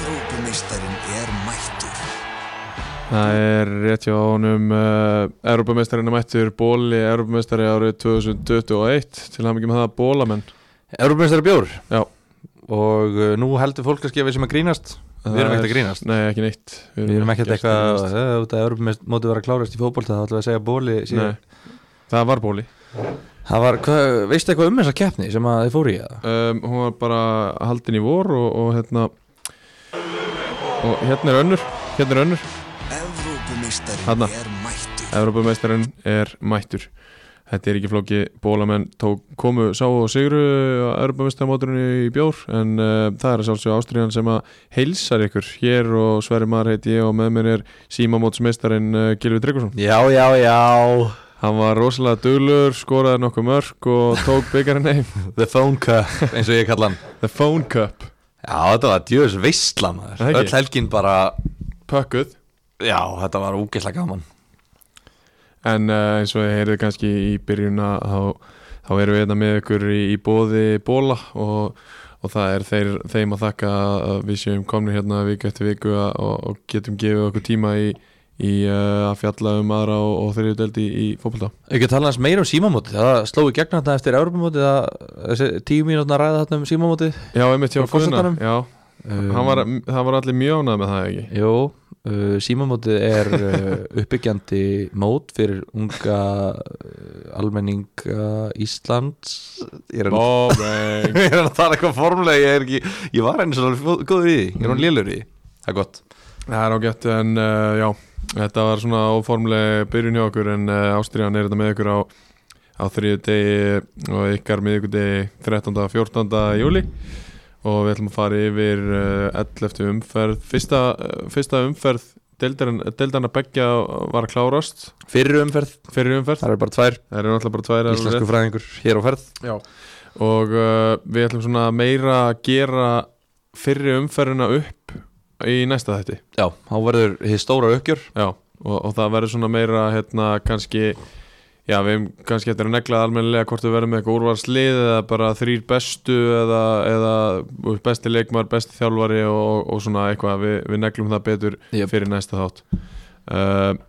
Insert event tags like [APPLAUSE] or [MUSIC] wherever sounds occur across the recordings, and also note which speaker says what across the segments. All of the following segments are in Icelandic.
Speaker 1: Evrópumeistarinn er mættur
Speaker 2: Það er rétt hjá honum uh, Europameistarinn er mættur Bóli Europameistari árið 2021 til hann ekki með það bólamenn
Speaker 3: Európumestari bjór
Speaker 2: Já.
Speaker 3: Og uh, nú heldur fólk kannski að við sem að grínast Við erum ekkert að grínast
Speaker 2: Nei, ekki neitt
Speaker 3: Við erum ekkert eitthvað
Speaker 2: grínast.
Speaker 3: eh, út að Európumest móti vera að klárast í fótbolta þá ætlum við að segja bóli síðan
Speaker 2: Nei, það var Bóli
Speaker 3: Það var, hva, veistu eitthvað um þessa keppni sem að þið fóru í það?
Speaker 2: um, Hún var bara haldin í vor og, og hérna Og hérna er önnur Hérna er önnur
Speaker 1: Evrópumeistarinn
Speaker 2: Þarna.
Speaker 1: er mættur
Speaker 2: Europameistarinn er mættur Þetta er ekki flóki Bólamenn tók, komu, sá og sigru á Europameistaramóturinu í bjór en uh, það er að sjálfsög Ástriðan sem að heilsar ykkur hér og Sverri Mar heiti ég og með mér er símamótsmeistarin uh, Gilvi Tryggvason
Speaker 3: Já, já, já
Speaker 2: Hann var rosalega duglur, skoraði nokkuð mörg og tók byggarinn heim
Speaker 3: The phone cup eins og ég kalla hann
Speaker 2: The Phone Cup
Speaker 3: Já, þetta var djöðs veistla maður
Speaker 2: Það ekki?
Speaker 3: Öll helgin bara,
Speaker 2: Pökkuð
Speaker 3: já, þetta var úgeðslega gaman
Speaker 2: En uh, eins og þið heyrið kannski í byrjunna þá, þá erum við þetta með ykkur í, í bóði bóla og, og það er þeir, þeim að þakka að við séum komnir hérna viku eftir viku að, og, og getum gefið okkur tíma í, í uh, að fjalla um aðra og, og þeirri deldi í, í fótbolta.
Speaker 3: Ekki að tala hans meira um símamóti Það sló í gegn hérna eftir Európamóti Þessi tíu mínútna ræða þarna um símamóti
Speaker 2: Já, einmitt hjá
Speaker 3: Frá forsetanum?
Speaker 2: Já, um, var, það var allir mjög ánað með það ekki.
Speaker 3: Jó, uh, símamótið er [LAUGHS] uh, uppbyggjandi mót fyrir unga uh, almenning uh, Íslands Ég er að-
Speaker 2: Boring!
Speaker 3: [LAUGHS] Ég er að tala eitthvað formlega Ég, er ekki, ég var einu svona fó- góður í því Ég er hún lélur í því Það er gott
Speaker 2: Það er ágætt en uh, já, þetta var svona óformleg byrjun hjá okkur en uh, Ástriðan er þetta með ykkur á, á þriðu degi og ykkar miðvikudegi 13. og 14. júli og við ætlum að fara yfir uh, 11. umferð fyrsta, uh, fyrsta umferð deildarna begja var að klárast
Speaker 3: Fyrir umferð,
Speaker 2: fyrir umferð,
Speaker 3: það eru bara tvær
Speaker 2: það eru náttúrulega bara tvær alveg rétt.
Speaker 3: Íslensku fræðingur hér á ferð
Speaker 2: og uh, við ætlum svona meira að gera fyrri umferðina upp í næsta þætti
Speaker 3: Já, þá verður hið stóra uppgjör
Speaker 2: Já, og, og það verður svona meira hérna kannski Já, við hefum kannski eftir að negla almennilega hvort við verðum með eitthvað úrvarslið eða bara þrýr bestu eða, eða þú veist, besti leikmar, besti þjálfari og, og svona eitthvað, við, við neglum það betur
Speaker 3: Jöp.
Speaker 2: fyrir næsta þátt uh,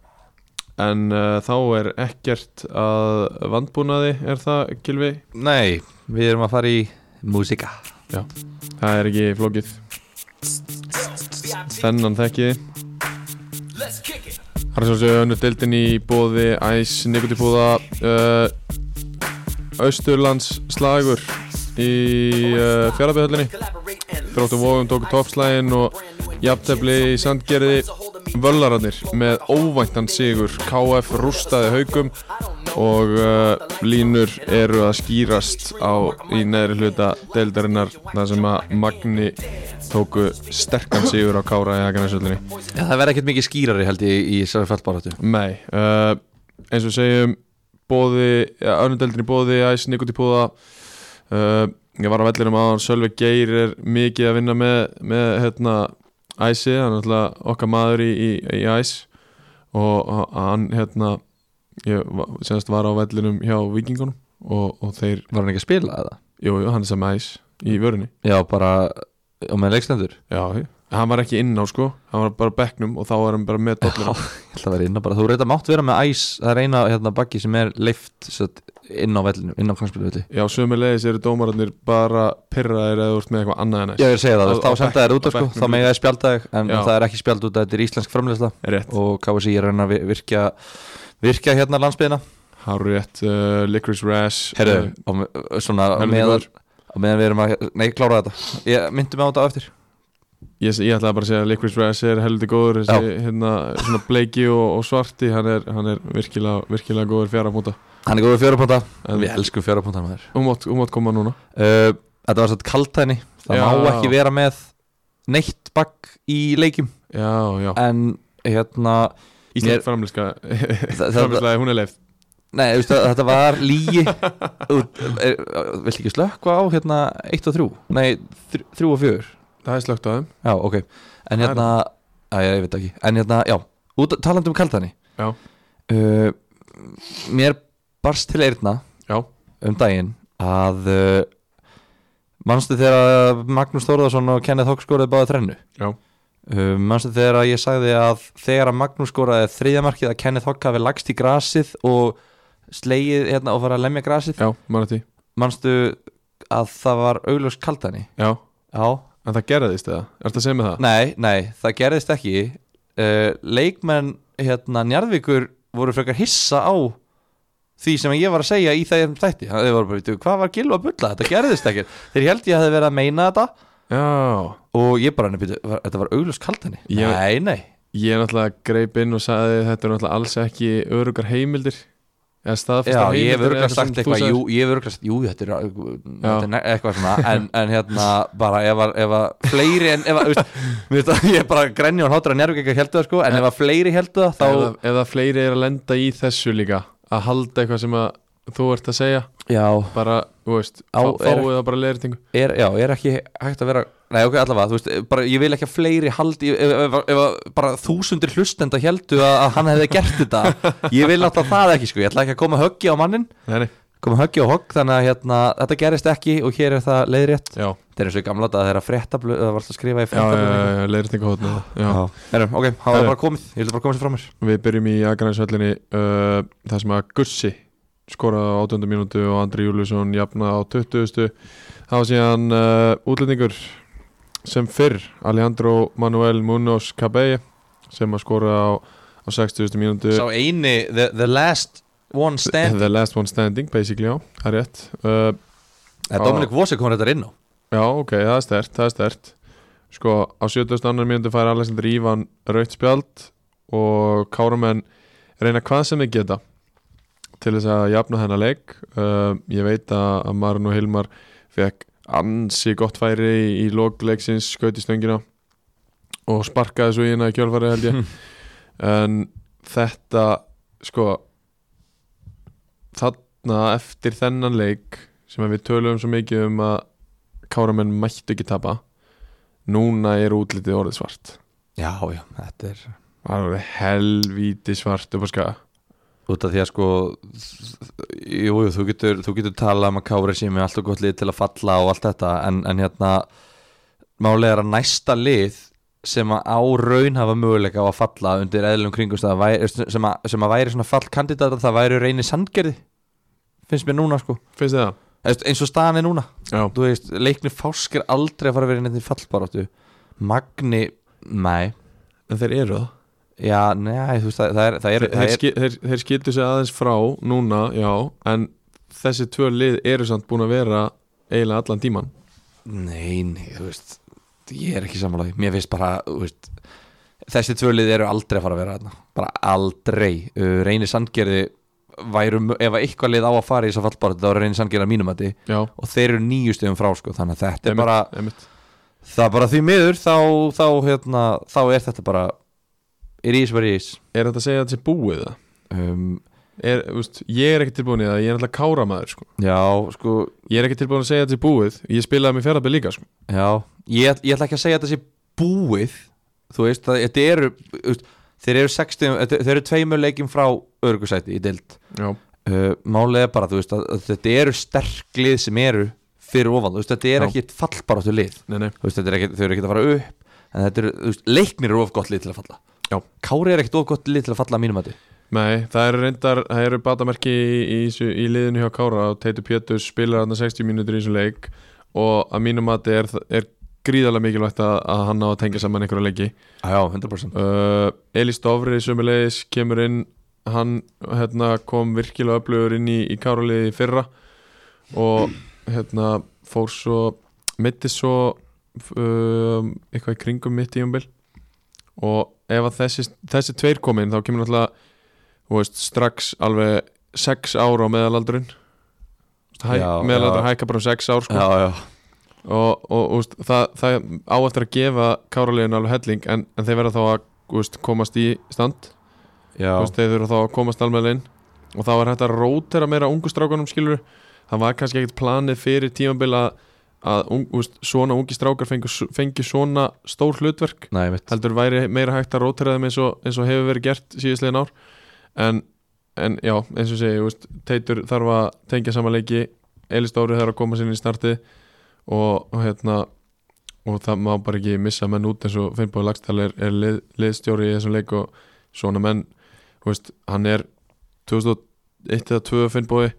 Speaker 2: En uh, þá er ekkert að vandbúnaði, er það Gilvi?
Speaker 3: Nei, við erum að fara í músika
Speaker 2: Það er ekki flókið Þennan þekki Það er svo séu önnur deildin í bóði Æs, Nikotipúða uh, Austurlands slagur í uh, fjárabæðhöllinni Þróttum vóðum tóku toppslægin og jafntefli í sandgerði Völlararnir með óvæntan sigur KF rústaði haugum og uh, línur eru að skýrast á í neðri hluta deildarinnar þar sem að Magni tóku sterkan sigur á Kára í Akanesöllinni
Speaker 3: Já, það verður ekkert mikið skýrari held ég í þessari fallbaráttu
Speaker 2: Nei, uh, eins og við segjum bóði, ja, önundeldin í bóði æs nikotipúða uh, ég var á vellinum aðan, Sölvi Geir er mikið að vinna með, með hérna, æsi, hann er alltaf okkar maður í, í, í æs og h- hann hérna ég va- semst var á vellinum hjá vikingunum og, og þeir,
Speaker 3: Var hann ekki að spila eða?
Speaker 2: jú, jú, hann er saman æs í vörunni,
Speaker 3: Já, bara og með leikstendur
Speaker 2: já, jú. hann var ekki inn á sko, hann var bara á bekknum og þá var hann bara með dollur
Speaker 3: Ég ætla að vera inn á bara, þú reynda mátt vera með æs það er eina hérna bakki sem er leift satt, inn á vellinu, inn á kvangsbyrjuvelli
Speaker 2: Já, sömulegis eru dómararnir bara pyrraðir eða þú ert með eitthvað annað en
Speaker 3: Já, ég er að segja
Speaker 2: Á-
Speaker 3: það, þú
Speaker 2: á
Speaker 3: veist, þá senda þær
Speaker 2: bekk-
Speaker 3: út
Speaker 2: á
Speaker 3: af, sko,
Speaker 2: bekknum.
Speaker 3: þá mega þær spjald dag en
Speaker 2: Já.
Speaker 3: það er ekki spjald út af, þetta er íslensk framleysla
Speaker 2: Rétt,
Speaker 3: og KSI er að reyna að vi- virkja virkja hérna landsbyðina
Speaker 2: hárið rétt, uh, Licorice Rash Uh,
Speaker 3: Herru, á me- svona á
Speaker 2: Helviti
Speaker 3: meðan
Speaker 2: góður.
Speaker 3: á meðan við erum að, nei, klára þetta ég myndi mig á þetta á eftir
Speaker 2: ég, ég ætlaði bara að segja að Licorice Rash er heldur góður þessi, hérna, svona bleiki og, og svarti hann er, hann er virkilega, virkilega góður fjara múta
Speaker 3: Hann er góður fjörupónta,
Speaker 2: En-
Speaker 3: við elskum fjörupónta maður
Speaker 2: Hún mátt hún mátt koma núna
Speaker 3: uh, Þetta var svolítið kaltæni Það
Speaker 2: Já.
Speaker 3: má ekki vera með neitt bakk í leikjum
Speaker 2: Já, já,
Speaker 3: En hérna
Speaker 2: Ísland
Speaker 3: mér-
Speaker 2: framlýska
Speaker 3: það-
Speaker 2: framlýslaði, hún er leift
Speaker 3: Nei, veistu, þetta var lígi Vilt ekki slökka á hérna 1 og 3 Nei, 3 og 4
Speaker 2: Það er slögt á þeim
Speaker 3: Já, ok En
Speaker 2: Það er
Speaker 3: hérna Æ, ég veit ekki En hérna, já út, Talandi um kaltæni
Speaker 2: Já.
Speaker 3: uh, Mér barst til eyrna
Speaker 2: Já,
Speaker 3: um daginn að uh, manstu þegar að Magnús Þórðarsson og Kenneth Hogg skoraði báða þrennu
Speaker 2: Já.
Speaker 3: Um, Manstu þegar að ég sagði að þegar að Magnús skoraði þriðamarkið að Kenneth Hogg hafi lagst í grasið og slegið hérna og fara að lemja grasið
Speaker 2: já, mann eftir því.
Speaker 3: Manstu að það var augljós kaldani?
Speaker 2: já,
Speaker 3: Já
Speaker 2: en það gerðist eða, er þetta að segja með það?
Speaker 3: Nei, nei, það gerðist ekki uh, Leikmenn hérna Njarðvíkur voru frekar hissa á því sem ég var að segja í þeim þætti Þau voru bara, veitu, hvað var gilva að bulla? Þetta gerðist ekki Þeir held ég að hefði verið að meina þetta
Speaker 2: já,
Speaker 3: og ég bara, nefnir, þetta var auglust kaltani
Speaker 2: Ég-
Speaker 3: Nei, nei,
Speaker 2: ég náttúrulega greip inn og sagði þetta er náttúrulega alls ekki örugar heimildir eða
Speaker 3: já,
Speaker 2: staðfesta heimildir
Speaker 3: ég hef
Speaker 2: eða
Speaker 3: örgulega
Speaker 2: sem
Speaker 3: sagt
Speaker 2: þú
Speaker 3: eitthvað
Speaker 2: sagðir.
Speaker 3: Jú, ég hef örgulega sagt, jú, þetta er, þetta er ne- eitthvað svona en, en hérna, bara, ef að, ef að fleiri en, ef að, veist, [LAUGHS] mér finnst að ég er bara grenni og hátur að Njarðvíkur heldur það, sko en ef að fleiri heldur það, þá
Speaker 2: eða, eða fleiri er að lenda í þessu líka að halda eitthvað sem að þú ert að segja
Speaker 3: Já,
Speaker 2: bara, þú veist, fá,
Speaker 3: Á, er-
Speaker 2: fáið það bara leiðritingu
Speaker 3: er, já, er ekki hægt að vera Nei, ok, allavega, þú veist, bara, ég vil ekki að fleiri haldi, ef, ef, ef, ef bara þúsundir hlustenda heldu að, að hann hefði gert þetta ég vil alltaf það ekki, sko ég ætla ekki að koma höggi á mannin,
Speaker 2: Nei, nei,
Speaker 3: koma höggi á hogg þannig að hérna, þetta gerist ekki og hér er það leiðrétt,
Speaker 2: já,
Speaker 3: þetta er eins og í gamla þetta þegar að fréttablu, það var alltaf að skrifa í
Speaker 2: já, já,
Speaker 3: fréttablu
Speaker 2: já, já leiðritingu hóðna já.
Speaker 3: Erum, ok, það
Speaker 2: Herru.
Speaker 3: var bara komið, ég vil bara komið sér fram mér
Speaker 2: Við byrjum í Akarnæsvöllinni uh, þar sem að Gussi skoraði á 18. mínútu og Andri Júliusson jafna á 20. Það var síðan uh, útlendingur sem fyrr Alejandro Manuel Munoz Cabella sem að skora á, á 60. mínútu
Speaker 3: Sá eini, the, the last one stand,
Speaker 2: The last one standing basically, já, það er rétt uh,
Speaker 3: Eh, Dominic Vosek kom þetta inn á
Speaker 2: Já, ok, það er stert, það er stert Sko, á 72. mínútu fær Alexander Ívan raut spjald og Káramenn reyna hvað sem þið geta til þess að jafna þennan leik uh, Ég veit að að Marun og Hilmar fekk ansi gott færi í, í lokleiksins skaut í stöngina og sparkaði svo í hérna í kjölfari held ég en þetta sko þarna eftir þennan leik sem að við töluðum svo mikið um að káramenn mættu ekki tapa núna er útlitið orðið svart
Speaker 3: Já, já, þetta er
Speaker 2: það er orðið helvíti svart upp á skaga
Speaker 3: út af því að sko jú, jú, þú getur, þú getur talað um að Kári sé með alltaf gott lið til að falla og allt þetta en, en hérna málega er að næsta lið sem að á raun hafa möguleika á að falla undir eðlum kringumstæða væri- sem, að- sem að væri svona fallkandidat það væri reyni sandgerði finnst mér núna sko
Speaker 2: finnst þið það?
Speaker 3: Eða, veist, eins og staðan er núna
Speaker 2: já,
Speaker 3: þú veist, leikni fáskir aldrei að fara að vera neitt í fallbaróttu Magni, nei
Speaker 2: en þeir eru það
Speaker 3: já, nei, þú veist, það, það er, það er,
Speaker 2: þeir,
Speaker 3: það
Speaker 2: þeir,
Speaker 3: er
Speaker 2: ski- þeir, þeir skildu sig aðeins frá núna, já, en þessi tvö lið eru samt búin að vera eiginlega allan tíman
Speaker 3: Nei, nei, þú veist Ég er ekki sammálaði, mér finnst bara þú veist, Þessi tvölið eru aldrei að fara að vera þarna Bara aldrei uh, Reynir Sandgerði væru mö- Ef að eitthvað lið á að fara í þess að fallbara Þá er Reynir Sandgerði að mínum að þið
Speaker 2: já,
Speaker 3: Og þeir eru nýju stöðum frá sko Þannig að þetta er bara
Speaker 2: einmitt.
Speaker 3: Það er bara því miður Þá, þá, hérna, þá er þetta bara Er ís var ís
Speaker 2: er þetta að segja að þetta sé búið það?
Speaker 3: um,
Speaker 2: Er, úst, ég er ekki tilbúin í það, ég er alltaf káramaður sko.
Speaker 3: Já, sko
Speaker 2: ég er ekki tilbúin að segja að þetta sé búið ég spilaði mig fjaraðbyrð líka sko.
Speaker 3: Já, ég, ætl- ég ætla ekki að segja að þetta sé búið Þú veist, það, þetta eru þú veist, Þeir eru 60, þetta- þeir eru tveimur leikjum frá örgusæti í deild
Speaker 2: já,
Speaker 3: uh, Málega bara, þú veist, að, að þetta eru sterklið sem eru fyrir ofan þú veist, Þetta
Speaker 2: Já.
Speaker 3: er ekki fallbaráttu lið
Speaker 2: nei, nei,
Speaker 3: Þú veist, þetta er ekki, Þau eru ekki að fara upp En þetta eru, þú veist, leiknir eru of gott lið til að falla
Speaker 2: Já.
Speaker 3: Kári er ekkit of gott lið til að falla að mínum að
Speaker 2: Nei, það eru reyndar, það eru batamerki í, í, þessu- í liðinu hjá Kára og Teitur Pétur spilar hann 60 mínútur í þessum leik og að mínum mati er, er gríðarlega mikilvægt að, að hann á að tengja saman einhverja leiki
Speaker 3: Já, 100%
Speaker 2: uh, Elís Dofri sömulegis kemur inn hann hérna, kom virkilega öflugur inn í, í Káraliði fyrra og hérna fór svo mittist svo um, eitthvað í kringum mitt í umbil og ef að þessi, þessi tveir komin þá kemur náttúrulega þú veist, strax alveg 6 ára á meðalaldurinn Hæ,
Speaker 3: Já,
Speaker 2: meðalaldur
Speaker 3: já.
Speaker 2: hækka bara um 6 ár sko
Speaker 3: Já, já,
Speaker 2: og, og úst, það, það á eftir að gefa káralegin alveg helling en, en þeir verða þá að úst, komast í stand
Speaker 3: já
Speaker 2: úst, þeir verða þá að komast alveg inn og þá er hægt að rótera meira ungu strákunum skilur það var kannski ekkert planið fyrir tímabil að, að ung- úst, svona ungi strákar fengi, fengi svona stór hlutverk
Speaker 3: Nei, mitt
Speaker 2: heldur væri meira hægt að rótera þeim eins og, eins og hefur verið gert síðislegin ár en, en já, eins og segi úst, Teitur þarf að tengja saman leiki Elis Dóri þarf að koma sinni í starti og, og hérna og það má bara ekki missa menn út eins og Finnbóði Lagstall er, er lið, liðstjóri í þessum leik og svona menn þú veist, hann er 2001 eða 2 Finnbóði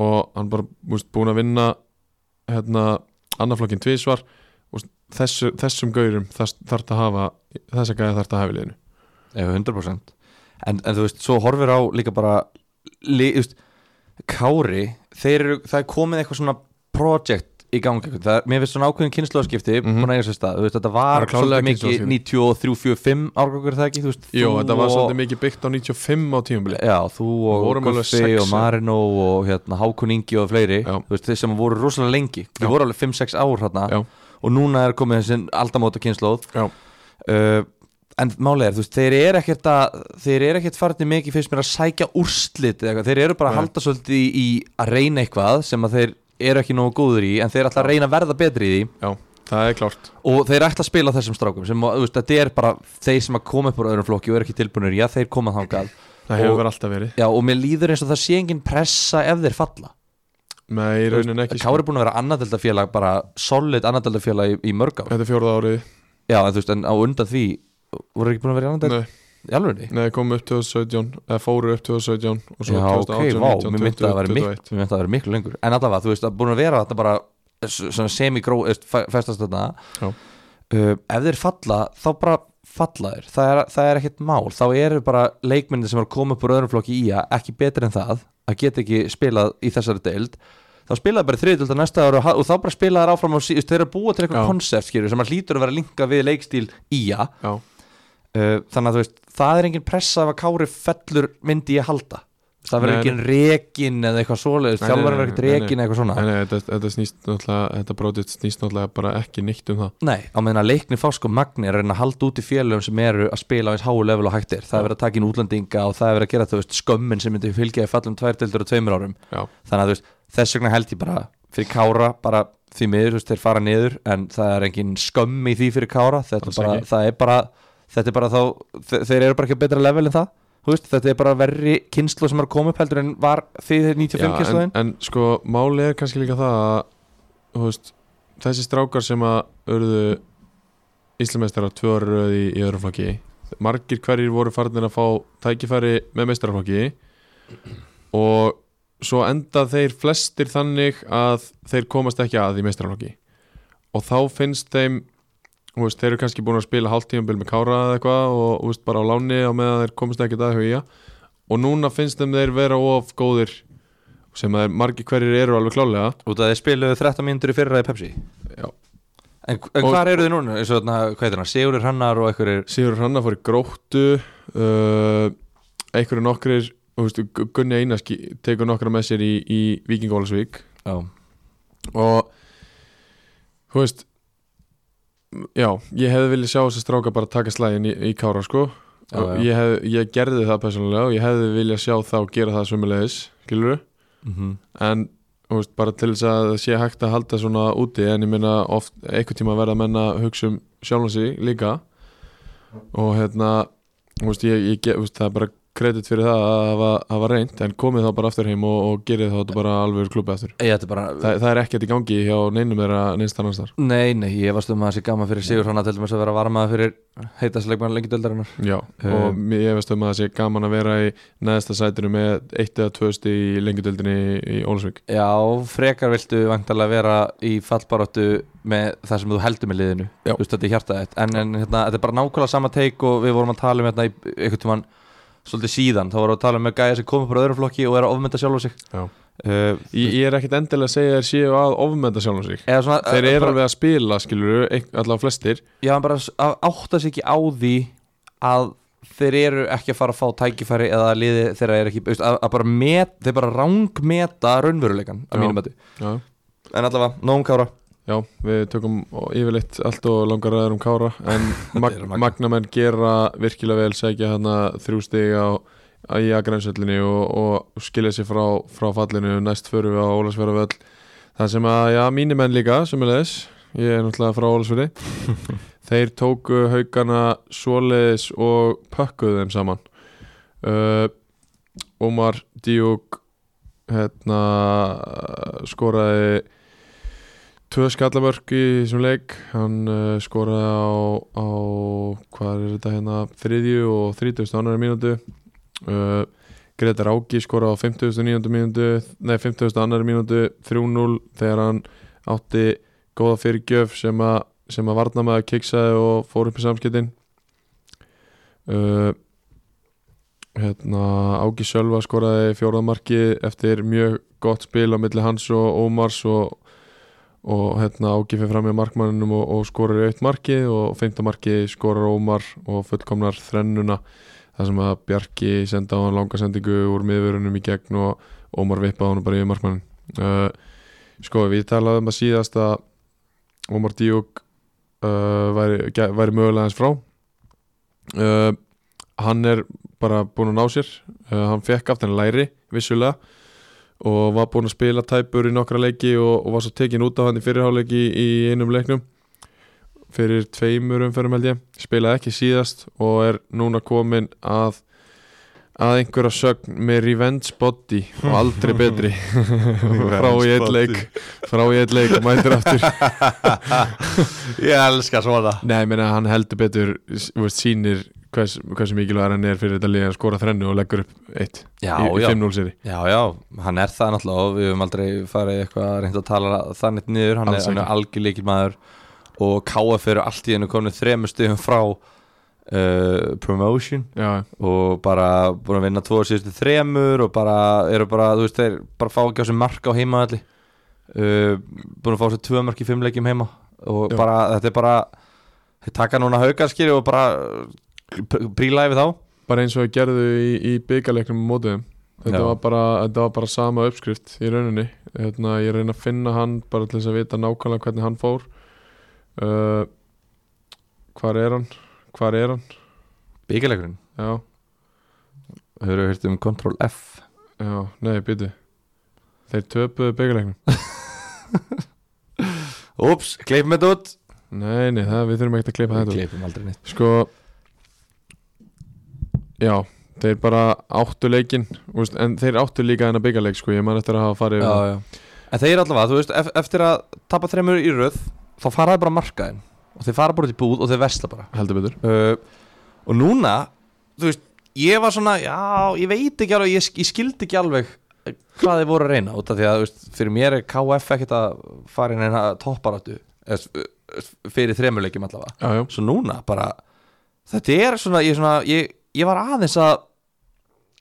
Speaker 2: og hann bara þú veist, búin að vinna hérna annarflokkin tvísvar og þessu, þessum gaurum þar, þarf það að hafa þessa gæði þarf það að hafa í liðinu
Speaker 3: Ef 100% en, en þú veist, svo horfir á líka bara li, þú veist, Kári þeir eru, það er komið eitthvað svona project í gangi, einhvern. það er, mér finnst svona ákveðin kynnslóðskipti mm
Speaker 2: Mhm.
Speaker 3: búin að eiga sér stað, þú veist, þetta
Speaker 2: Það
Speaker 3: var
Speaker 2: er klárlega
Speaker 3: svolítið mikið
Speaker 2: kynslóðaskipti.
Speaker 3: 93, 45 árgangur er það ekki, þú veist
Speaker 2: Jú,
Speaker 3: þú
Speaker 2: þetta var
Speaker 3: og-
Speaker 2: svolítið mikið byggt á 95 á tímabili
Speaker 3: Já, þú og
Speaker 2: Við vorum alveg
Speaker 3: Guffi
Speaker 2: sex,
Speaker 3: og
Speaker 2: ja.
Speaker 3: Marino og hérna, Hákun Ingi og fleiri
Speaker 2: Já.
Speaker 3: þú veist, þeir sem voru rosalega lengi,
Speaker 2: Já.
Speaker 3: þau voru alveg 5-6 ár hérna
Speaker 2: Já.
Speaker 3: og núna er komið þessi aldamóta kynnslóð
Speaker 2: Já.
Speaker 3: uh, en málið er, þú veist, þeir eru ekkert að, þeir eru ekkert farinni mikið fyrst mér að sækja úrslit eða eitthvað, þeir eru bara að
Speaker 2: Nei.
Speaker 3: halda svolítið í, í að reyna eitthvað sem að þeir eru ekki nógu góður í en þeir ætla að reyna að verða betri í því
Speaker 2: Já, það er klárt
Speaker 3: og þeir ætla að spila þessum strákum sem, að, þú veist, þetta er bara þeir sem að koma upp úr öðrum flokki og eru ekki tilbúinir, já þeir koma þangað
Speaker 2: Það hefur
Speaker 3: Og-
Speaker 2: verið alltaf verið
Speaker 3: já og mér líður eins og það sé engin pressa ef þeir falla
Speaker 2: Nei, í rauninni ekki sko.
Speaker 3: Kári er búin að vera annaðildafélag bara solid annaðildafélag í, í mörg ár
Speaker 2: Þetta er fjórða árið
Speaker 3: já en þú veist en á undan því voru ekki búin að vera annaðildafélag
Speaker 2: Nei,
Speaker 3: í alveg
Speaker 2: nei komum upp 2017 eða fóru upp 2017 og svo
Speaker 3: já ok,
Speaker 2: 2018,
Speaker 3: vá,
Speaker 2: 19,
Speaker 3: mér myndi að það vera
Speaker 2: 2021.
Speaker 3: miklu mér myndi að það vera miklu lengur en allavega þú veist að búin að vera þetta bara eh, s- svona semi-gró þú veist, fe- festast þarna
Speaker 2: Já.
Speaker 3: uh, ef þeir falla þá bara falla þeir það er, það er ekkert mál þá eru bara leikmyndir sem eru að koma upp úr öðrum flokki í að ekki betri en það að geta ekki spilað í þessari deild þá spilaði bara þriðdölda næsta ára og, ha- og þá bara spilaði þær áfram á síðust þeir eru að búa til
Speaker 2: Já.
Speaker 3: eitthvað konsept skilur sem að hlýtur að vera linka við leikstíl í að
Speaker 2: Já,
Speaker 3: Uh, þannig að þú veist, það er engin pressa ef að Kári fellur myndi ég halda það verður
Speaker 2: Nei,
Speaker 3: engin rekin eða eitthvað svoleiðis
Speaker 2: Nei,
Speaker 3: þjálfarinn
Speaker 2: nei,
Speaker 3: verður ekkert
Speaker 2: nei, nei,
Speaker 3: rekin eða eitthvað svona
Speaker 2: en
Speaker 3: nei,
Speaker 2: nei, þetta, þetta snýst náttúrulega þetta brótið snýst náttúrulega bara ekki nýtt um það
Speaker 3: á meðan að leikni fá sko magni er að reyna að halda út í félögum sem eru að spila á eins háu level og hættir, það er verið að taka inn útlendinga og það er verið að gera þú veist skömmin sem myndi fylgja í fallum tværtildur og tveimur árum
Speaker 2: Já,
Speaker 3: þannig að þú veist, þess vegna held ég bara fyrir Kára, bara því miður, þú veist, þeir fara niður en það er engin skömm í því fyrir Kára þetta,
Speaker 2: Alls
Speaker 3: bara,
Speaker 2: ekki.
Speaker 3: það er bara, þetta er bara þá, þe- þeir eru bara ekki á betra level en það þú veist, þetta er bara verri kynslu sem er að koma upp heldur en var því þeir 95
Speaker 2: Já, en,
Speaker 3: kynsluðin
Speaker 2: en sko máli er kannski líka það að þú veist, þessi strákar sem að urðu Íslamestara tvö ára í röð í, í öðrum flokki margir hverjir voru farnir að fá tækifæri með meistaraflokki og svo enda þeir flestir þannig að þeir komast ekki að í meistaraflokki og þá finnst þeim þú veist, þeir eru kannski búin að spila hálftíðanbíl með Kára eða eitthvað og þú veist, bara á láni á meðan þeir komast ekki að huga og núna finnst þeim þeir vera of góðir sem að margir hverjir eru alveg klálega
Speaker 3: út að þeir spiluðu 13 mínútur í fyrra í Pepsi
Speaker 2: Já.
Speaker 3: en, en
Speaker 2: Og-
Speaker 3: hvar eru þið núna, eins og þarna, hvað heitir hann Sigurður Hannar og einhverjir
Speaker 2: Sigur Hranna fór í gróttu uh, einhverju nokkrir þú veist, Gu- Gunni Einars ki- tekur nokkra með sér í, í Víkingólasvík
Speaker 3: já,
Speaker 2: og þú veist já, ég hefði viljað sjá þess að stráka bara taka slægin í, í Kára sko
Speaker 3: Já,
Speaker 2: og
Speaker 3: já.
Speaker 2: ég, hef, ég gerði það persónulega og ég hefði viljað sjá þá gera það sömulegis, skilur
Speaker 3: mm
Speaker 2: en þú veist, bara til þess að það sé hægt að halda svona úti en ég minna oft einhvern tíma verða menn að hugsa um sjálfan sig líka og hérna þú veist, ég, ég, ge- þú veist, það er bara kredit fyrir það að hafa, hafa reynd en komið þá bara aftur heim og, og gerið þá þetta bara alveg klubbi aftur
Speaker 3: ég ætti bara
Speaker 2: Þa, það er ekkert í gangi hjá neinum þeirra neinst annars þar
Speaker 3: Nei, nei, ég varst um að það sé gaman fyrir Sigur Hannar til dæmis að vera varmaða fyrir heitasleikmann lengi döldarinnar
Speaker 2: Já, og mér- ég veist um að það sé gaman að vera í neðsta sætinu með eitt eða tvöst í lengjadöldinni í Ólasvík
Speaker 3: Já, frekar viltu vantarlega vera í fallbaróttu með það sem þú heldur með liðinu
Speaker 2: Já.
Speaker 3: Þú veist, þetta er hjartaði en, en hérna, þetta er bara nákvæmlega sama teik og við vorum að tala um hérna í einhvern tímann svolítið síðan, þá vorum við að tala um með gæja sem komið bara öðrum flokki og er að ofmynda sjálf á sig
Speaker 2: Já.
Speaker 3: uh,
Speaker 2: Ég, ég er ekkert endilega að segja þér séu að ofmenda sjálfum sig
Speaker 3: eða svona,
Speaker 2: Þeir
Speaker 3: eh,
Speaker 2: eru
Speaker 3: bara,
Speaker 2: alveg að spila, skilur allavega flestir
Speaker 3: Já, en bara s- að átta sig ekki á því að þeir eru ekki að fara að fá tækifæri eða að liði þeirra er ekki þú veist, að, að bara met, þeir bara rangmeta raunveruleikan
Speaker 2: Já.
Speaker 3: að mínum mati
Speaker 2: Já,
Speaker 3: en allavega, nógum kára
Speaker 2: já við tökum yfirleitt allt og langar aðeins um Kára En mag
Speaker 3: eru magnað.
Speaker 2: magnamenn gera virkilega vel segja hana þrjú stig á í agrænsöllinni og, og skilja sér frá, frá fallinu næst förum við á Ólasverða Það sem að, já, mínir menn líka sem er leðis, ég er náttúrulega frá Ólasverði Þeir tóku haugana svoleiðis og pökkuðu þeim saman uh, Omar Díuk hérna skoraði tvö skallamörk í þessum leik hann uh, skoraði á, á hvað er þetta hérna þriðju og þrítust annari mínútu uh, Gretar Áki skoraði á 59. mínútu nei 50. annari mínútu 3-0 þegar hann átti góða fyrirgjöf sem að sem að varna með að kiksaði og fór upp í samskiptin uh, hérna Áki Sölva skoraði fjóraðmarki eftir mjög gott spil á milli hans og Ómars og og hérna ágifir fram í markmanninum og, og skorar í aukt marki og feimta marki skorar Ómar og fullkomnar þrennuna þar sem að Bjarki senda á hann langasendingu úr miðvörunum í gegn og Ómar vippaði hann bara yfir markmannin uh, sko við talaðum um að síðast að Ómar Díuk uh, væri, gæ- væri mögulega hans frá uh, hann er bara búinn að ná sér uh, hann fekk aftan læri vissulega og var búinn að spila tæpur í nokkra leiki og, og var svo tekin út af hann í fyrirháleiki í, í einum leiknum fyrir tveimur umferðum held ég spilaði ekki síðast og er núna komin að að einhverja sögn með revenge body og aldrei betri [LAUGHS] frá í eitt leik frá í eitt leik, mætir aftur [LAUGHS]
Speaker 3: Ég elska svona
Speaker 2: Nei, ég meina hann heldur betur s- þú veist, sýnir hvers, hversu mikilvægur hann er fyrir þetta lið að skora þrennu og leggur upp eitt
Speaker 3: Já,
Speaker 2: í, í
Speaker 3: já.
Speaker 2: 5-0 seri
Speaker 3: Já, já, hann er það náttúrulega og við höfum aldrei farið eitthvað að reynda að tala þannig niður, hann
Speaker 2: Alls
Speaker 3: er, hann er algjörleikil maður og KF eru allt í hennu komin þremur stigum frá uh, promotion
Speaker 2: Já,
Speaker 3: og bara búin að vinna tvo síðustu þremur og bara eru bara, þú veist, þeir bara fá ekki á sig mark á heimaðalli uh, búin að fá sér tvö mark í fimm leikjum heima og
Speaker 2: Já.
Speaker 3: bara, þetta er bara þeir taka núna haugarskýri og bara príla yfir þá
Speaker 2: bara eins og þau gerðu í, í byggarleiknum mótiðum þetta
Speaker 3: Já.
Speaker 2: var, bara, þetta var bara sama uppskrift í rauninni hérna, ég reyna að finna hann bara til þess að vita nákvæmlega hvernig hann fór uh, hvar er hann hvar er hann
Speaker 3: byggilegurinn,
Speaker 2: já,
Speaker 3: höfðu hýrt um Ctrl F
Speaker 2: já, nei, býtu þeir töpuðu byggarleiknum
Speaker 3: Úps, kleipum þetta út
Speaker 2: nei, nei, það, við þurfum ekkert að klippa þetta út.
Speaker 3: kleipum aldrei neitt
Speaker 2: Sko Já, þeir bara áttu leikinn úst, En þeir áttu líka en að byggja leik sko. Ég man eftir að hafa farið yfir það.
Speaker 3: já, já. En þeir allavega, þú veist, ef, eftir að tapa þremur í röð, þá fara þeir bara markaðin og þeir fara bara út í búð og þeir vesla bara
Speaker 2: Heldur betur
Speaker 3: uh, og núna þú veist, ég var svona já, ég veit ekki alveg, ég, sk- ég skildi ekki alveg eh, hvað þið voru að reyna út af því að þú veist, fyrir mér er KF ekkert að fara inn að topparáttu eða s- eh, s- fyrir þremuleikjum allavega
Speaker 2: Já, já,
Speaker 3: svo núna bara þetta er svona, ég, svona, ég, ég var aðeins að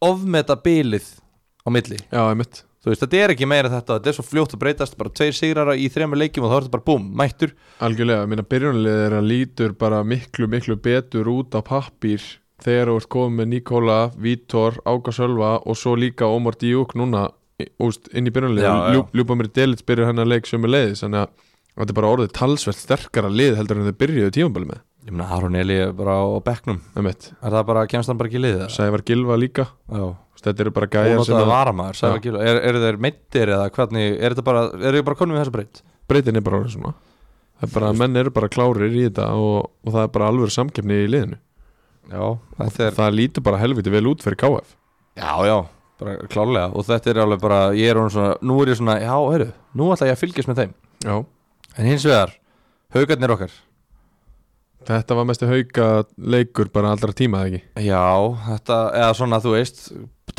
Speaker 3: ofmeta bilið á milli
Speaker 2: já, einmitt
Speaker 3: þú veist, þetta er ekki meira þetta, þetta er svo fljótt að breytast bara tveir sigrara í þremur leikjum og þá er þetta bara búm, mættur
Speaker 2: Algjörlega, minna byrjunarlið er að lítur bara miklu, miklu betur út á pappír þegar þú ert komið með Nikola, Vítor, Áka Sölva og svo líka Ómar Díuk núna í- úst, inn í
Speaker 3: Já, já.
Speaker 2: byrjunarlið Ljúpa mér delits byrjar hennar leik sem er leiðis þannig að þetta er bara orðið talsvert sterkara lið heldur en þau byrjuðu tímabali með
Speaker 3: ég meina, Aron Eli er bara á bekknum
Speaker 2: einmitt.
Speaker 3: er það bara, kemst hann bara ekki í liðið það?
Speaker 2: Sævar Gilva líka
Speaker 3: Já
Speaker 2: Þú veist, Þetta eru bara gæjar sem
Speaker 3: ónáttaða
Speaker 2: að
Speaker 3: varamaður, sagði
Speaker 2: Já.
Speaker 3: Gil er, eru þeir meittir eða hvernig, er þetta bara eru þeir bara konum við þessa breytt?
Speaker 2: breytin er bara orðin svona Það er bara, menn eru bara klárir í þetta og, og það er bara alveg samkefni í liðinu
Speaker 3: Já, þetta er,
Speaker 2: Það lítur bara helviti vel út fyrir KF
Speaker 3: já, já bara klálega og þetta er alveg bara, ég er orðinn svona nú er ég svona, já, heyrðu, nú ætla ég að fylgjast með þeim
Speaker 2: Já,
Speaker 3: en hins vegar, haugarnir okkar
Speaker 2: þetta var mestu hauka leikur bara allra tíma eða ekki
Speaker 3: já, þetta, eða svona þú veist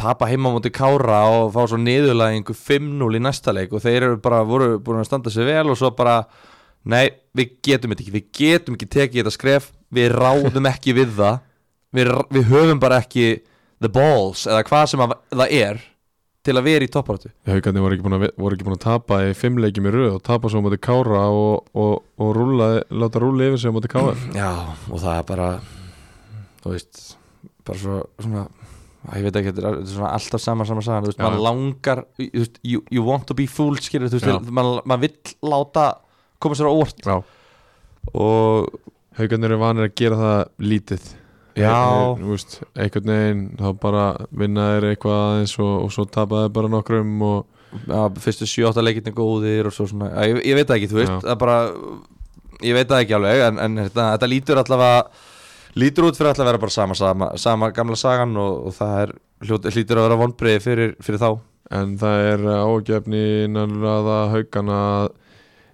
Speaker 3: tapa heima á móti kára og fá svo niðurlæðingu 5-0 í næsta leik og þeir eru bara, voru búin að standa sig vel og svo bara, nei, við getum þetta ekki við getum ekki tekið þetta skref við ráðum ekki við það við, r- við höfum bara ekki the balls eða hvað sem að, það er til að vera í topparötu
Speaker 2: Haukarnir voru ekki búin að, vi- voru ekki búin að tapa í fimm leikjum í röð og tapa svo á móti Kára og, og, og rúla, láta rúla yfir sig á móti KF
Speaker 3: já, og það er bara þú veist, bara svo svona Æ, ég veit ekki, þetta er þetta er svona alltaf sama sama sagan, þú veist,
Speaker 2: Já.
Speaker 3: maður langar þú veist, you, you want to be fool, skilur, þú
Speaker 2: Já.
Speaker 3: veist maður mað vill láta koma sér á óvart
Speaker 2: Já
Speaker 3: og
Speaker 2: Haukarnir eru vanir að gera það lítið
Speaker 3: Já.
Speaker 2: Þeir- Þú veist, einhvern veginn þá bara vinna þeir eitthvað aðeins og, og svo tapa þeir bara nokkrum og
Speaker 3: já, fyrstu 7-8 leikinni góðir og svo svona, já, ég, ég veit það ekki, þú veist
Speaker 2: Já.
Speaker 3: það er bara, ég veit það ekki alveg en, en þetta, þetta lítur allavega lítur út fyrir allavega að vera bara sama sama, sama gamla sagan og, og það er hljó- hlýtur að vera vonbreiði fyrir, fyrir þá
Speaker 2: En það er ágefni innan raða haugana að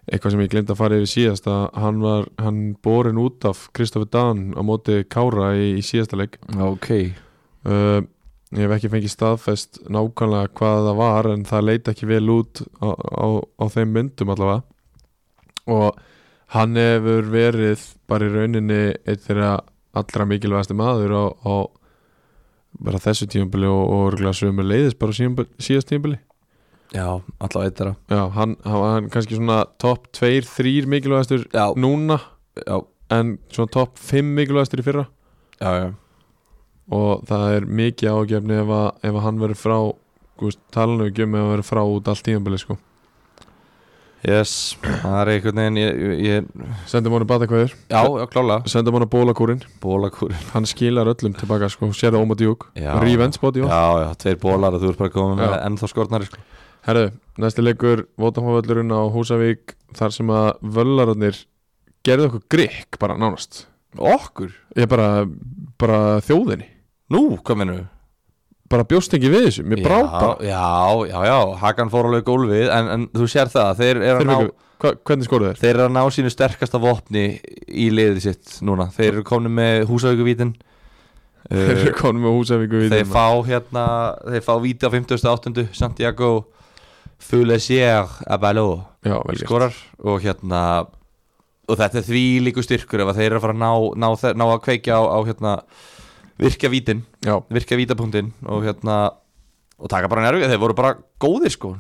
Speaker 2: eitthvað sem ég glemt að fara yfir síðast að hann var, hann borin út af Kristoffer Dan á móti Kára í, í síðasta leik
Speaker 3: ok
Speaker 2: uh, ég hef ekki fengið staðfest nákvæmlega hvað það var en það leit ekki vel út á, á, á þeim myndum allavega og hann hefur verið bara í rauninni eitt þeirra allra mikilvægasti maður á, á bara þessu tíumbili og, og örgulega sömu leiðis bara á síðumbil- síðast tíumbili
Speaker 3: já, allavega eitt þeirra
Speaker 2: já, hann, hann, hann kannski svona topp 2-3 mikilvægastur
Speaker 3: já,
Speaker 2: núna
Speaker 3: já,
Speaker 2: en svona topp 5 mikilvægastur í fyrra
Speaker 3: já, já,
Speaker 2: og það er mikið ágefni ef, að, ef að hann verður frá gúst, talinu ekki um ef hann verður frá út allt tíðanbili sko.
Speaker 3: yes það er einhvern veginn ég, ég,
Speaker 2: sendum hann að bata hvaður,
Speaker 3: já, já, klálega
Speaker 2: sendum hann að bólakúrin
Speaker 3: bólakúr
Speaker 2: hann skilar öllum tilbaka, sko. sér það óma djúk
Speaker 3: Já.
Speaker 2: revenge bóti,
Speaker 3: já,
Speaker 2: já
Speaker 3: já, tveir bólar og þú ert bara komið með
Speaker 2: Já.
Speaker 3: ennþá skortnari sko.
Speaker 2: herru, næsti leikur, Vótafávöllurinn á Húsavík þar sem að völlararnir gerðu okkur grikk bara nánast
Speaker 3: okkur,
Speaker 2: ég bara, bara þjóðinni
Speaker 3: nú, hvað minnum við
Speaker 2: bara bjóst ekki við þessu, mér brá bara
Speaker 3: já, já, já, já, Hakan fór alveg í gólfið en, en þú sér það, þeir
Speaker 2: Þeir
Speaker 3: eru að ná
Speaker 2: fengu- hva- hvernig skoruðu þér?
Speaker 3: Þeir eru að ná sínu sterkasta vopni í liðið sitt núna Þeir eru komin með Eh, húsavíkuvítin
Speaker 2: Þeir eru
Speaker 3: Þeir,
Speaker 2: konum með Húsavíku við
Speaker 3: þeir fá hérna Þeir fá víti á 58. Santiago Fulesier Abalo
Speaker 2: já, vel gert
Speaker 3: skorar og hérna og þetta er því líku styrkur ef að þeir eru að fara að ná, ná, þe- ná að kveikja á, á hérna, virka vítin
Speaker 2: já,
Speaker 3: virka vítapunktinn og hérna og taka bara nervið, þeir voru bara góðir sko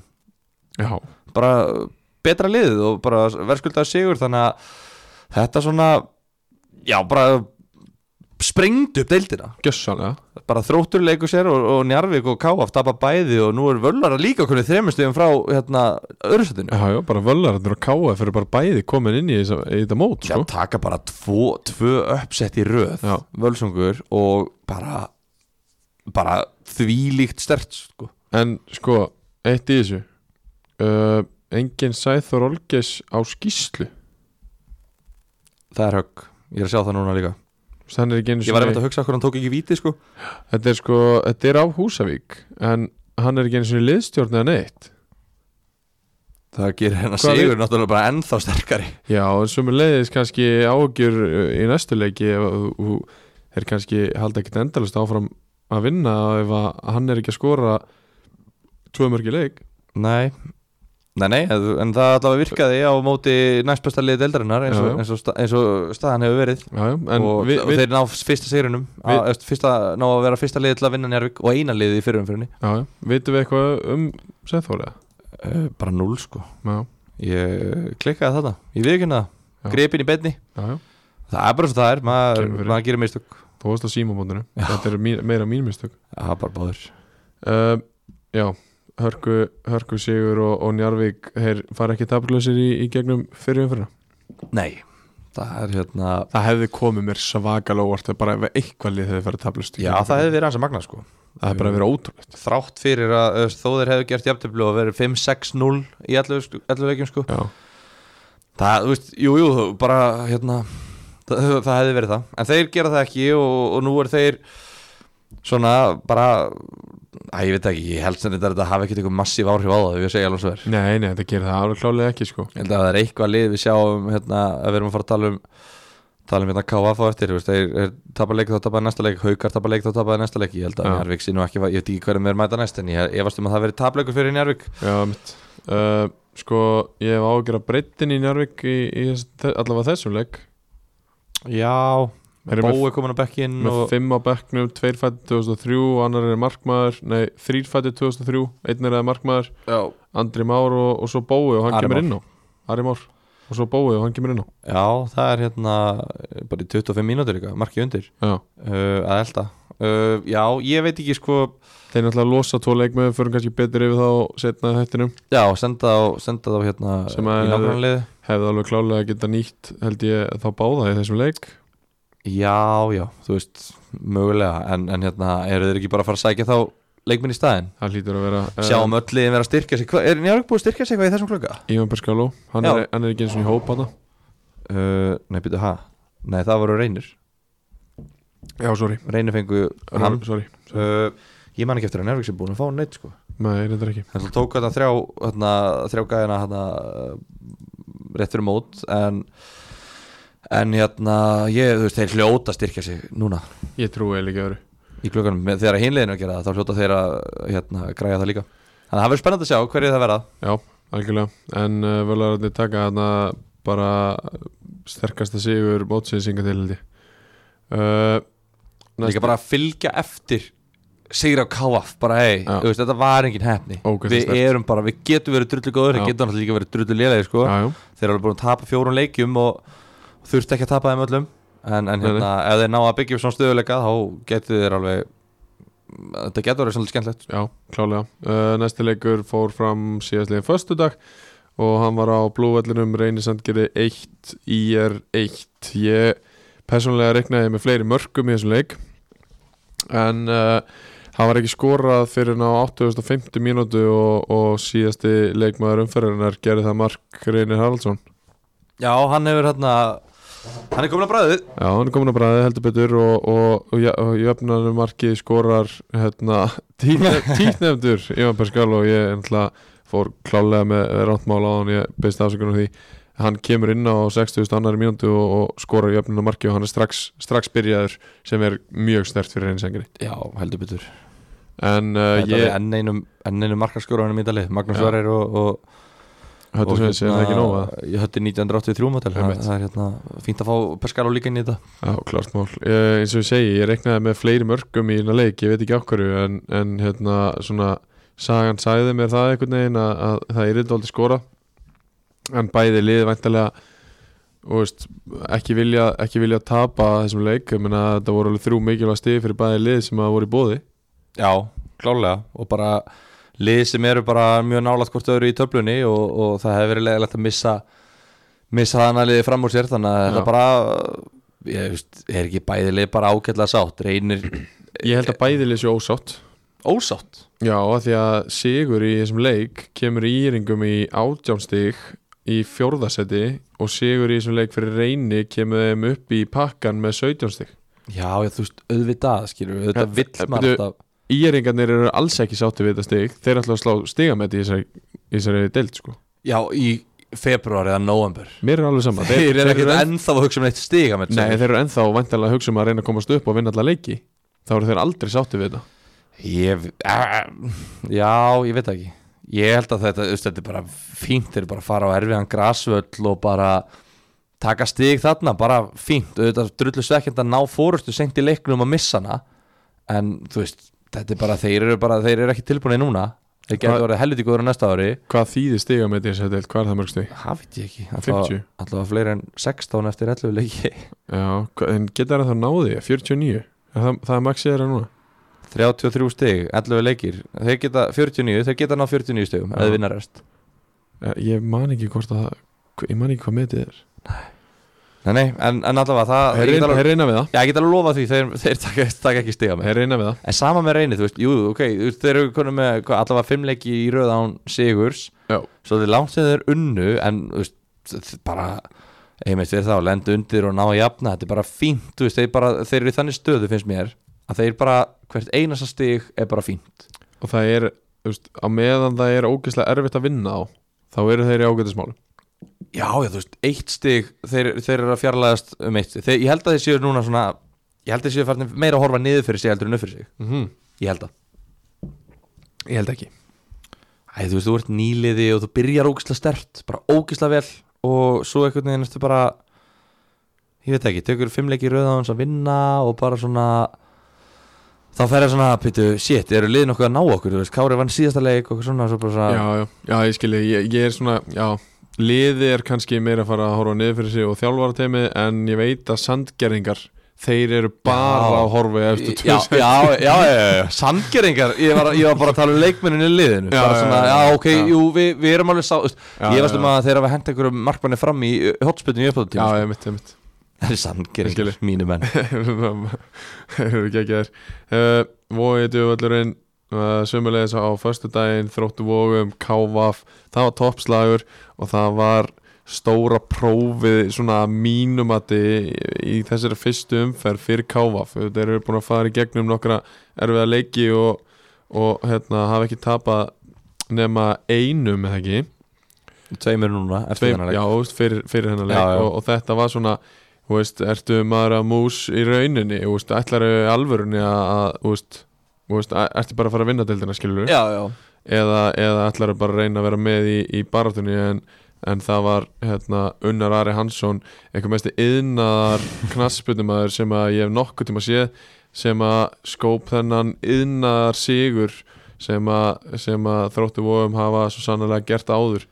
Speaker 2: já,
Speaker 3: bara betra liðið og bara verðskuldað sigur þannig að þetta svona já bara sprengdu upp deildina
Speaker 2: gjössanlega
Speaker 3: bara þróttur leikur sér og, og Njarvík og Káaf tapa bæði og nú er völlara líka kunni þremustegum frá hérna öðursætinu
Speaker 2: Já, já, bara völlararnir og KF eru bara bæði komin inn í, þessa, í þetta mót,
Speaker 3: Já,
Speaker 2: sko.
Speaker 3: taka bara tvo, tvö uppsett í röð
Speaker 2: Já.
Speaker 3: Völsungur og bara bara þvílíkt stert sko.
Speaker 2: En, sko, eitt í þessu. Uh, engin Sæþór Olgeis á skýslu.
Speaker 3: það er högg, ég er að sjá það núna líka
Speaker 2: Þannig er ekki einu
Speaker 3: ég var einmitt
Speaker 2: sinni,
Speaker 3: að hugsa hvernig hann tók ekki víti sko.
Speaker 2: þetta er sko, þetta er á Húsavík, en hann er ekki einu sinni liðstjórn eða neitt.
Speaker 3: það gerir hennar
Speaker 2: Hvað
Speaker 3: sigur náttúrulega bara ennþá sterkari
Speaker 2: Já, en sömu leiðis kannski ágjur í næstu leiki ef að þú- þú er kannski halda ekkit endalist áfram að vinna ef að hann er ekki að skora tvö mörgi leik.
Speaker 3: Nei Nei, nei, en það allavega virkaði á móti næstbæsta liði deildarinnar eins og,
Speaker 2: Já, já.
Speaker 3: eins og, sta, eins og staðan hefur verið
Speaker 2: Já, já, en
Speaker 3: og,
Speaker 2: við,
Speaker 3: og
Speaker 2: við,
Speaker 3: þeir ná fyrsta sigrunum
Speaker 2: við-
Speaker 3: að- eftir fyrsta, ná að vera fyrsta liði til að vinna Njárvík og eina liði í fyrirumfyrinni
Speaker 2: já, já, vitum við eitthvað um Sæþór eða?
Speaker 3: uh, bara null sko
Speaker 2: Já.
Speaker 3: ég klikkaði þetta, ég viðkynna
Speaker 2: Já.
Speaker 3: það grepin í betni,
Speaker 2: Já, já,
Speaker 3: það er bara svo það er maður,
Speaker 2: Kemur fyrir.
Speaker 3: maður gerir mistök
Speaker 2: þú varst á símabóndinu Þetta er mín, meira mín mistök
Speaker 3: það er bara báður
Speaker 2: uh, Já, Hörku, Hörku Sigur og, og Njarvík Þeir fara ekki taplausir í, í gegnum fyrir umfyrra
Speaker 3: nei, það er hérna
Speaker 2: Það hefði komið mér svakalega óvart ef bara ef eitthvað lið hefði farið taplaust
Speaker 3: já, það hefði verið hans að magna sko
Speaker 2: Það hefði bara verið ótrúlegt
Speaker 3: þrátt fyrir að uh, þó þeir hefðu gert jafntöflu og verið 5-6-0 í allu, allu leikjum sko
Speaker 2: Já,
Speaker 3: Það, þú veist, jú, jú, bara, hérna, það, það hefði verið það. En þeir gera það ekki og, og nú er þeir svona bara, að ég veit ekki, ég held sem þetta, þetta hafi ekkert eitthvað massíf áhrif á það, ef ég segja alveg svo verið.
Speaker 2: nei, nei, þetta gerir það alveg klálega ekki sko
Speaker 3: Ég held að það er eitthvað lið við sjáum, hérna, að við erum að fara að tala um, tala um hérna KF á eftir, þú veist, þeir, þeir tapar leik þá tapaði næsta leik, haukar tapar leik þá tapaði næsta leik, ég held að
Speaker 2: Já.
Speaker 3: Njárvík sé nú ekki, ég veit ekki hverjum er mæta næst, en ég, ég varst um að það veri tapleikur fyrir Njárvík.
Speaker 2: Já, mitt uh, Sko, ég hef ágjör að breyttin í Njarvík í, í, í allavega þessum leik
Speaker 3: Já,
Speaker 2: Þeir eru með-
Speaker 3: Bói komin á bekkinn
Speaker 2: með
Speaker 3: og...
Speaker 2: fimm á bekknum, tveir fættið 2003 annar er markmaður, nei, þrýr fættið 2003, einn er eða markmaður
Speaker 3: Já.
Speaker 2: Andri Már og, og svo Bói og hann
Speaker 3: Ari
Speaker 2: kemur
Speaker 3: Már.
Speaker 2: inn á Ari Már og svo Bói og hann kemur inn á
Speaker 3: Já, það er hérna eh, bara í 25 mínútur eitthvað, markið undir
Speaker 2: já.
Speaker 3: uh, að elda uh, Já, ég veit ekki sko
Speaker 2: þeir náttúrulega losa tvo leikmið fyrir kannski betur yfir þá setna þettinum
Speaker 3: Já, senda þá, senda þá hérna
Speaker 2: Sem
Speaker 3: í
Speaker 2: að-
Speaker 3: nágrannlið
Speaker 2: hefði alveg klálega geta nýtt held ég þá báða í þessum leik
Speaker 3: Já, já, þú veist, mögulega en, en hérna, eru þeir ekki bara að fara að sækja þá leikminn í staðinn?
Speaker 2: það hlýtur að vera eh,
Speaker 3: Sjáum öll liðin vera að styrkja sig Hva, Er Njárvík búið að styrkja sig eitthvað í þessum klukka?
Speaker 2: Ívan Perskaló, hann,
Speaker 3: Já.
Speaker 2: er- hann er ekki eins og í hóp hana
Speaker 3: Uh, nei, býtu, ha? Nei, það voru reynir
Speaker 2: já, sorry,
Speaker 3: Reynir fengu
Speaker 2: hann,
Speaker 3: hann
Speaker 2: sorry
Speaker 3: uh, Ég man ekki eftir að Njárvík sé búin að fá neitt sko
Speaker 2: nei, reyndar ekki
Speaker 3: Þannig að tók þarna þrjá, þarna, þrjá gæðina þarna, eh, rétt fyrir mót en, en hérna ég, þú veist, þeir hljóta að styrkja sig núna
Speaker 2: Ég trúi eða ekki öðru
Speaker 3: í klukkanum, Með- þegar hinleginu að gera það þá hljóta þeir að hérna, græja það líka þannig að það verður spennandi að sjá hverju það verða
Speaker 2: Já, algjörlega En uh, völararnir taka hana bara sterkasta sigur mótsinsinga til held ég uh,
Speaker 3: líka bara að fylgja eftir sigra á KF, bara hei,
Speaker 2: Já.
Speaker 3: þú veist, þetta var engin hefni
Speaker 2: Ógeðslega
Speaker 3: við
Speaker 2: sterkt.
Speaker 3: erum bara, við getum verið drullu
Speaker 2: Já.
Speaker 3: góður, við getum náttúrulega líka verið drullu lélegir sko.
Speaker 2: Já, já,
Speaker 3: þeir eru búin að tapa fjórun leikjum og þurft ekki að tapa þeim öllum en, en
Speaker 2: Nei,
Speaker 3: hérna, ef þeir ná að byggja upp svona stöðuleika þá getur þeir alveg þetta getur verið svolítið skemmtilegt
Speaker 2: já, klálega uh, Næsti leikur fór fram síðastliðin föstudag og hann var á blúvellinum reynisandgerði 1 IR 1 Ég persónulega reknaði með fleiri mörgum í þessum leik en uh, hann var ekki skorað fyrir hann á 8050 mínútu og, og síðasti leikmaður umferðarinnar gerði það Mark Reynir Haraldsson
Speaker 3: já, hann hefur hérna hann er komin að bræðið
Speaker 2: Já, hann er komin að bræði heldur betur og, og, og, ja- og jöfnarnir marki skorar hérna, [LAUGHS]
Speaker 3: [LAUGHS]
Speaker 2: títnefndur Ivan Pascal og ég ennla, fór klálega með rántmál á hann ég beist afsökunum því hann kemur inn á 60. annari mínútu og, og skorar jöfnarnir marki og hann er strax, strax byrjaður sem er mjög stert fyrir reynsengri
Speaker 3: já, heldur betur
Speaker 2: en uh,
Speaker 3: þetta er
Speaker 2: ég,
Speaker 3: enn einum, enn einum markarskjóranum í dalið Magnús
Speaker 2: Já.
Speaker 3: Varir og, og
Speaker 2: höttu sveins, er það
Speaker 3: hérna
Speaker 2: ekki nóg að
Speaker 3: Þetta er 1983 mótel
Speaker 2: Einmitt.
Speaker 3: Það er hérna fínt að fá Pascal og líka inn í þetta
Speaker 2: Já, klart mál. Eh, eins og ég segi, ég reknaði með fleiri mörgum í hérna leik, ég veit ekki okkurju, en, en hérna, svona, sagan sagði mér það einhvern veginn að, að það er eitthvað skora, en bæði liði væntalega, og veist, ekki vilja, ekki vilja tapa þessum leik, ég meina þetta voru alveg þrjú mikilvæg stið fyrir bæði liði sem að voru í bóði.
Speaker 3: Já, klálega Og bara lið sem eru bara mjög nálaðt hvort öðru í töflunni og, og það hefur verið leiðilegt að missa missa þannig að liði fram úr sér þannig að
Speaker 2: Já.
Speaker 3: þetta bara ég veist, er ekki bæði lið bara ágætlega sátt reynir
Speaker 2: Ég held að bæði liði séu ósátt.
Speaker 3: ósátt
Speaker 2: Já, af því að Sigur í þessum leik kemur í íringum í átjánstig í fjórðasetti og Sigur í þessum leik fyrir reyni kemur þeim upp í pakkan með sautjánstig.
Speaker 3: Já, ég, þú veist, auðvitað skilur við,
Speaker 2: Ja,
Speaker 3: auðvitað vill maður
Speaker 2: byrju,
Speaker 3: alltaf
Speaker 2: Íringarnir eru alls ekki sátti við þetta stig, þeir ætla að slá stigamæti í þessari, í þessari deild sko.
Speaker 3: Já, í februar eða november
Speaker 2: Mér er alveg sama.
Speaker 3: Þeir eru ekkert
Speaker 2: enn-
Speaker 3: ennþá að hugsa um neitt stiga með
Speaker 2: Nei, þeir eru ennþá vantanlega að hugsa um að reyna að komast upp og vinna alla leiki. Þá eru þeir aldrei sátti við þetta.
Speaker 3: Ég, uh, já, ég veit það ekki Ég held að þetta, þú veist, þetta er bara fínt Þeir eru bara að fara á erfiðan grasvöll og bara taka stig þarna bara fínt, auðvitað drullu svekkjand að ná fórustu seint í leiknum að missa hana en þú veist, þetta er bara þeir eru bara, þeir eru ekki tilbúinni núna þeir
Speaker 2: Hvað-
Speaker 3: getur verið helviti góður á næsta ári
Speaker 2: Hvað þýðir stigamæti í þessari deild? Hvað er það mörg stig?
Speaker 3: það veit ég ekki,
Speaker 2: 50.
Speaker 3: alltaf, alltaf fleiri en 16 eftir 11 leiki [LAUGHS]
Speaker 2: Já, hva- en geta það þá náði? 49? Er það, það er maxið þeirra núna?
Speaker 3: 33 stig, 11 leikir þeir geta 49, þeir geta ná 49 stigum
Speaker 2: Já.
Speaker 3: eða vinna rest
Speaker 2: Eh, Ég man ekki hvort að hva- Ég man ekki hvað metið er
Speaker 3: nei, nei, en, en allavega það
Speaker 2: Þeir
Speaker 3: ég um- get
Speaker 2: reyna,
Speaker 3: alveg-
Speaker 2: þeir reyna við það
Speaker 3: Já, ég get alveg lofa því, þeir, þeir taka, taka ekki stiga með
Speaker 2: Þeir reyna við það
Speaker 3: En sama með reynið, þú veist, jú, ok þú veist, Þeir eru konum með hvað, allavega fimmleiki í röð án Sigurs
Speaker 2: Já.
Speaker 3: Svo þeir langt sem þeir unnu En, þú veist, þ- bara einmitt við þá, lenda undir og ná að jafna Þetta er bara fínt, þú veist, þeir, bara, þeir eru í þannig stöðu finnst mér, að þeir bara hvert einasta stig er bara fínt
Speaker 2: Og það er, þú veist, á meðan það er ógeðslega erfitt að vinna á Þá eru þeir í ágætismálum
Speaker 3: Já, já, þú veist, eitt stig þeir, þeir eru að fjarlæðast um eitt stig þeir, Ég held að þeir séu núna svona Ég held að þeir séu farnir meira að horfa niður fyrir sig heldur en upp fyrir sig
Speaker 2: mm -hmm.
Speaker 3: Ég held að
Speaker 2: Ég held ekki
Speaker 3: Æ, þú veist, þú ert nýliði og þú byrjar ógislega stert bara ógislega vel og svo einhvern veginn ertu bara ég veit ekki, tekur fimmleiki rauða hans að vinna og bara svona þá fer ég svona, pítu, shit, eru liðin okkur að ná okkur, þú veist, Kári vann síðasta leik og svona, svo bara svona,
Speaker 2: Já, já, já, ég skilji, ég, ég er svona, já Liði er kannski meira að fara að horfa niður fyrir sig og þjálfaratemi En ég veit að sandgerðingar, þeir eru bara
Speaker 3: Já.
Speaker 2: að horfa í eftir
Speaker 3: já, já,
Speaker 2: tvö
Speaker 3: já, já, já, já, já. sandgeringar, ég var, ég var bara að tala um leikmennin í liðinu,
Speaker 2: Já,
Speaker 3: bara
Speaker 2: já,
Speaker 3: svona,
Speaker 2: já,
Speaker 3: já,
Speaker 2: já.
Speaker 3: ok,
Speaker 2: Já.
Speaker 3: jú, við, við erum alveg sá, þú veist,
Speaker 2: [LAUGHS] Já,
Speaker 3: ég
Speaker 2: já,
Speaker 3: varst um
Speaker 2: já.
Speaker 3: að þeir hafa hent einhverjum markmanni fram í uh, hotspillinu í
Speaker 2: Já,
Speaker 3: uppáttíma,
Speaker 2: ég mitt, ég mitt
Speaker 3: það er
Speaker 2: Ég skil.
Speaker 3: sandgeringar, mínu menn
Speaker 2: Þeir eru geggjaðir uh, Vóið djúvöldurinn uh, Sumulegis á föstudaginn um Þróttu vógum, Kávaf Það var toppslagur og það var stóra prófið svona að mínum að í þessari fyrstu umferð fyrir Kávaf þeir eru búin að fara í gegnum nokkra erfiða leiki og, og hérna, hafa ekki tapað nema einum eða ekki
Speaker 3: tveimur núna eftir
Speaker 2: Tveim,
Speaker 3: þennan
Speaker 2: já,
Speaker 3: leik
Speaker 2: þú veist, fyrir, fyrir hennar leik
Speaker 3: Já, já.
Speaker 2: Og, og þetta var svona þú veist, ertu maður að mús í rauninni þú veist, ætlaru alvörunni að, að þú veist, þú veist, að- ertu bara að fara að vinna deildina skilur
Speaker 3: já, já.
Speaker 2: eða, eða ætlaru bara að reyna að vera með í, í baratunni en, en það var hérna, Unnar Ari Hansson einhver mesti
Speaker 3: [LAUGHS]
Speaker 2: yðnaðar knassbyrnumæður sem að ég hef nokkuð tíma séð sem að skóp þennan yðnaðar sigur sem að, sem að þróttu vóum hafa svo sannlega gert áður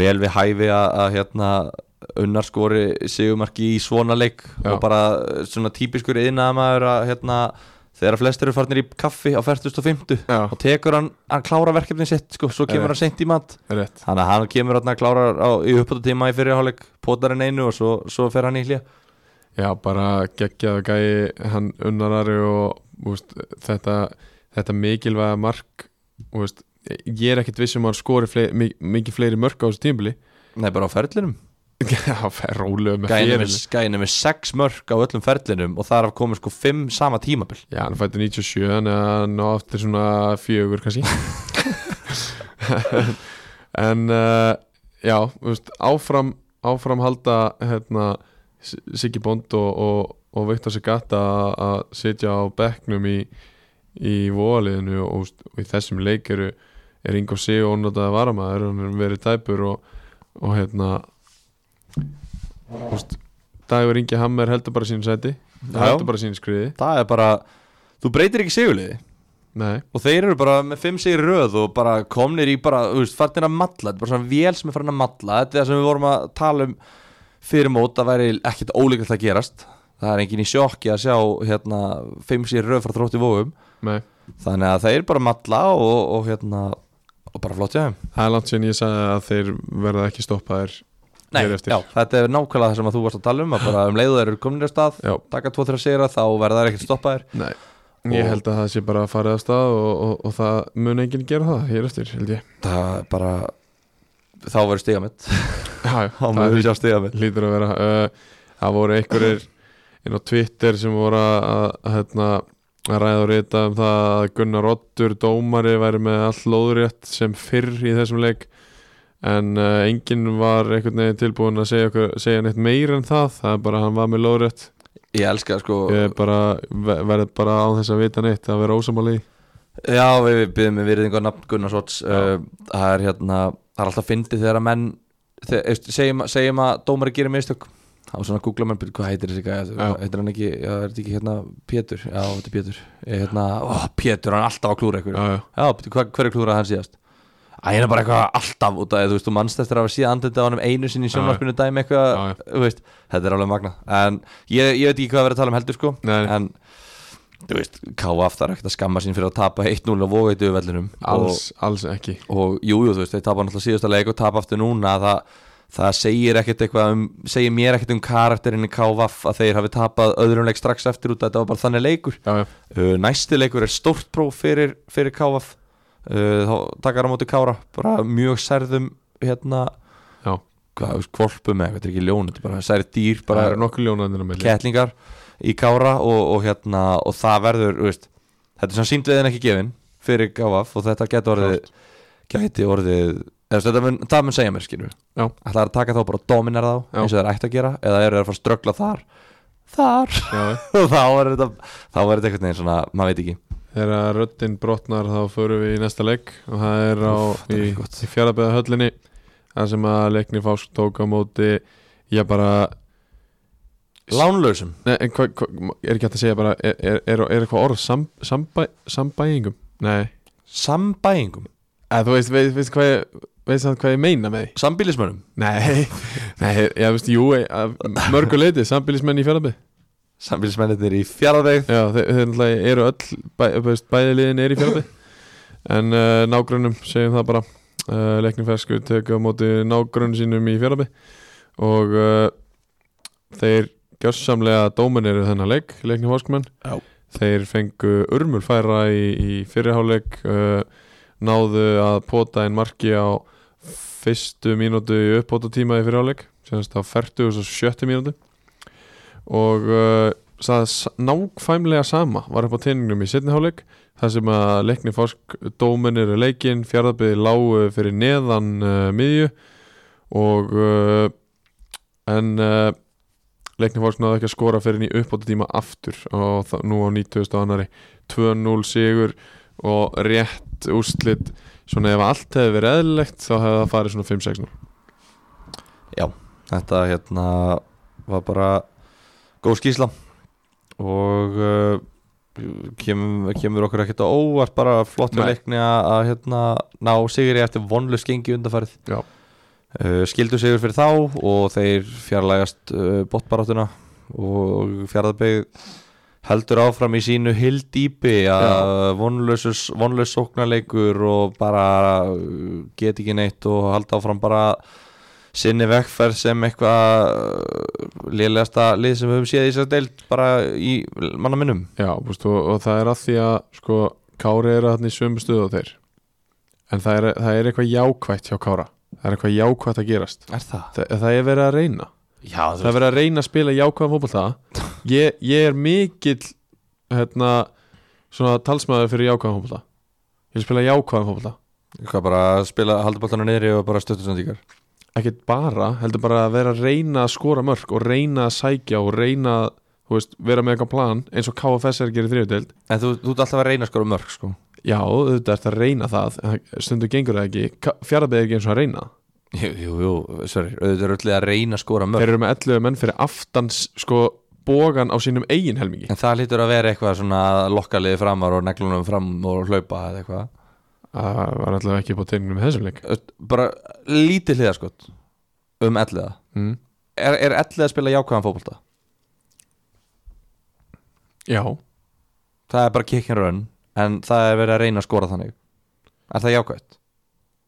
Speaker 3: vel við hæfi að, að hérna unnar skori sigumarki í svona leik
Speaker 2: Já.
Speaker 3: og bara eh, svona típiskur yðnaðamaður að hérna þegar flestir eru farnir í kaffi á 40.50
Speaker 2: Já.
Speaker 3: og tekur hann, hann klára verkefni sitt sko, svo
Speaker 2: Já.
Speaker 3: kemur hann seint í mat
Speaker 2: Rétt,
Speaker 3: þannig að hann kemur hann að klára á, í uppbúttatíma í fyrirháleik, potar hann einu og svo, svo fer hann í hlja
Speaker 2: já bara geggjaðu gæi hann unnarari og úst, þetta, þetta mikilvæga mark úst, ég er ekkert viss um að hann skori fle mi- mikið fleiri mörk á þessu tímbili
Speaker 3: Nei, bara á ferlinum
Speaker 2: [LAUGHS] Já, fer rólega með
Speaker 3: Gæðinu með,
Speaker 2: ferilinn.
Speaker 3: gæðinu með sex mörg á öllum ferlinum og þar af komið sko fimm sama tímabil
Speaker 2: Já, hann fætti 97 þannig að hann á aftur svona fjögur kannski En uh, já, þú veist, áfram áfram halda hérna, S- Siggi Bond og, og, og Viktor Segata að sitja á bekknum í, í vóaliðinu og, þú veist, og í þessum leik eru er Ingo Sig og ónótaði varamaður hann er verið tæpur og, og hérna þú veist, Dagur Ingi Hammer heldur bara sínu sæti
Speaker 3: Já.
Speaker 2: heldur bara sínu skriði
Speaker 3: Það er bara, þú breytir ekki sigurliði
Speaker 2: Nei,
Speaker 3: og þeir eru bara með fimm sigri í röð og bara komnir í bara, þú veist, farnir að matla þetta er bara svona vél sem er farin að matla þetta er það sem við vorum að tala um fyrir mót það væri ekkert ólíklegt að gerast það er engin í sjokki að sjá hérna, fimm sigri í röð frá þrótti vóum
Speaker 2: nei,
Speaker 3: þannig að þeir bara matla og, og hérna og bara flott hjá þeim
Speaker 2: það er langt síðan ég sagði að þeir verða ekki stoppaðir hér eftir
Speaker 3: já, þetta er nákvæmlega það sem að þú varst að tala um að bara um leiðu þeir eru komnir á stað
Speaker 2: Já.
Speaker 3: taka tvo þeirra sigra þá verða þeir ekkert stoppaðir
Speaker 2: Nei. Ég held að það sé bara að fara að stað og, og, og það mun enginn gera það hér eftir, held ég
Speaker 3: það er bara þá verður stigamitt [LAUGHS]
Speaker 2: Já, já,
Speaker 3: þá
Speaker 2: það
Speaker 3: verður við sjá stigamitt
Speaker 2: lítur að vera uh, Það voru einhverjir inn á Twitter sem voru að, að, að, hérna, að ræða og rita um það að Gunnar Oddur, dómari, væri með allt lóðrétt sem fyrr í þessum leik en uh, enginn var einhvern veginn tilbúin að segja, okkur, segja neitt meir en það, það er bara að hann var með lóðrétt
Speaker 3: ég elska sko
Speaker 2: Ég er bara, ver- verð bara á þess að vita neitt að vera ósamáli í
Speaker 3: Já, við, við byrðum með virðingu á nafn Gunnar Sots uh, það er hérna, það er alltaf fyndið þegar að menn þegar, veist, segjum, segjum að dómari gerir mistök þá svona googla menn, byrju, hvað heitir þessi gæja
Speaker 2: Já.
Speaker 3: heitir hann ekki, já, er þetta ekki hérna Pétur, já, þetta er Pétur Eh, hérna, ó, Pétur, hann er alltaf að klúra ykkur
Speaker 2: Já, já,
Speaker 3: Já, byrju, hver, hver er klúrað hann síðast? Æ, hann er bara eitthvað alltaf út af, þú veist, þú mannst eftir að hafa síðan andlitið á hann einu sinni í sjónvarpinu dæmi eitthvað,
Speaker 2: já, já.
Speaker 3: þú veist, þetta er alveg magna en ég, ég veit ekki hvað að vera að tala um heldur sko
Speaker 2: Nei, nei.
Speaker 3: en þú veist, K.A. aftar ekkert að skamma sín fyrir að tapa 1-0 á vógætu vellinum
Speaker 2: Alls, alls ekki
Speaker 3: og, og jú, jú, þú veist, þeir tapa náttúrulega síðasta leik og tapa aftur núna það, það segir ekkert eitthvað um, segir mér ekkert um karakterinn í K.A. að þeir hafi tapað öðrum leik strax eftir út að þetta var bara þannig leikur
Speaker 2: Já, já,
Speaker 3: uh, næsti leikur er stórt próf fyrir, fyrir K.A. Uh, þá takar á móti Kára bara mjög særðum hérna,
Speaker 2: já
Speaker 3: hvað, þú veist, kvolpum eða, þetta er ekki ljón, þetta er bara særð dýr
Speaker 2: Það
Speaker 3: bara
Speaker 2: eru nokkuð ljónaðinir á milli
Speaker 3: kettlingar í Kára og, og hérna og það verður, þú veist, þetta er svona síndveiðin ekki gefin fyrir Gáaf og þetta geti orðið, geti orðið eða, þetta mun, það mun segja mér skilur
Speaker 2: Já.
Speaker 3: ætlar að taka þá bara og dominar þá
Speaker 2: Já.
Speaker 3: eins og það er ætti að gera, eða eru þeir að fara að ströggla þar þar, [LAUGHS]
Speaker 2: Já, já.
Speaker 3: og þá er þetta þá er þetta einhvern veginn svona, maður veit ekki
Speaker 2: Þegar röddinn brotnar þá förum við í næsta leik og það er á
Speaker 3: Úff, þetta er
Speaker 2: í,
Speaker 3: ekki gott.
Speaker 2: í fjarabeða höllinni þar sem að leikni fásk tók á móti ég bara,
Speaker 3: lánlausum,
Speaker 2: nei, en hva, hva, er ekki hægt að segja bara, er, er, er, er eitthvað orð sam, sambæ, sambæingum? Nei,
Speaker 3: sambæingum
Speaker 2: að, þú veist, veist, veist hvað ég veist það hvað ég meina með því?
Speaker 3: sambílismönum,
Speaker 2: Nei, [LAUGHS] nei, ég veist, jú, að mörgu leiti, sambýlismenn í fjarlabi
Speaker 3: sambílismennir í fjarlæg
Speaker 2: Já, þeir, þeir náttúrulega eru öll bæ, veist, bæði liðin er í fjarlabi en uh, nágrunum segjum það bara uh, leiknum fersku tekur á móti nágrunum sínum í fjarlabi og uh, þeir gjörsamlega dóminir þennan leik, leiknum ferskumenn
Speaker 3: Já.
Speaker 2: þeir fengu urmulfæra í, í fyrirháleik uh, náðu að pota einn marki á fyrstu mínútu í uppbóta í fyrirháleik semst á 40 og 70 mínútu og uh, það s- nákvæmlega sama var upp á teiningnum í setniháleik þar sem að leikni fórsk dóminir leikin, fjárðarbyði lágu fyrir neðan uh, eh, miðju og uh, en uh, leiknir fólk náðu ekki að skora fyrir í uppbóta tíma aftur og það, nú á 90. annari 2-0 sigur og rétt úrslit svona ef allt hefði verið eðlilegt þá hefði það farið svona 5-6-0
Speaker 3: Þetta hérna var bara góð skýsla og uh, kemur, kemur okkur ekkert á óvart bara flott hjá
Speaker 2: Nei.
Speaker 3: leikni að að, hérna, ná sigri eftir vonlust gengi undanfærið
Speaker 2: Já.
Speaker 3: uh, skildu sigur fyrir þá og þeir fjarlægast uh, botbaráttuna og fjarðabeg heldur áfram í sínu hildýpi að vonlaus vonlaus sóknarleikur og bara uh, get ekki neitt og halda áfram bara sinni vegferð sem eitthvað uh, lélegasta lið sem við höfum séð í þessar deild bara í manna minnum
Speaker 2: Já, búst, og, og það er að því að sko, Kári er að í sömu stuðu á þeir en það er, það er eitthvað jákvætt hjá Kára það er eitthvað jákvætt að gerast
Speaker 3: Er það?
Speaker 2: Þa, það er verið að reyna
Speaker 3: Já,
Speaker 2: það er verið að reyna að spila jákvæðan fótbolta ég, ég er mikill hérna, svona talsmaður fyrir jákvæðan fótbolta ég vil spila jákvæðan fótbolta
Speaker 3: Hvað bara að spila, halda boltanum niðri og bara stöttu sendingar
Speaker 2: ekkert bara, heldur bara að vera að reyna að skora mörg og reyna að sækja og reyna að þú veist, vera með eitthvað plan eins og KFS er að gera í þriðutdeild
Speaker 3: En þú, þú ert alltaf að reyna að skora mörg sko
Speaker 2: já, þetta er að reyna það en það- stundu gengur það ekki, fjaraðbið er ekki eins og að reyna það.
Speaker 3: Jú, jú, jú, sorry, auðvitað er öll að reyna að skora
Speaker 2: þeir
Speaker 3: mörg
Speaker 2: eru með 11 menn fyrir aftans sko, bógan á sínum eigin helmingi
Speaker 3: En það hlýtur að vera eitthvað svona að lokka liði framar og neglunum fram og hlaupa eða eitthvað
Speaker 2: það var alltaf ekki búið tegnum með þessum leik
Speaker 3: Þú veist, Bara lítið hliðaskot um elliða
Speaker 2: mm.
Speaker 3: Er, er elliða að spila jákvæðan fótbolta?
Speaker 2: já,
Speaker 3: Það er bara kick and run En það er verið að reyna að skora þannig Er það jákvætt?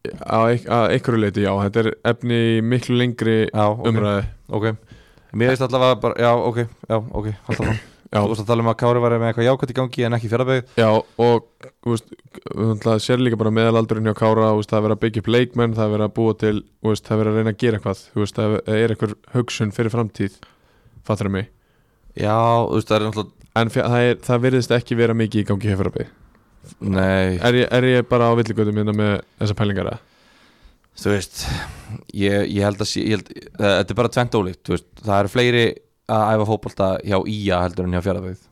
Speaker 2: að einhverju leiti já, þetta er efni í miklu lengri
Speaker 3: Já, ok,
Speaker 2: umræði
Speaker 3: ok Mér veist allavega bara, já, ok, já, ok, halda það Þú
Speaker 2: já,
Speaker 3: veist að tala um að Kári var með eitthvað jákvætt í gangi en ekki fjörðabæg
Speaker 2: já, og þú veist, það sér líka bara meðalaldurinn hjá Kára þú veist, það er verið að byggja upp leikmenn, það er verið að búa til þú veist, það er verið að reyna að gera eitthvað þú veist, það er einhver hugsun fyrir framtíð fattur mig,
Speaker 3: Já, þú veist það er náttúrulega,
Speaker 2: en fjö, það, er, það virðist ekki vera mikið í gangi hefurabbi
Speaker 3: nei
Speaker 2: er, ég- er ég bara á villigötum minna með þessa pælingar eða?
Speaker 3: Þú veist, ég, ég held að sé, ég held, eh, þetta er bara tvent ólíkt þú veist, Það eru fleiri að æfa fótbolta hjá Ía heldur en hjá fjörðabæg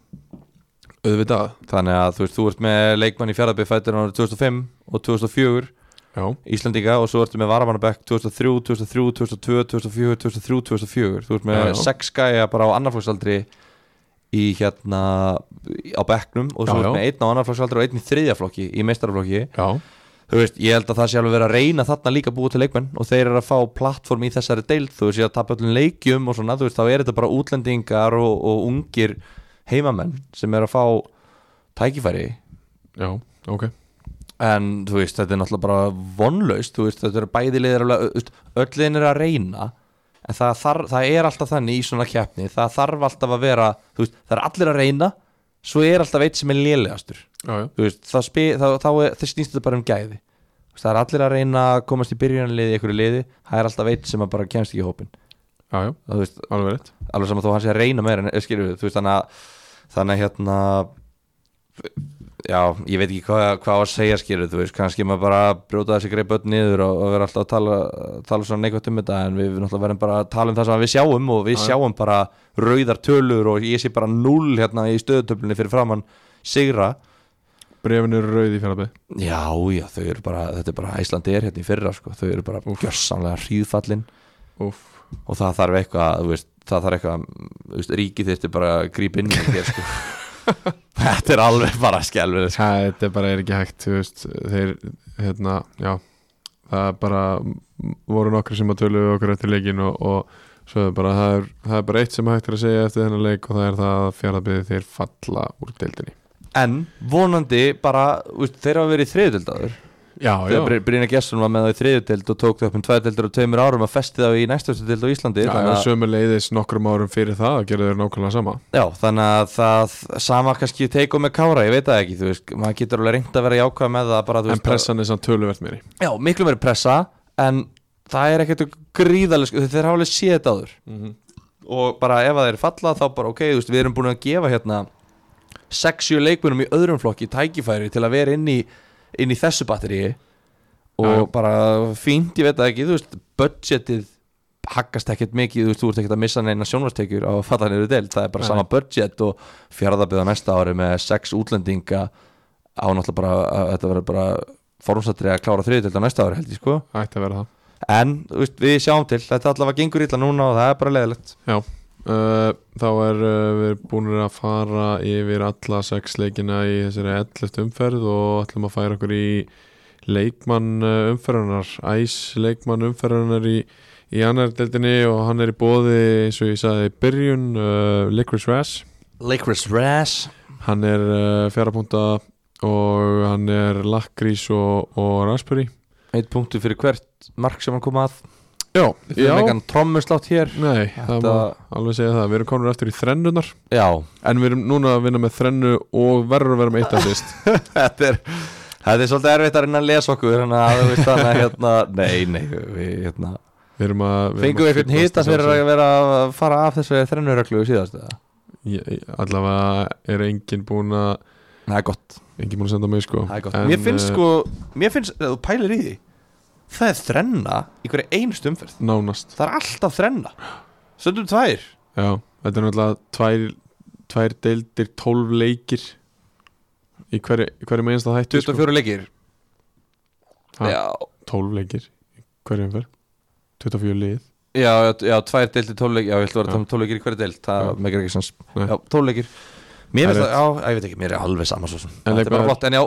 Speaker 2: auðvitað,
Speaker 3: Þannig að þú veist, þú ert með leikmann í fjörðabæg fættur árið 2005 og 2004
Speaker 2: já,
Speaker 3: Íslandinga og svo ertu með varamannabekk 2003, 2003, 2002, 2004, 2003, 2004 þú ert með
Speaker 2: Já, já.
Speaker 3: sex gæja bara á annarflóksaldri í hérna á bekknum og
Speaker 2: Já,
Speaker 3: svo ertu
Speaker 2: já.
Speaker 3: með einn á annarflóksaldri og einn í þriðjaflokki í meistaraflokki
Speaker 2: já,
Speaker 3: þú veist, ég held að það sé alveg verið að reyna þarna líka að búa til leikmenn og þeir eru að fá plattform í þessari deild, þú veist, ég að tapa öllum leikjum og svona, þú veist, þá er þetta bara útlendingar og, og ungir heimamenn sem eru að fá tækifæri
Speaker 2: já, ok
Speaker 3: en þú veist, þetta er náttúrulega bara vonlaust, þú veist, þetta eru bæði liðir alveg- þú veist, öll liðin eru að reyna en það, þar, það er alltaf þannig í svona keppni það þarf alltaf að vera þú veist, það er allir að reyna svo er alltaf eitt sem er lélegastur
Speaker 2: já, já,
Speaker 3: þú veist, það, spi, það, þá er, það snýst þetta bara um gæði Þú veist, það er allir að reyna að komast í byrjunarliði í einhverju liði, það er alltaf eitt sem að bara kemst ekki í hópin
Speaker 2: já, já,
Speaker 3: þú veist,
Speaker 2: alveg rétt
Speaker 3: alveg saman þó hann sé að reyna meira en eh, skilur við, þú veist þannig að þannig að hérna já, ég veit ekki hvað, hvað á að segja skilur við, þú veist, kannski maður bara brjóta þessi greip öll niður og, og vera alltaf að tala tala svona neikvægt um þetta en við náttúrulega verðum bara að tala um það sem við sjáum og við
Speaker 2: Já, já.
Speaker 3: sjáum bara rauðar tölur og ég sé bara null hérna í stöðutöflunni fyrir framann sigra
Speaker 2: brefin eru rauð í fjallabæð
Speaker 3: já, já, þau eru bara, þetta er bara Æslandi er hérna í fyrra, sko, þau eru bara gjörsamlega hríðfallin
Speaker 2: Úff,
Speaker 3: og það þarf eitthvað þú veist, það þarf eitthvað þú veist, ríkið þyrfti bara að grípa inn í hér sko.
Speaker 2: [LAUGHS]
Speaker 3: þetta er alveg bara skelvið sko.
Speaker 2: það þetta bara er ekki hægt þú veist, þeir, hérna, já það er bara voru nokkri sem að tölu okkur eftir leikin og, og svo er bara, það er, það er bara eitt sem hægt er að segja eftir þennan leik og það er það að fjaraðbyði þeir falla úr deildinni
Speaker 3: en vonandi bara þú veist, þeir hafa verið í þriðutildaður
Speaker 2: Já,
Speaker 3: þegar Bry- Brynja Gesson var með þá í þriðutild og tók þau upp um tvæðutildur og tveimur árum að festi þá í næstastu dild á Íslandi
Speaker 2: Já,
Speaker 3: þannig, að,
Speaker 2: sömu leiðis nokkrum árum fyrir það að gera þeir nákvæmlega sama
Speaker 3: já, þannig að það sama kannski teikum með Kára, ég veit það ekki þú veist, maður getur alveg reynd að vera jákvæð með það bara, þú
Speaker 2: En
Speaker 3: veist, að-
Speaker 2: pressan er samt töluvert meiri
Speaker 3: já, miklu meiri pressa en það er ekkert gríðalega sko, þeir hafa alveg séð þetta áður og bara ef að þeir falla þá bara ok, þú veist, við erum búin að gefa hérna 6-7 leikmunum í öðrum flokki tækifæri til að vera inn í, inn í þessu batteri og
Speaker 2: Já, já.
Speaker 3: bara fínt, ég veit það ekki, þú veist budgetið haggast ekkert mikið, þú veist, þú ert ekkert að missa neina sjónvarstekjur á að falla niður del, það er bara
Speaker 2: Nei.
Speaker 3: sama budget og fjárðabíða næsta ári með sex útlendinga á náttúrulega bara, að, þetta verður bara formsatri að klára þriðið á næsta ári held ég sko,
Speaker 2: ætti að vera það
Speaker 3: en þú veist, við sjáum til, þetta allavega gengur illa núna og það er bara leðilegt
Speaker 2: Uh, þá er uh, við búinir að fara yfir alla sex leikina í þessari 11. umferð og ætlum að færa okkur í leikmann uh, umferðunar æs leikmann umferðunar í, í annar deildinni og hann er í bóði eins og ég sagði í byrjun uh, Licorice Rash
Speaker 3: Lakers Rash
Speaker 2: hann er uh, fjara púnta og hann er lakrís og, og raspberry
Speaker 3: Eitt punktu fyrir hvert mark sem hann kom að
Speaker 2: já,
Speaker 3: Við
Speaker 2: já
Speaker 3: erum engan trommuslátt hér
Speaker 2: nei, það má
Speaker 3: Þetta-
Speaker 2: alveg segja það við erum konur eftir í þrennunar
Speaker 3: Já,
Speaker 2: en við erum núna að vinna með þrennu og verður að vera með eitt að fyrst
Speaker 3: þetta er Þetta er svolítið erfitt að reyna að lesa okkur Þannig að þú veist þannig að hérna Nei, nei, við hérna
Speaker 2: Við erum að við erum
Speaker 3: Fengum
Speaker 2: að
Speaker 3: við einhvern
Speaker 2: fyllast
Speaker 3: hýta sem er að vera að fara af þessu þrennuröglu síðast eða?
Speaker 2: Ég- ég- Allavega er enginn búin að
Speaker 3: Það er gott,
Speaker 2: enginn búin að senda mig sko
Speaker 3: það er gott.
Speaker 2: En,
Speaker 3: Mér finnst
Speaker 2: eh,
Speaker 3: sko, mér finnst, ef þú pælir í því Það er þrenna í hverju einust umferð
Speaker 2: Nánast
Speaker 3: Það er alltaf þrenna Söndum tvær
Speaker 2: Já, þetta er náttúrulega tvær, tvær deildir, tólf leikir í hverju, í hverju meginst að hættu sko.
Speaker 3: 24 leikir
Speaker 2: Ha.
Speaker 3: Já,
Speaker 2: Tólf leikir í hverju umferð 24 lið
Speaker 3: Já, já, já, tvær deildir tóluleikir Já, ég ætla að
Speaker 2: Já.
Speaker 3: vera að tala um tóluleikir í hverju deild
Speaker 2: Já.
Speaker 3: Það megar ekki sens
Speaker 2: Nei.
Speaker 3: Já, tóluleikir Mér
Speaker 2: Það
Speaker 3: finnst
Speaker 2: er
Speaker 3: það, já, ég veit ekki, mér er alveg sama svo sem Þetta er
Speaker 2: leikmaður-
Speaker 3: bara flott, en já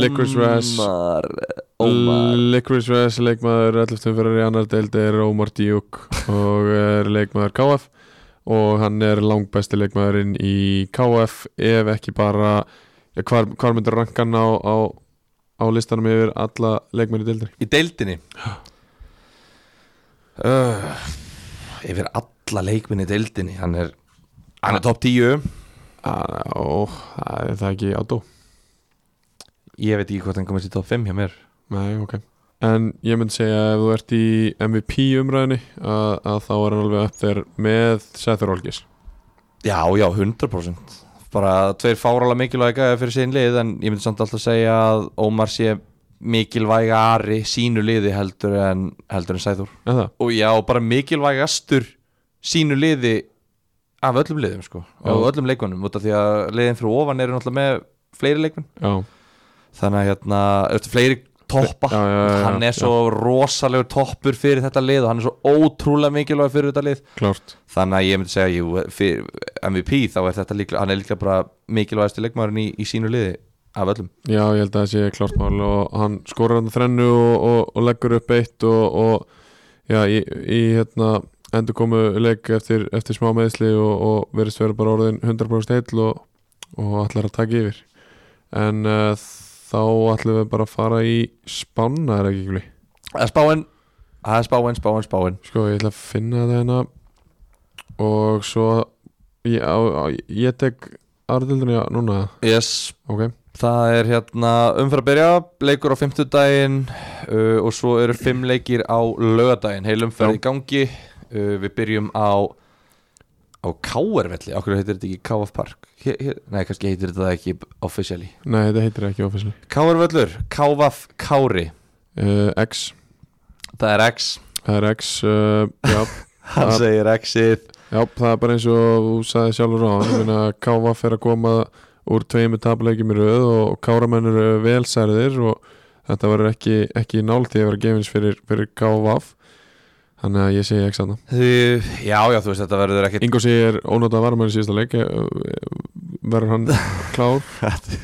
Speaker 2: Licorice Rash.
Speaker 3: Ómar
Speaker 2: Oh
Speaker 3: Ómar
Speaker 2: Licorice Reyes, leikmaður 11. umferðar í annar deild er Ómar Díuk og er leikmaður KF og hann er langbæsti leikmaðurinn í KF ef ekki bara ja, hvar, hvar myndir rankan á, á, á listanum yfir alla leikmaður í deildinni
Speaker 3: Í deildinni uh, Yfir alla leikminni í deildinni Hann er, hann er topp 10
Speaker 2: Ah, Ó, það er það ekki á dó
Speaker 3: Ég veit ekki hvort hann komist í topp 5 hjá mér
Speaker 2: Nei, ok En ég myndi segja ef þú ert í MVP umræðinni að, að þá er hann alveg upp þér með Seth Rolgis
Speaker 3: Já, já, 100% bara tveir fárala mikilvæga gæja fyrir sín lið en ég myndi samt alltaf segja að Ómar sé mikilvægari sínu liði heldur en, heldur en Sæður
Speaker 2: En það,
Speaker 3: og já, bara mikilvægastur sínu liði af öllum liðum sko,
Speaker 2: Já.
Speaker 3: og öllum leikunum út af því að liðin fyrir ofan eru náttúrulega með fleiri leikun,
Speaker 2: já,
Speaker 3: þannig að hérna, eftir fleiri toppa
Speaker 2: Já, já, já, já,
Speaker 3: hann er
Speaker 2: já.
Speaker 3: svo rosalegur toppur fyrir þetta lið og hann er svo ótrúlega mikilvæg fyrir þetta lið
Speaker 2: klárt
Speaker 3: þannig að ég myndi segja jú, fyrir MVP þá er þetta líklega hann er líklega bara mikilvægasti leikmaðurinn í, í sínu liði af öllum
Speaker 2: Já, ég held að það sé klárt mál og hann skorar hann þrennu og, og, og leggur upp eitt og, og já, í, í hérna endur komu leik eftir, eftir smá meðsli og, og verðist vera bara orðin 100% heill og, og allar að taka yfir en uh, þá ætlum við bara að fara í spanna er ekki ekki
Speaker 3: það er spáin, það er spáin, spáin, spáin
Speaker 2: sko ég ætla að finna það hérna og svo ég, á, á, ég tek aðrildinu já, núna
Speaker 3: yes,
Speaker 2: ok,
Speaker 3: það er hérna umfra að byrja, leikur á fimmtudaginn uh, og svo eru fimm leikir á lögadaginn, heil umferð
Speaker 2: Já.
Speaker 3: í gangi uh, við byrjum á á K.R.velli, okkur heitir þetta ekki K.F. Park hér, hér, nei, kannski heitir þetta ekki officially
Speaker 2: nei þetta heitir ekki officially
Speaker 3: K.R.vellur, K.F. Kári
Speaker 2: uh, X,
Speaker 3: það er X,
Speaker 2: það er X uh, já
Speaker 3: hann
Speaker 2: Það-
Speaker 3: segir X-ið
Speaker 2: Já, það er bara eins og þú sagði sjálfur á hann, ég meina Káfa fer að koma úr tveimu tapleikjum í röð og Káramenn eru velsærðir og þetta verður ekki, ekki nált því að vera gefins fyrir, fyrir Káfa þannig að ég segi ekki sann
Speaker 3: Þið, já, já, þú veist, þetta verður ekkit
Speaker 2: Ingo sé er ónótað varumæri síðasta leik eh, verður hann klár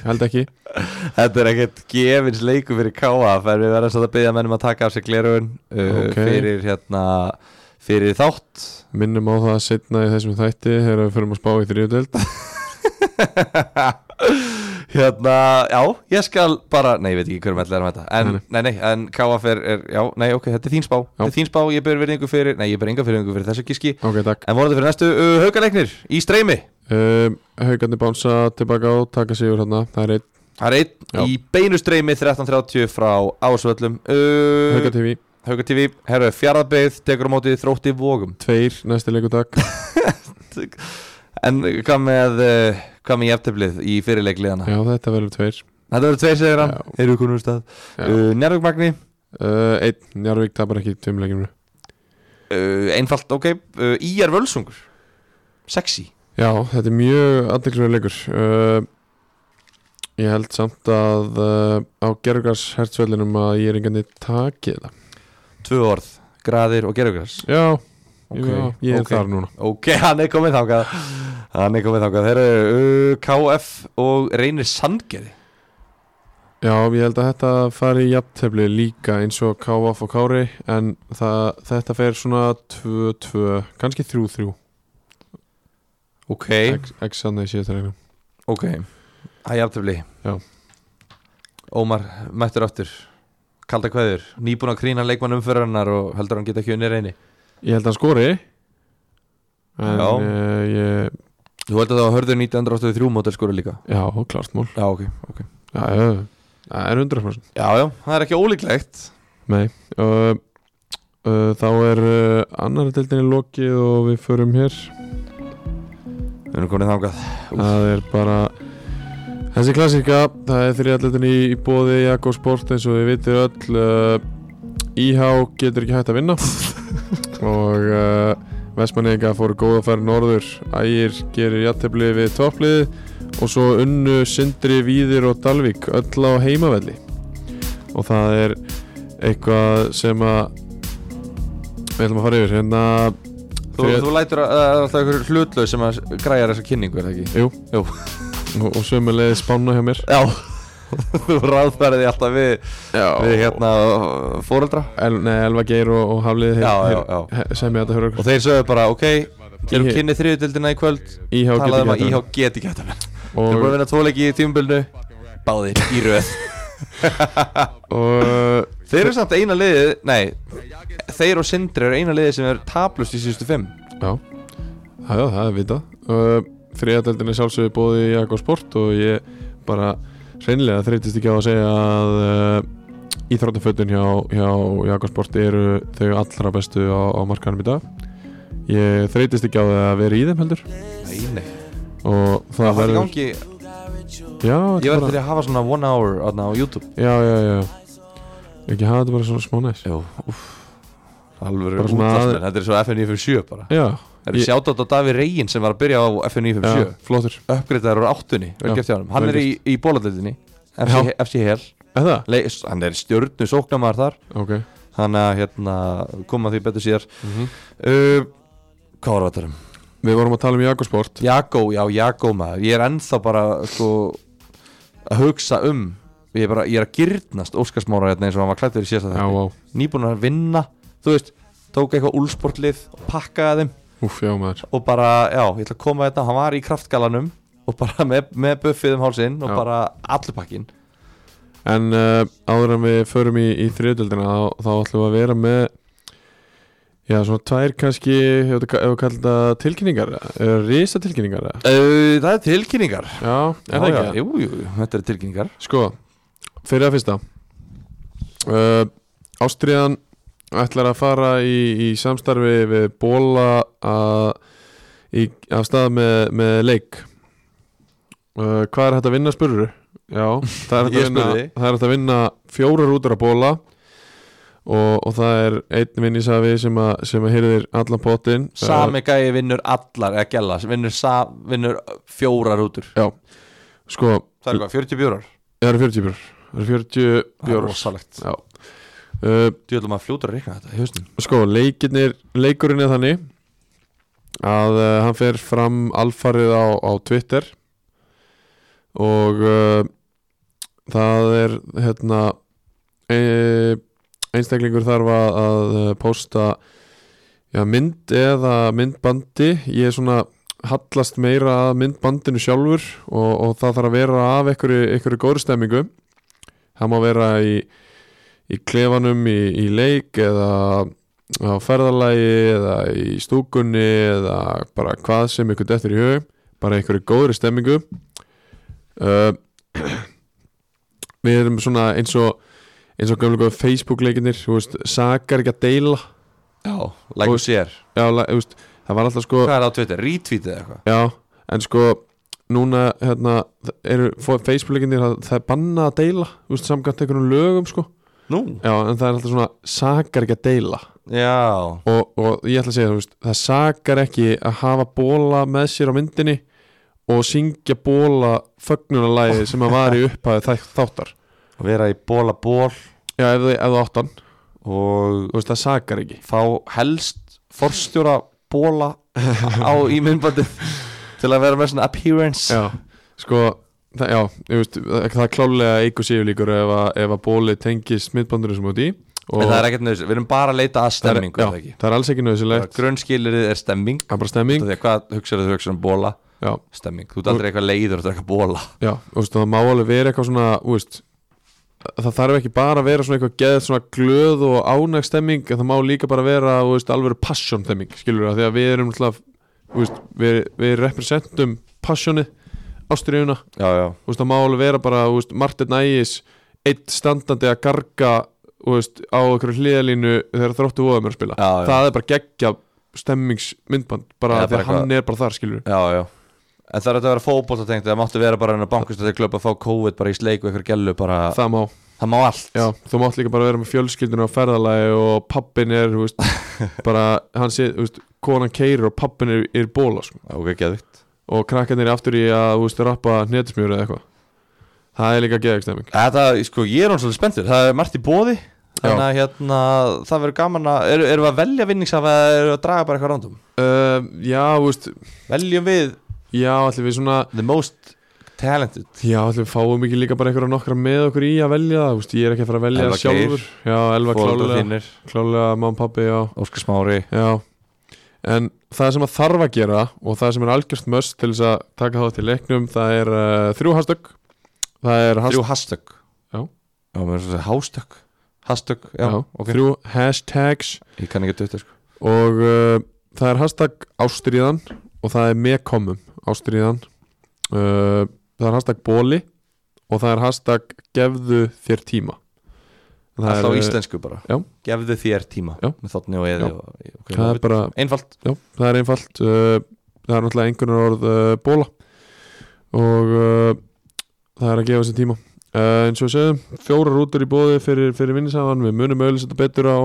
Speaker 2: held ekki
Speaker 3: [LAUGHS] Þetta er ekkit gefins leiku fyrir K.A. En við verðum svolítið að byggja mennum að taka af sér glerugun uh,
Speaker 2: Ok.
Speaker 3: Fyrir hérna Fyrir þátt [LAUGHS]
Speaker 2: minnum á það setna í þessum þætti þegar við förum að spá í þriðdelt
Speaker 3: Hérna, já, ég skal bara Nei, ég veit ekki hverjum ætlaði að mæta En,
Speaker 2: Nei,
Speaker 3: nei, nei, en K.A. er, er, já, nei, ok, þetta er þín spá Þetta er þín spá, ég ber virðingu fyrir Nei, ég ber enga virðingu fyrir þessu gíski
Speaker 2: Ok, takk
Speaker 3: En voruðu fyrir næstu uh, haukaleiknir í streymi
Speaker 2: um, Haukarnir bánsa tilbaka á taka sigur hann, það er einn
Speaker 3: Það er einn
Speaker 2: Já.
Speaker 3: í beinu streymi 13.30 frá Ásvöllum uh,
Speaker 2: Haukar TV,
Speaker 3: Hauka TV, herru, fjaraðbyggð, tekur á móti þrótti vógum
Speaker 2: tveir næsti leiku takk
Speaker 3: En hvað með, eh, hvað með jæftöflið í fyrirleikliðana?
Speaker 2: Já, þetta verður tveir
Speaker 3: Þetta verður tveir segir hann,
Speaker 2: Já.
Speaker 3: eru konum stað
Speaker 2: Já.
Speaker 3: uh, Njárvík Magni,
Speaker 2: uh, Einn, Njarvík tapar ekki tveimleikinu
Speaker 3: uh, Einfalt, ok, uh, IR Völsungur Sexy
Speaker 2: Já, þetta er mjög aðdeklisverið leikur uh, Ég held samt að uh, á Gerugars hertsvellinum að ég er einhvernig takið það
Speaker 3: Tvö orð, graðir og gerugræs
Speaker 2: Já,
Speaker 3: Ok,
Speaker 2: já, ég er
Speaker 3: ok.
Speaker 2: þar núna
Speaker 3: Ok, [LAUGHS] hann er komið þangað Hann er komið þangað Þeir eru uh, KF og reynir sandgerði
Speaker 2: Já, ég held að þetta fari í jafntefli líka eins og KF og Kári en það, þetta fer svona 2-2, kannski 3-3
Speaker 3: Ok,
Speaker 2: X- X hann í síðasta reynum
Speaker 3: ok Það er jafntöfli
Speaker 2: Já.
Speaker 3: Ómar, mættur aftur Kalda kveður, nýbúin að krýna leikmann umfyrirnar og heldur hann geta ekki unni reyni
Speaker 2: Ég held að hann skori en
Speaker 3: Já.
Speaker 2: uh, ég,
Speaker 3: Þú heldur það að hörðu 1983 mótel skora líka
Speaker 2: já, klart mál
Speaker 3: Já, ok, ok
Speaker 2: Já, já, það er 100%
Speaker 3: Já, já, það er ekki ólíklegt
Speaker 2: Nei uh, uh, Þá er uh, annar deildinni lokið og við förum hér
Speaker 3: Við erum komin þangað Úff.
Speaker 2: Það er bara þessi klassika það er þriðallutin í, í bóði Jakko Sport eins og við vitið öll uh, IH getur ekki hægt að vinna og uh, Vestmanninga fóru góð að færa norður Ægir gerir jættefli við topplið og svo unnu Sindri, Víðir og Dalvík öll á heimavelli og það er eitthvað sem að við ætlum að fara yfir hérna
Speaker 3: Þú,
Speaker 2: Þrjá-
Speaker 3: þú lætur að það er alltaf einhver hlutlaus sem að græjar þessa kynningu, er það ekki?
Speaker 2: Jú,
Speaker 3: Jú.
Speaker 2: Og, og sömulegði spána hjá mér
Speaker 3: Já [LAUGHS] Þú ráðfæriði alltaf við,
Speaker 2: Já,
Speaker 3: við hérna fóreldra
Speaker 2: El, nei, Elva Geir og, og Haflið
Speaker 3: Já, já, já.
Speaker 2: sem ég þetta höra
Speaker 3: Og þeir sögðu bara, ok, gerum
Speaker 2: Íhe-
Speaker 3: kynni þriðutildina í kvöld
Speaker 2: IH
Speaker 3: Talaðu um
Speaker 2: getur
Speaker 3: að
Speaker 2: ekki
Speaker 3: IH
Speaker 2: hægt
Speaker 3: geti ekki hægt að vinna Þeir eru búin að
Speaker 2: og,
Speaker 3: vinna tvoleiki í tímbilnu Báðir í röð
Speaker 2: og
Speaker 3: [LAUGHS] Þeir eru samt eina liðið, nei Þeir og Sindri eru eina liðið sem er taplust í síðustu fimm
Speaker 2: já, já, já, það er vitað uh, þriðadeldin er sjálfsögðu bóði í Jakko Sport og ég bara hreinlega þreytist ekki á að segja að uh, íþróttafötun hjá, hjá Jakko Sport eru þau allra bestu á, á markanum í dag ég þreytist ekki á það að vera í þeim heldur
Speaker 3: Nei, nei
Speaker 2: og það,
Speaker 3: Það er í gangi,
Speaker 2: já,
Speaker 3: ég
Speaker 2: þetta
Speaker 3: verður
Speaker 2: bara-
Speaker 3: til að hafa svona one hour aðna á YouTube
Speaker 2: já, já, já ekki hafa þetta bara svona smá næs
Speaker 3: Jú, uff Alvöru
Speaker 2: Bara svona-
Speaker 3: útlagsmenn, þetta er svo FN957 bara
Speaker 2: já,
Speaker 3: Það eru
Speaker 2: Ég-
Speaker 3: sjátt á Davíð Reyin sem var að byrja á FN957
Speaker 2: já, flottur
Speaker 3: uppgreitaður úr áttunni vel
Speaker 2: Já,
Speaker 3: gert hjá honum. hann
Speaker 2: vel
Speaker 3: er í, í bóladöldinni FC, FC Hel
Speaker 2: Eða?
Speaker 3: Le, hann er stjörnu sóknamaður þar
Speaker 2: Ok
Speaker 3: hann að hérna, koma því betur síðar
Speaker 2: Mhm.
Speaker 3: uh, hvað var þetta um?
Speaker 2: Við vorum að tala um Jakosport
Speaker 3: Jakó, já Jakó maður ég er ennþá bara sko, að hugsa um ég er, bara, ég er að gyrnast Óskarsmára hérna eins og hann var klættur í síðasta
Speaker 2: Já,
Speaker 3: þetta
Speaker 2: vá
Speaker 3: nýbúin að vinna, þú veist tók eitthvað úlsportlið og pakkaði þeim
Speaker 2: Úf, já maður
Speaker 3: og bara, já, ég ætla að koma þetta hann var í kraftgalanum og bara með, með buffið um hálsinn og
Speaker 2: Já.
Speaker 3: bara allur pakkin
Speaker 2: En uh, áður en við förum í, í þriðdöldina þá, þá ætlum við að vera með Já, svona tvær kannski Ef þú ef þú kallar þetta tilkynningar Rísa tilkynningar eða?
Speaker 3: uh, það er tilkynningar
Speaker 2: Já, er það
Speaker 3: Já,
Speaker 2: ekki?
Speaker 3: já, jú, jú, jú, þetta er tilkynningar
Speaker 2: Sko, fyrir að fyrsta uh, Ástriðan ætlar að fara í, í samstarfi við Bóla að, í, af stað með, með leik uh, Hvað er hægt að vinna spurður? Já,
Speaker 3: [LAUGHS]
Speaker 2: það er hægt
Speaker 3: Ég
Speaker 2: að vinna,
Speaker 3: spurði.
Speaker 2: það er hægt að vinna fjórar útur að Bóla og, og það er einn vinnisafi sem að, sem að hyrðir allan pottin
Speaker 3: sami gæi vinnur allar, eða gæla vinnur, sa- vinnur fjórar útur
Speaker 2: Já, sko,
Speaker 3: það er hvað, 40 bjórar?
Speaker 2: það eru 40 bjórar Það eru 40
Speaker 3: það er
Speaker 2: bjórar
Speaker 3: rosalegt,
Speaker 2: Já uh,
Speaker 3: þú ætlum að fljóta að reikna þetta í hausnum
Speaker 2: sko, leikinir, leikurinn er þannig að uh, hann fer fram alfarið á, á Twitter og uh, það er hérna e, einstaklingur þarf að, að eh, posta já, mynd eða myndbandi ég er svona hallast meira að myndbandinu sjálfur og, og það þarf að vera af einhverju, einhverju góðri stemmingu það má vera í, í klefanum í, í leik eða á ferðalagi eða í stúkunni eða bara hvað sem ykkur dettur í hug bara einhverju góðri stemmingu uh, [CLEARS THROAT] við erum svona eins og eins og gömlega Facebook leikinir þú veist, sakar ekki að deila
Speaker 3: já, like
Speaker 2: Og-
Speaker 3: og sér,
Speaker 2: já, la- þú veist, það var alltaf sko
Speaker 3: hvað er það á Twitter, retweetið eða eitthvað
Speaker 2: já, en sko núna hérna, eru Facebook leikinir það, það er bannað að deila þú veist, samkvæmt einhvern lögum sko
Speaker 3: Nú?
Speaker 2: Já, en það er alltaf svona sakar ekki að deila
Speaker 3: Já,
Speaker 2: og, og ég ætla að segja þú veist, það sakar ekki að hafa bóla með sér á myndinni og syngja bóla fögnunalæði sem að var í upphæði þæ- þáttar
Speaker 3: að vera í bóla ból
Speaker 2: Já, ef þú, ef þú áttan,
Speaker 3: og
Speaker 2: þú veist, það sakar ekki
Speaker 3: fá helst forstjóra bóla á í [LAUGHS] myndbandið til að vera með svona appearance
Speaker 2: Já, sko það, Já, ég veist, það, það er klálega eikur síflíkur ef að, ef að bóli tengist mittbandurinn sem út í og
Speaker 3: En það er ekkert nöðs, við erum bara að leita að
Speaker 2: það er-
Speaker 3: stemmingu er það
Speaker 2: Já,
Speaker 3: ekki?
Speaker 2: það er alls ekki nöðsilegt
Speaker 3: Grunnskilirið er stemming
Speaker 2: Það er bara stemming
Speaker 3: Þegar hvað hugsaðu þú hugsaðu um bóla?
Speaker 2: Já,
Speaker 3: Stemming, þú ert aldrei eitthvað leiður Þú ert eitthvað bóla
Speaker 2: já, þú veist, það má alveg vera eitthvað svona, þú veist Það þarf ekki bara að vera svona eitthvað geðið svona glöð og ánæg stemming en það má líka bara vera, þú veist, alveg passion stemming, skilur það, því að við erum alltaf, þú veist, við, við representum passionið, ástriðuna
Speaker 3: Já, já,
Speaker 2: þú veist, það má alveg vera bara, þú veist, Martin Ægis eitt standandi að garga þú veist, á einhverju hliðalínu þegar þróttu voðum er að spila
Speaker 3: Já, já.
Speaker 2: það er bara geggja stemmingsmyndband bara
Speaker 3: Já,
Speaker 2: því
Speaker 3: bara
Speaker 2: að hann
Speaker 3: eitthvað-
Speaker 2: er bara þar, skilur
Speaker 3: já, já. En það er þetta að vera fótboltatengt Það máttu vera bara en að bankustætti klöp að fá COVID bara í sleik og eitthvað gellu bara
Speaker 2: það má,
Speaker 3: Það má allt
Speaker 2: já, þú mátt líka bara vera með fjölskyldinu á ferðalagi og pappin er, þú [LAUGHS] veist, bara hann sé, þú veist, konan keirur og pappin er, er í bóla, sko,
Speaker 3: Ok, geðvitt
Speaker 2: og krakkan er aftur í að, þú veist, rappa hnetismjöru eða eitthvað það er líka geggjastemming
Speaker 3: Þetta, sko, ég er hann svolítið spenntur Það er margt í bóði Þannig að hérna, það verður gaman að Eru erum við að velja vinningsaf eða eru að draga bara eitthvað rándum?
Speaker 2: uh, já, þú veist,
Speaker 3: Veljum við
Speaker 2: já, allir við svona
Speaker 3: the most talented
Speaker 2: Já, ætlum við fáum ekki líka bara einhverja nokkra með okkur í að velja það, þú veist, ég er ekki að fara að velja
Speaker 3: Elva
Speaker 2: það sjálfur Já, Elva
Speaker 3: Fóldar
Speaker 2: klálega,
Speaker 3: þínir
Speaker 2: klálega mamma, pappi, já,
Speaker 3: Óskar Smári
Speaker 2: já En það sem að þarf að gera og það sem er algjörst möst til þess að taka þátt í leiknum það er uh, þrjú hashtag Það er hashtag,
Speaker 3: Þrjú hashtag
Speaker 2: Já.
Speaker 3: Já, mér er svo að segja hashtag Hashtag, já, ok
Speaker 2: þrjú hashtags
Speaker 3: Ég kann ekki dötta, sko
Speaker 2: og uh, það er hashtag ástriðan og það er mekomum ástriðan uh, það er hashtag bóli og það er hashtag gefðu þér tíma En það
Speaker 3: Alltaf á
Speaker 2: er, uh,
Speaker 3: íslensku bara
Speaker 2: já.
Speaker 3: Gefðu þér tíma
Speaker 2: Já.
Speaker 3: Með þotni og eði
Speaker 2: Já.
Speaker 3: og, ok,
Speaker 2: það er bara,
Speaker 3: Einfalt
Speaker 2: já, það er einfalt uh, það er náttúrulega einhvernar orð uh, bóla og uh, það er að gefa sér tíma uh, eins og við segjum, fjórar rútur í bóði fyrir, fyrir vinnisafan, við munum auðvitað betur á,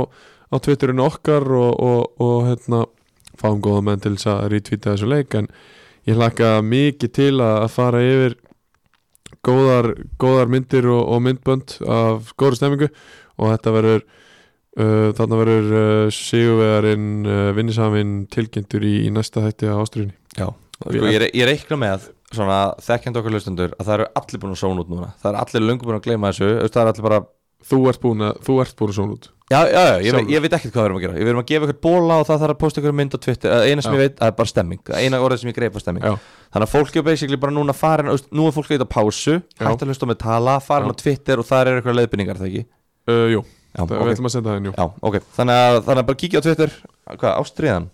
Speaker 2: á Twitterinu okkar og, og, og hérna fáum góða menn til þess að retweeta þessu leik en ég hlakka mikið til að, að fara yfir góðar, góðar myndir og, og myndbönd af góðri stemmingu og þetta verður uh, þarna verður uh, sigurvegarinn uh, vinnisaminn tilkynntur í, í næsta þætti á ástriðinni
Speaker 3: Já Sko, ég, re- ég reikna með Svona þekkjandi okkar hlustundur Að það eru allir búin að sóna út núna Það eru allir löngu búin að gleyma þessu þú veist, Það eru allir bara
Speaker 2: Þú ert búin að, þú ert búin að svona út
Speaker 3: Já, já, já, ég,
Speaker 2: Sjálfur.
Speaker 3: ég veit ekkert hvað við erum að gera Við erum að gefa eitthvað bóla og það þarf að posta eitthvað mynd á Twitter Það eina sem
Speaker 2: Já.
Speaker 3: ég veit, það er bara stemming Það eina orðið sem ég greip var stemming
Speaker 2: Já.
Speaker 3: Þannig að fólk er basically bara núna farin þú veist, Nú er fólk að eitthvað pásu, hægt að hlusta með tala Farin
Speaker 2: Já.
Speaker 3: á Twitter og það eru eitthvað leiðbynningar, það ekki?
Speaker 2: uh, Jú,
Speaker 3: Já,
Speaker 2: það, við
Speaker 3: ok,
Speaker 2: ætlum að senda það inn, jú
Speaker 3: já, okay. Þannig, að, þannig að bara kíkja á Twitter Hvað, Ástriðan?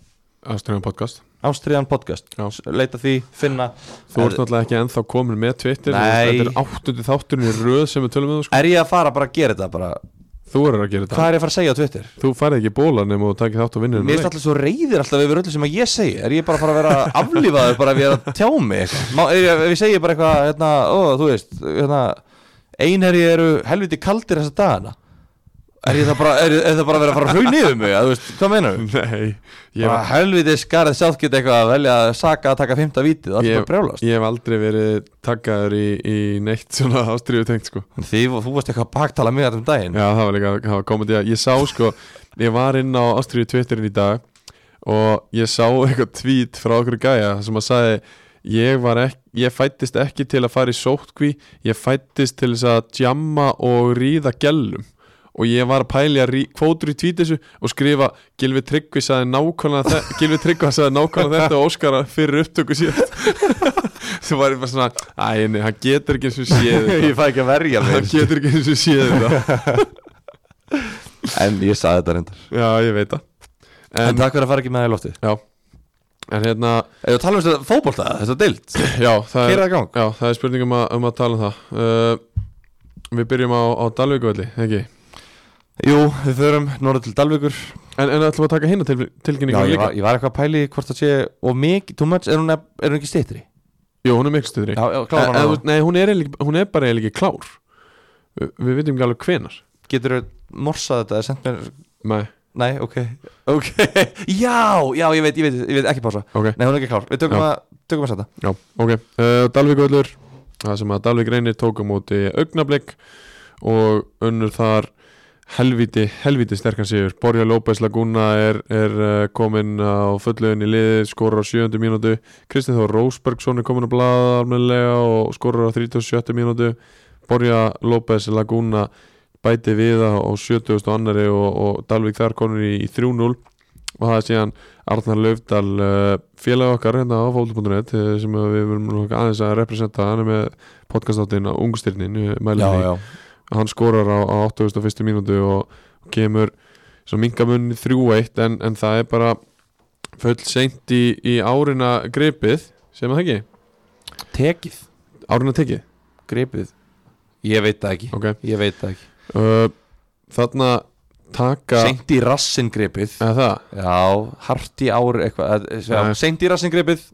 Speaker 2: Ástriðan podcast
Speaker 3: Ástriðan podcast
Speaker 2: Já.
Speaker 3: S- Leita því, finna
Speaker 2: Þú ert náttúrulega ekki ennþá komin með Twitter
Speaker 3: Nei.
Speaker 2: Þetta er áttundi þátturinn í röð sem við tölum með sko.
Speaker 3: Er ég að fara bara að gera þetta? Bara?
Speaker 2: Þú eru að gera þetta
Speaker 3: Hvað er ég að fara að segja á Twitter?
Speaker 2: Þú færði ekki bólan nema þú takir þátt og vinnir
Speaker 3: Mér finnst allir svo reyðir alltaf yfir öllu sem að ég segi Er ég bara að fara að
Speaker 2: [LAUGHS]
Speaker 3: vera aflífaður bara ef ég er að tjá mig eitthvað? Má, er, ég- Ef ég segi bara eitthvað, hérna, ó, þú veist hérna, Einherji eru helviti kaldir þessa dagana Er, ég það bara, er, er það bara að vera að fara að hrauna yfir mig? eða, Þú veist, hvað meinar við?
Speaker 2: [LAUGHS] Nei, ég
Speaker 3: Bara
Speaker 2: hef,
Speaker 3: helviti skarið sjálf geta eitthvað að velja að saka að taka fymta vítið Það er
Speaker 2: ég,
Speaker 3: bara brjálast
Speaker 2: ég hef aldrei verið takkaður í, í neitt svona ástriðu tengt sko
Speaker 3: En Því þú varst eitthvað að baktala mig þetta um daginn
Speaker 2: Já, það var líka, það var komandi að ég sá sko Ég var inn á ástriðu Twitterin í dag Og ég sá eitthvað tweet frá okkur gæja Sem að sagði Ég, var ekki, ég fættist ekki til að fara í sótkví Ég fættist til þess að djamma og ríða gellum Og ég var að pæli að rí, kvótur í tweet þessu Og skrifa Gilvi Tryggvi sagði nákvæmlega [LAUGHS] þetta Gilvi Tryggva sagði nákvæmlega þetta og Óskara fyrir upptöku [LAUGHS] síðan Svo var ég bara svona Æ, nei, hann getur ekki eins og séð
Speaker 3: [LAUGHS]
Speaker 2: þetta."
Speaker 3: fæ ekki að verja
Speaker 2: Hann getur ekki eins og séð þetta
Speaker 3: En ég sagði þetta reyndar
Speaker 2: Já, ég veit það
Speaker 3: En,
Speaker 2: En,
Speaker 3: takk fyrir að fara ekki með það í lofti
Speaker 2: já, en hérna
Speaker 3: Ef þú tala um þetta fótbolta, þetta deilt
Speaker 2: Já, það er,
Speaker 3: Keira í gang.
Speaker 2: já, það er spurning um að, um að tala um það uh, Við byrjum á, á Dalvíkvalli, ekki?
Speaker 3: Jú, við förum norður til Dalvíkur
Speaker 2: En, en ætlum við að taka hinna til,
Speaker 3: Já,
Speaker 2: tilkynningum
Speaker 3: ég
Speaker 2: líka
Speaker 3: var, ég var eitthvað að pæli í hvort það sé og mikið, too much, er hún, er, er hún ekki stittri?
Speaker 2: Jú, hún er mikil stuðri
Speaker 3: Já, já,
Speaker 2: En-
Speaker 3: klára
Speaker 2: en
Speaker 3: hann
Speaker 2: þú veist, Nei, hún er, eiginlega- hún er bara eiginlega ekki klár Vi, Við Uh, vitum ekki alveg hvenar
Speaker 3: getur þú morsað þetta eða sent mér
Speaker 2: Nei,
Speaker 3: nei, ok, ok [LAUGHS] já, já, ég veit, ég veit, ég veit ekki pása
Speaker 2: ok,
Speaker 3: nei, hún er ekki klár, við tökum
Speaker 2: Já.
Speaker 3: að tökum að setja
Speaker 2: já, ok uh, Dalvík völlur, það sem að Dalvík reynir tók á móti augnablik og unnur þar helviti, helviti sterkan sigur Borja López Laguna er, er uh, komin á fulluðin í liði skorur á 7. mínútu, Kristinn Þór Rósbergsson er komin að blaða almennilega og skorur á 37. mínútu Borja López Laguna bæti við á á 70. annari og, og Dalvík þar komin í, í 3-0 og það er síðan Arnar Laufdal uh, félag okkar hérna á fólk.net sem að við verum nú aðeins að representa hann er með podcastáttin á ungstyrnin já,
Speaker 3: já,
Speaker 2: hann skorar á, á 81. mínútu og kemur svo mingamunni 3-1 en, en það er bara full seint í, í árina gripið sem það ekki,
Speaker 3: tekið,
Speaker 2: árina tekið
Speaker 3: gripið ég veit það ekki,
Speaker 2: ok,
Speaker 3: ég veit það ekki
Speaker 2: uh, þarna taka
Speaker 3: seint í rassin gripið
Speaker 2: eða það, [LAUGHS]
Speaker 3: já, hart í ári eitthvað eh,
Speaker 2: Nei.
Speaker 3: já, seint í rassin gripið,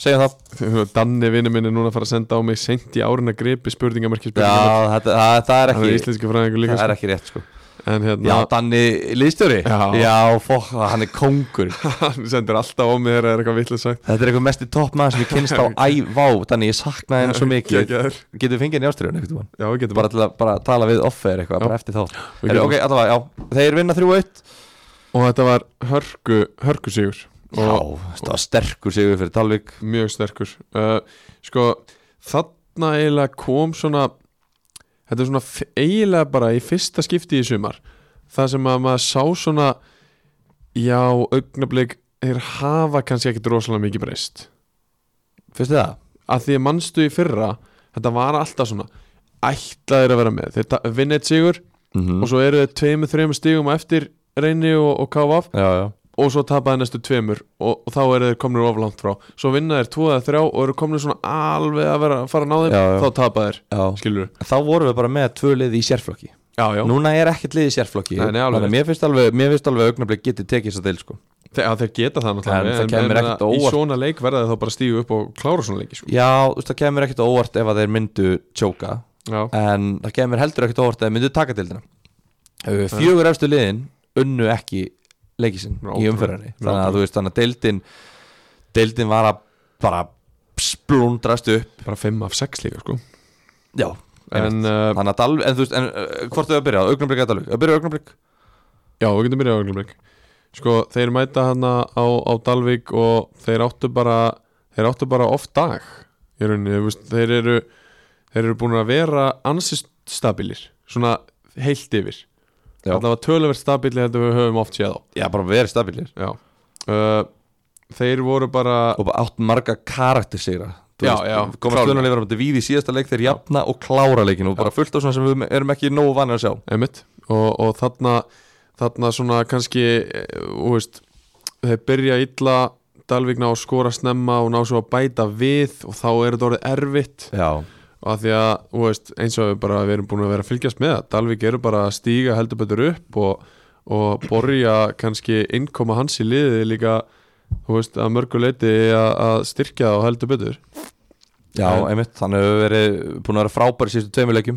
Speaker 3: segja það
Speaker 2: Danni vinnu minn er núna að fara að senda á mig seint í árina gripi spurningamarki spurningamarki,
Speaker 3: já, þetta, það, það er
Speaker 2: hann er
Speaker 3: ekki
Speaker 2: íslenski fræðingur líka
Speaker 3: það er
Speaker 2: sko.
Speaker 3: ekki rétt sko
Speaker 2: en [LAUGHS]
Speaker 3: já,
Speaker 2: hérna,
Speaker 3: Danni liðstjóri
Speaker 2: Já.
Speaker 3: fokk, hann er kongur
Speaker 2: hann sendir alltaf á mig þegar það er eitthvað vitlega sagt
Speaker 3: þetta er eitthvað mest í toppmaður sem ég kynst á ævá Danni, ég saknaði henni svo mikið
Speaker 2: [LAUGHS] Geggjaður.
Speaker 3: getur við fengið henni ástriðun eitthvað tímann?
Speaker 2: já, við getum
Speaker 3: bara til að bara tala við offer eitthvað,
Speaker 2: Já.
Speaker 3: bara eftir þá
Speaker 2: við
Speaker 3: Heru,
Speaker 2: getum-
Speaker 3: ok, allavega, já, þeir vinna 3-1
Speaker 2: og þetta var hörku, hörku sigur
Speaker 3: já, það var sterkur sigur fyrir Dalvik
Speaker 2: mjög sterkur uh, sko þarna eiginlega kom svona þetta er svona f- eiginlega bara í fyrsta skipti í sumar það sem að maður sá svona já, augnablik þeir hafa kannski ekkit rosalega mikið breyst
Speaker 3: finnst þið það?
Speaker 2: að því að mannstu í fyrra þetta var alltaf svona ætlaðir að vera með, þeir ta- vinna eitt sigur
Speaker 3: Mm
Speaker 2: og svo eru þeir tveimur, þreimur stigum á eftir reyni og, og KVF
Speaker 3: já, já,
Speaker 2: og svo tapaði næstu tveimur og, og þá eru þeir komnir of langt frá svo vinna þeir tvo eða þrjá og eru komnir svona alveg að vera að fara að ná þeim
Speaker 3: Já, já.
Speaker 2: þá tapaði þeir,
Speaker 3: já
Speaker 2: skilur við
Speaker 3: þá vorum við bara með tvö liði í sérflokki
Speaker 2: já, já.
Speaker 3: núna er ekkert liði í sérflokki
Speaker 2: Nei, nei, alveg
Speaker 3: Þannig að
Speaker 2: rétt.
Speaker 3: mér finnst alveg, mér finnst alveg augnablik getið tekið þess að deil sko
Speaker 2: Þe, að þeir geta það
Speaker 3: En
Speaker 2: náttúrulega
Speaker 3: það kemur ekkert á
Speaker 2: í
Speaker 3: óvart.
Speaker 2: svona leik verða þeir þá bara stígu upp og klára svona leiki sko.
Speaker 3: Já, þú veist, það kemur ekkert á óvart ef að þeir myndu tjóka
Speaker 2: já,
Speaker 3: en það kemur heldur ekkert á óvart ef þeir myndu taka deildina Uh, Fjögur efstu liðin unnu ekki leikisinn í
Speaker 2: Ótrúlegt.
Speaker 3: umferðinni þannig
Speaker 2: Ótrúlegt.
Speaker 3: að þú veist, þannig að deildin deildin var að bara splundrast upp
Speaker 2: bara 5 af 6 líka sko.
Speaker 3: Já, en,
Speaker 2: en uh,
Speaker 3: þannig að dal, en þú veist, en uh, hvort þau að byrja, augnablik eða dalvik, að byrja augnablik
Speaker 2: já, við getum byrjað á augnablik sko, þeir mæta hana á, á Dalvik og þeir áttu bara þeir áttu bara oft dag í rauninni, þú veist, þeir eru þeir eru búin að vera ansist stabilir svona heilt yfir
Speaker 3: Já,
Speaker 2: Þetta var tölverð stabíli þetta við höfum oft séð á
Speaker 3: já bara verið stabilir
Speaker 2: Já uh, Þeir voru bara
Speaker 3: og bara átt marga karakter sigra
Speaker 2: Já, já,
Speaker 3: komast
Speaker 2: klárlega.
Speaker 3: hlunarleifar á móti víð í síðasta leik þeir jafna og klára leikin og bara fullt á svona sem við erum ekki nógu vanir að sjá
Speaker 2: Emmett og, og þarna þarna svona kannski eh, þú veist, þeir byrja illa Dalvíkna og skora snemma og ná svo að bæta við og þá er þetta orðið erfitt
Speaker 3: Já,
Speaker 2: og að því að þú veist, eins og við bara við erum búin að vera að fylgjast með það Dalvík eru bara að stíga heldur betur upp og, og borja kannski innkoma hans í liði líka þú veist, að mörgu leiti að, að styrkja það og heldur betur
Speaker 3: já
Speaker 2: En-
Speaker 3: einmitt, hann hefur verið búin að vera frábær í síðustu tveimur leikjum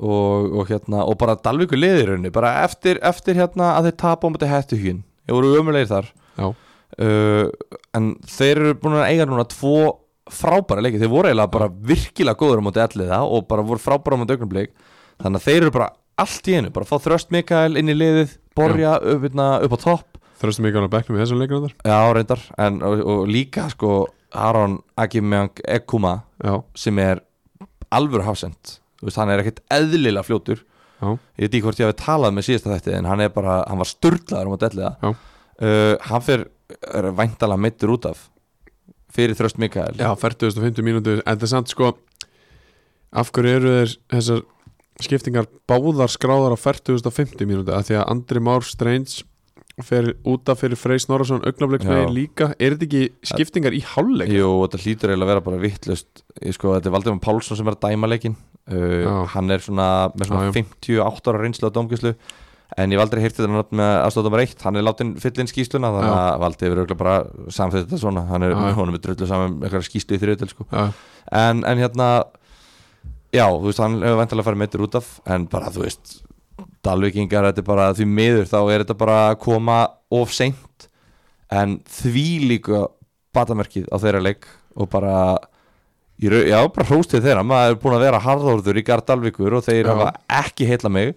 Speaker 3: og, og hérna, og bara Dalvíku liðir henni, bara eftir, eftir hérna að þeir tapa á móti hættu hýn ég voru ömulegir þar
Speaker 2: Já,
Speaker 3: uh, en þeir eru búin að eiga núna tvo frábæra leiki, þeir voru eiginlega bara virkilega góður á móti alliða og bara voru frábæra á móti augnablik þannig að þeir eru bara allt í einu, bara fá þröst Mikael inn í liðið, borja upp, hérna, upp á topp,
Speaker 2: Þröstum ekki á bekknum í þessum leikinu þar
Speaker 3: já reyndar en, og, og líka sko Aron Akimjang Ekuma
Speaker 2: Já,
Speaker 3: sem er alvöru hafsend, þú veist hann er ekkert eðlilega fljótur
Speaker 2: já,
Speaker 3: ég veit ekki hvort ég hafi talað með síðasta þetta en hann er bara, hann var sturdlaður um að delliða
Speaker 2: Já.
Speaker 3: uh, hann fer er væntalega meittur út af fyrir þröst Mikael
Speaker 2: já 40.50 mínútur En það er samt sko Af hverju eru þeir þessar skiptingar báðar skráðar á 40.50 mínútur Af því að Andri Már Strange fer út af fyrir Frey Snorarsson augnabliksmegin
Speaker 3: Já.
Speaker 2: líka Er þetta ekki skiptingar í hálfleik?
Speaker 3: Jú, og þetta hlýtur eiginlega að vera bara vittlust sko, Þetta er Valdimar Pálsson sem er að dæma leikin uh,
Speaker 2: Já.
Speaker 3: Hann er svona með svona
Speaker 2: Já, já.
Speaker 3: 58 ára reynslu á domgjöslu En ég hef aldrei heyrt þetta nátt með aðstofdómar eitt Hann er látin fyll inn skýsluna Þannig
Speaker 2: Já.
Speaker 3: að Valdi hefur auðvitað bara samþýtt þetta svona Hann er,
Speaker 2: Já, já.
Speaker 3: honum er drullu saman með eitthvað skýslu í þriðutel sko.
Speaker 2: Já,
Speaker 3: en, en hérna Já, þú veist, hann hefur vantilega farið meittur út af En bara, þú veist Dalvíkingar, þetta er bara því miður þá er þetta bara að koma of seint en því líka batamerkið á þeirra leik og bara í rau- já, bara hróstið þeirra, maður er búin að vera harðorður í garð Dalvíkur og þeir
Speaker 2: Já.
Speaker 3: hafa ekki heilla mig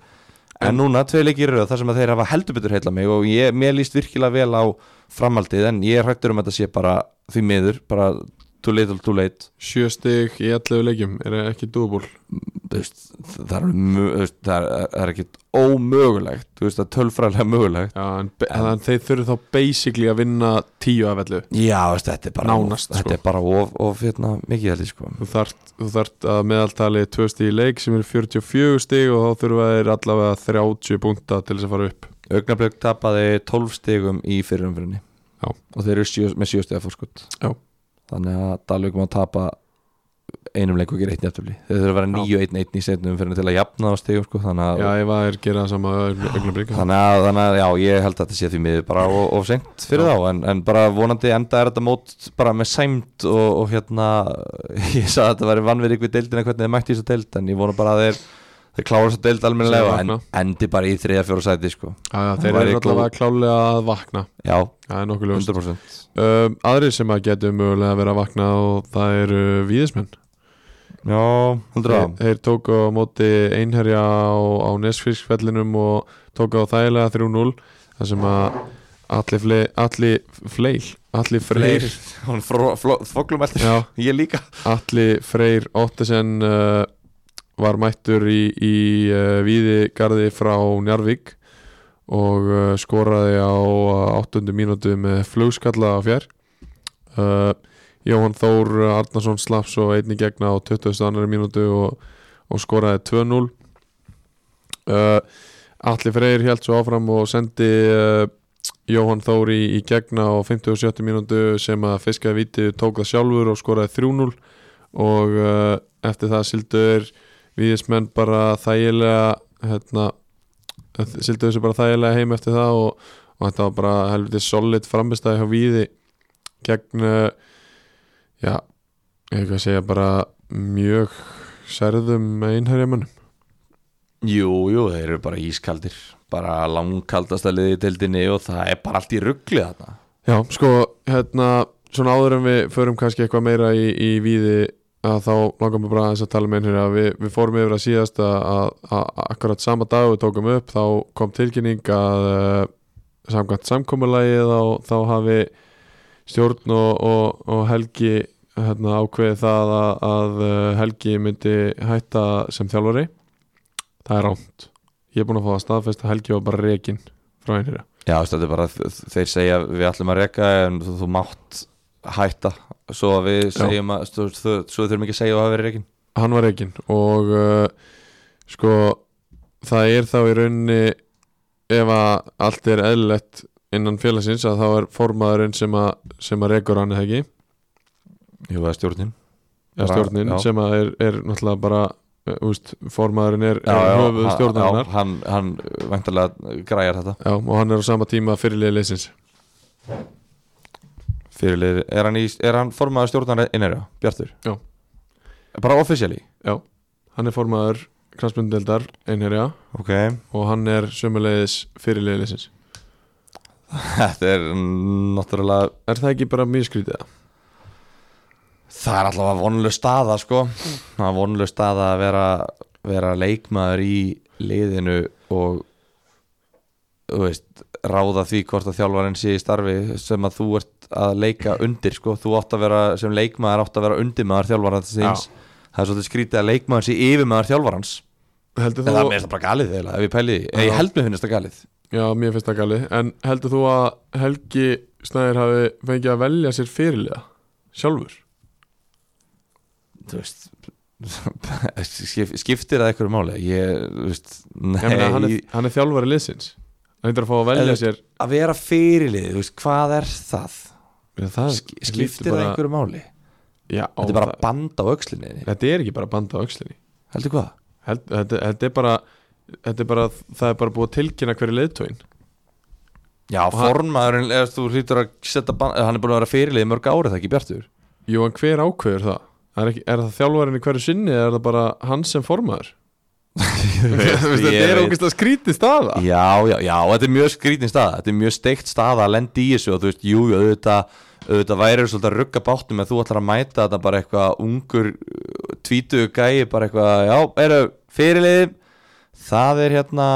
Speaker 3: en núna tvei leikir eru þar sem að þeir hafa heldur betur heilla mig og ég, mér líst virkilega vel á framhaldið en ég er hrættur um að þetta sé bara því miður, bara too little too late
Speaker 2: sjö stig í 11 leikjum er ekki dúból
Speaker 3: Þú veist, það er, alveg mö- þú veist, það er, það er ekki ómögulegt þú veist, það er tölfræðlega mögulegt
Speaker 2: Já, en, be- en þeir þurfi þá basically að vinna 10 af 11
Speaker 3: Já, veist, þetta er bara
Speaker 2: Nánast,
Speaker 3: of,
Speaker 2: sko.
Speaker 3: Þetta er bara of, of hérna, mikið held ég sko
Speaker 2: Þú þart, þú þart að meðaltali 2 stig í leik sem eru 44 stig og þá þurfa þeir allavega 30 punta til þess að fara upp
Speaker 3: Augnablögg tapaði 12 stigum í fyrirumfyrinni
Speaker 2: Já.
Speaker 3: Og þeir eru sjö, með 7 stiga fórskot
Speaker 2: Já.
Speaker 3: Þannig að Dalvik má tapa einum leik og gera eitt nefntöfli Þeir þurfa að vera 9 og 1 1 í setnum umfyrinni til að jafna á stigum sko Þannig að,
Speaker 2: Já, ef að þeir gera það sama augnablik þá-
Speaker 3: þannig að, þannig að já, ég held að þetta sé því miður bara of, of seint fyrir þá en, en bara vonandi enda er þetta mót bara með sæmt og, og hérna [LAUGHS] ég sagði að þetta væri vannverið ykkur deildina hvernig þið mætti þessu deild en ég vona bara að þeir þeir klára þessu deild almennilega en
Speaker 2: vakna.
Speaker 3: endi bara í þriða fjóra sæti sko
Speaker 2: Já, já, þeir
Speaker 3: Væri
Speaker 2: eru
Speaker 3: gló-
Speaker 2: allavega klálega að vakna
Speaker 3: já,
Speaker 2: Það er nokkuð ljóst
Speaker 3: 100%
Speaker 2: um, Aðrir sem að getum mögulega að vera að vakna og það eru víðismenn
Speaker 3: já, 100%
Speaker 2: Þeir, þeir tóku á móti einherja á, á Nesfiskfellinum og tóku á þægilega 3-0 þar sem að allir, fle, allir fleil allir freyr
Speaker 3: [LAUGHS] hún þvoklum eftir
Speaker 2: já,
Speaker 3: [LAUGHS] ég líka
Speaker 2: allir freyr Ottesen uh, var mættur í, í uh, víðigarði frá Njarvík og uh, skoraði á uh, 8. mínútu með flugskalla á fjær uh, Jóhann Þór Arnarsson slapp svo einni gegna á 22. mínútu og, og skoraði 2-0 uh, Alli Freyr held svo áfram og sendi uh, Jóhann Þór í, í gegna á 57. mínútu sem að fiskaði viti tók það sjálfur og skoraði 3-0 og uh, eftir það sildur viðismenn bara þægilega hérna, sildur þessu bara þægilega heim eftir það og, og þetta var bara helviti solid framistæði hjá viði gegn uh, já, eitthvað að segja bara mjög særðum einherjamanum
Speaker 3: jú, jú, þeir eru bara ískaldir bara langkaldasta liðið í deildinni og það er bara allt í ruggli þarna
Speaker 2: Já, sko, hérna svona áður en við förum kannski eitthvað meira í, í víði að þá langar mér bara aðeins að tala með einhverja við, við fórum yfir að síðast að, að, að akkurat sama dag og við tókum upp þá kom tilkynning að uh, samkvæmt samkomulagið þá, þá hafi stjórn og, og, og Helgi hérna, ákveðið það að, að eh, Helgi myndi hætta sem þjálfari það er rámt ég er búin að fá að staðfesta að Helgi var bara rekin frá einhverja
Speaker 3: Já, veist, þetta er bara þeir segja við ætlum að reka en þú, þú mátt hætta svo að við segjum að þú, þú, svo við þurfum ekki að segja að hafa verið rekin
Speaker 2: hann var reygin og uh, sko það er þá í rauninni ef að allt er eðlilegt innan félagsins að þá er formaðurinn sem að, sem að reygur hann eða ekki
Speaker 3: Jú, það er stjórnin
Speaker 2: eða
Speaker 3: Bara-
Speaker 2: stjórnin
Speaker 3: já.
Speaker 2: sem að er, er náttúrulega bara uh, úst, formaðurinn er, er höfuð
Speaker 3: hann-
Speaker 2: stjórnarinnar já.
Speaker 3: já, hann, hann væntalega græjar þetta
Speaker 2: og hann er á sama tíma fyrirlið leysins
Speaker 3: Fyrirlið, er hann, í, er hann formaður stjórnar innherja, Bjartur?
Speaker 2: Já.
Speaker 3: Bara officially?
Speaker 2: já, hann er formaður kransbundeldar einherja
Speaker 3: Ok
Speaker 2: og hann er sömulegis fyrirlið leysins
Speaker 3: [LAUGHS] Þetta er náttúrulega
Speaker 2: er það ekki bara mjög skrítið það?
Speaker 3: Það er alltaf vonlust staða sko Það er vonlust staða að vera, vera leikmaður í liðinu og þú veist, ráða því hvort að þjálfarinn sé í starfi sem að þú ert að leika undir sko. þú átt að vera, sem leikmaður átt að vera undirmaður þjálfarans síns það er svolítið skrítið að leikmaður sé yfirmaður þjálfarans
Speaker 2: heldur
Speaker 3: en það
Speaker 2: þú
Speaker 3: er mér finnst það bara galið þeirlega ef ég pæli því, Eða
Speaker 2: Já.
Speaker 3: ég held mér finnst það galið
Speaker 2: Já, mér finnst það galið En heldur þú að Helgi Snæðir hafi fengið að velja sér fyrirlega sjálfur?
Speaker 3: þú veist [LAUGHS] skip- skiptir það einhverju máli ég, þú veist, nei
Speaker 2: Ég meina, hann, er, hann er þjálfari liðsins Hann heitir að fá að velja
Speaker 3: Eða-
Speaker 2: sér
Speaker 3: að vera fyrirlið, þú veist, hvað er það?
Speaker 2: Ég, það
Speaker 3: Sk- Skiptir það einhverju máli?
Speaker 2: Já,
Speaker 3: Þetta er bara band á öxlinni þinni.
Speaker 2: þetta er ekki bara band á öxlinni
Speaker 3: Heldur hvað?
Speaker 2: Held, þetta, þetta, er bara, þetta er bara Það er bara búið að tilkynna hverju leiðtóin
Speaker 3: Já, formaðurinn, ef þú hlýtur að setja band, hann er búin að vera fyrirlið í mörg árið það ekki Bjartur
Speaker 2: Jú,
Speaker 3: [LAUGHS]
Speaker 2: en hver ákveður það? Er, ekki, er það þjálfarinn í hverju sinni eða er það bara hann sem formaður? Þú veist,
Speaker 3: Ég
Speaker 2: Þetta er
Speaker 3: veit.
Speaker 2: ógæst að skrítið staða
Speaker 3: Já, já, já, og þetta er mjög skrítin staða Þetta er mjög steikt staða að lendi í þessu og þú veist, jú, jú, auðvitað auðvitað væri svolítið að rugga báttum ef þú ætlar að mæta þetta bara eitthvað ungur tvítugu gæi, bara eitthvað já, eru, fyrirlið það er hérna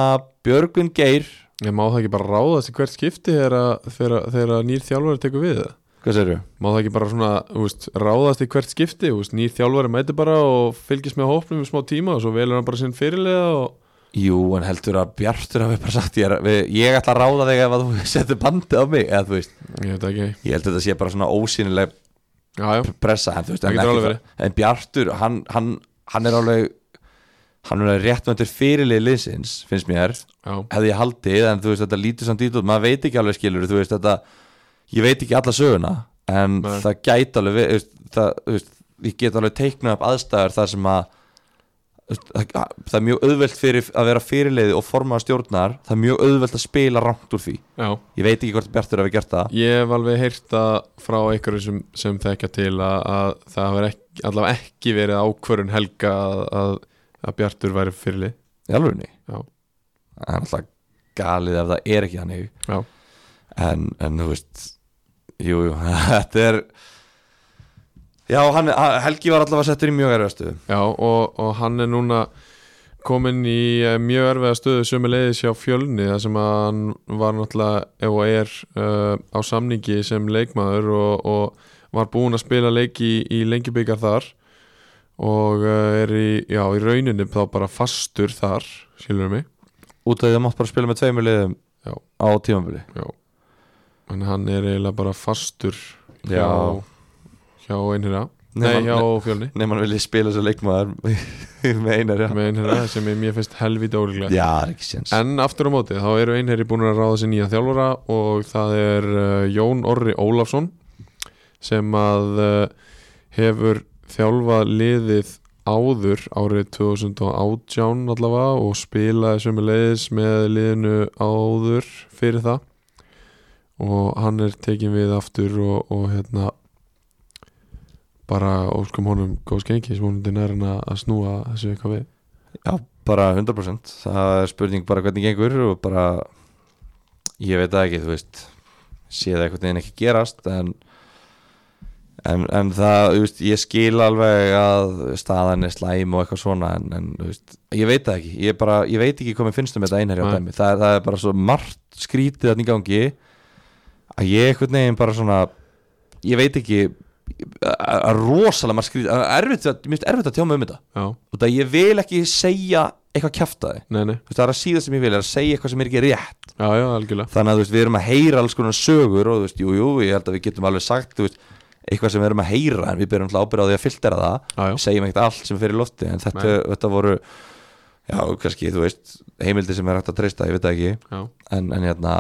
Speaker 3: Björgvin Geir
Speaker 2: Ég má það ekki bara ráða sig hvert skipti þegar að- þegar þegar nýr þjálfari tekur við það
Speaker 3: Hvað serðu?
Speaker 2: Má það ekki bara svona, þú veist, ráðast í hvert skipti, þú veist, nýr þjálfari mæti bara og fylgist með hópnum í smá tíma og svo velur hann bara sinn fyrirlega og
Speaker 3: Jú, en heldur að Bjartur hafi bara sagt ég, er, við, ég ætla að ráða þig ef að þú [LAUGHS] setur bandið á mig eða þú veist,
Speaker 2: ég veit það ekki,
Speaker 3: ég held að þetta sé bara svona ósýnileg
Speaker 2: já, já,
Speaker 3: pressa en, þú
Speaker 2: Það
Speaker 3: veist, en,
Speaker 2: getur
Speaker 3: ekki
Speaker 2: alveg verið.
Speaker 3: það- en Bjartur, hann, hann, hann er alveg hann er alveg réttmöndir fyrirlið liðsins, finnst mér
Speaker 2: já,
Speaker 3: hefði ég haldið, en þú veist, þetta lítur samt ít út, maður veit ekki alveg skilur, þú veist, þetta ég veit ekki alla söguna, en
Speaker 2: Nei.
Speaker 3: það gæti alveg, verið, þú veist, það, þú veist ég get alveg teiknað upp aðstæður þar sem að þú veist, það það er mjög auðvelt fyrir að vera fyrirliði og formaða stjórnar, það er mjög auðvelt að spila rangt úr því,
Speaker 2: já.
Speaker 3: ég veit ekki hvort Bjartur hafi gert það
Speaker 2: Ég hef alveg heyrt að frá einhverjum sem, sem þekkja til að, að það hefur ekki, allavega ekki verið ákvörun helga að, að, að Bjartur væri fyrirli.
Speaker 3: í alvegni
Speaker 2: Já.
Speaker 3: það er alltaf galið ef það er ekki hann
Speaker 2: Já.
Speaker 3: en, en þú veist jú, [LAUGHS] jú, þetta er já, hann, hann- Helgi var allavega settur í mjög erfastu
Speaker 2: Já, og, og hann er núna kominn í eh, mjög erfiða stöðu sömu leiðis hjá fjölni þar sem að hann var náttúrulega og er uh, á samningi sem leikmaður og, og var búinn að spila leiki í, í lengjubigar þar og uh, er í, já, í rauninni þá bara fastur þar, skilur mig
Speaker 3: út af því að mátt bara spila með tveimur liðum
Speaker 2: Já.
Speaker 3: á tímabili
Speaker 2: Já En hann er eiginlega bara fastur
Speaker 3: Já.
Speaker 2: hjá, hjá einhverja Nei,
Speaker 3: Nema-
Speaker 2: hjá
Speaker 3: ne-
Speaker 2: fjölni
Speaker 3: nema hann vilji spila svo leikmaður [LAUGHS] með einar já.
Speaker 2: með einhverja sem ég mér finnst helvítið ólíklega
Speaker 3: já, það er ekki séns
Speaker 2: En aftur á móti, þá eru einherri búin að ráða sér nýja þjálfara og það er uh, Jón Orri Ólafsson sem að uh, hefur þjálfað liðið áður árið 2018 allavega og spilaði sömu leiðis með liðinu áður fyrir það og hann er tekin við aftur og, og hérna bara óskum honum góðs gengi sem hún er nærin að snúa þessu eitthvað við
Speaker 3: já, bara 100% það er spurning bara hvernig gengur og bara ég veit það ekki, þú veist sé það einhvern veginn ekki gerast en en, en það, þú veist, ég skil alveg að staðan er slæm og eitthvað svona en, en þú veist, ég veit það ekki ég, bara, ég veit ekki hvað mér finnst um þetta einherja
Speaker 2: Nei.
Speaker 3: dæmi, það, er- það er bara svo margt skrítið þannig gangi að ég einhvern veginn bara svona ég veit ekki að að rosalega margt skrítið, að erfitt að- mér finnst erfitt að tjá mig um þetta
Speaker 2: Já,
Speaker 3: og það ég vil ekki segja eitthvað kjaftaði
Speaker 2: nei, nei,
Speaker 3: Þú veist, það er að síða sem ég vil, er að segja eitthvað sem er ekki rétt
Speaker 2: já, já, algjörlega
Speaker 3: þannig að þú veist, við erum að heyra alls konar sögur og þú veist, jú, jú, ég held að við getum alveg sagt þú veist, eitthvað sem við erum að heyra en við byrjum alltaf ábyrða á því að filtera það
Speaker 2: Já, já.
Speaker 3: segjum ekkert allt sem fer í lofti en þetta,
Speaker 2: Nei.
Speaker 3: þetta voru já, kannski, þú veist, heimildi sem er hægt að treysta ég veit það ekki,
Speaker 2: Já,
Speaker 3: en, en hérna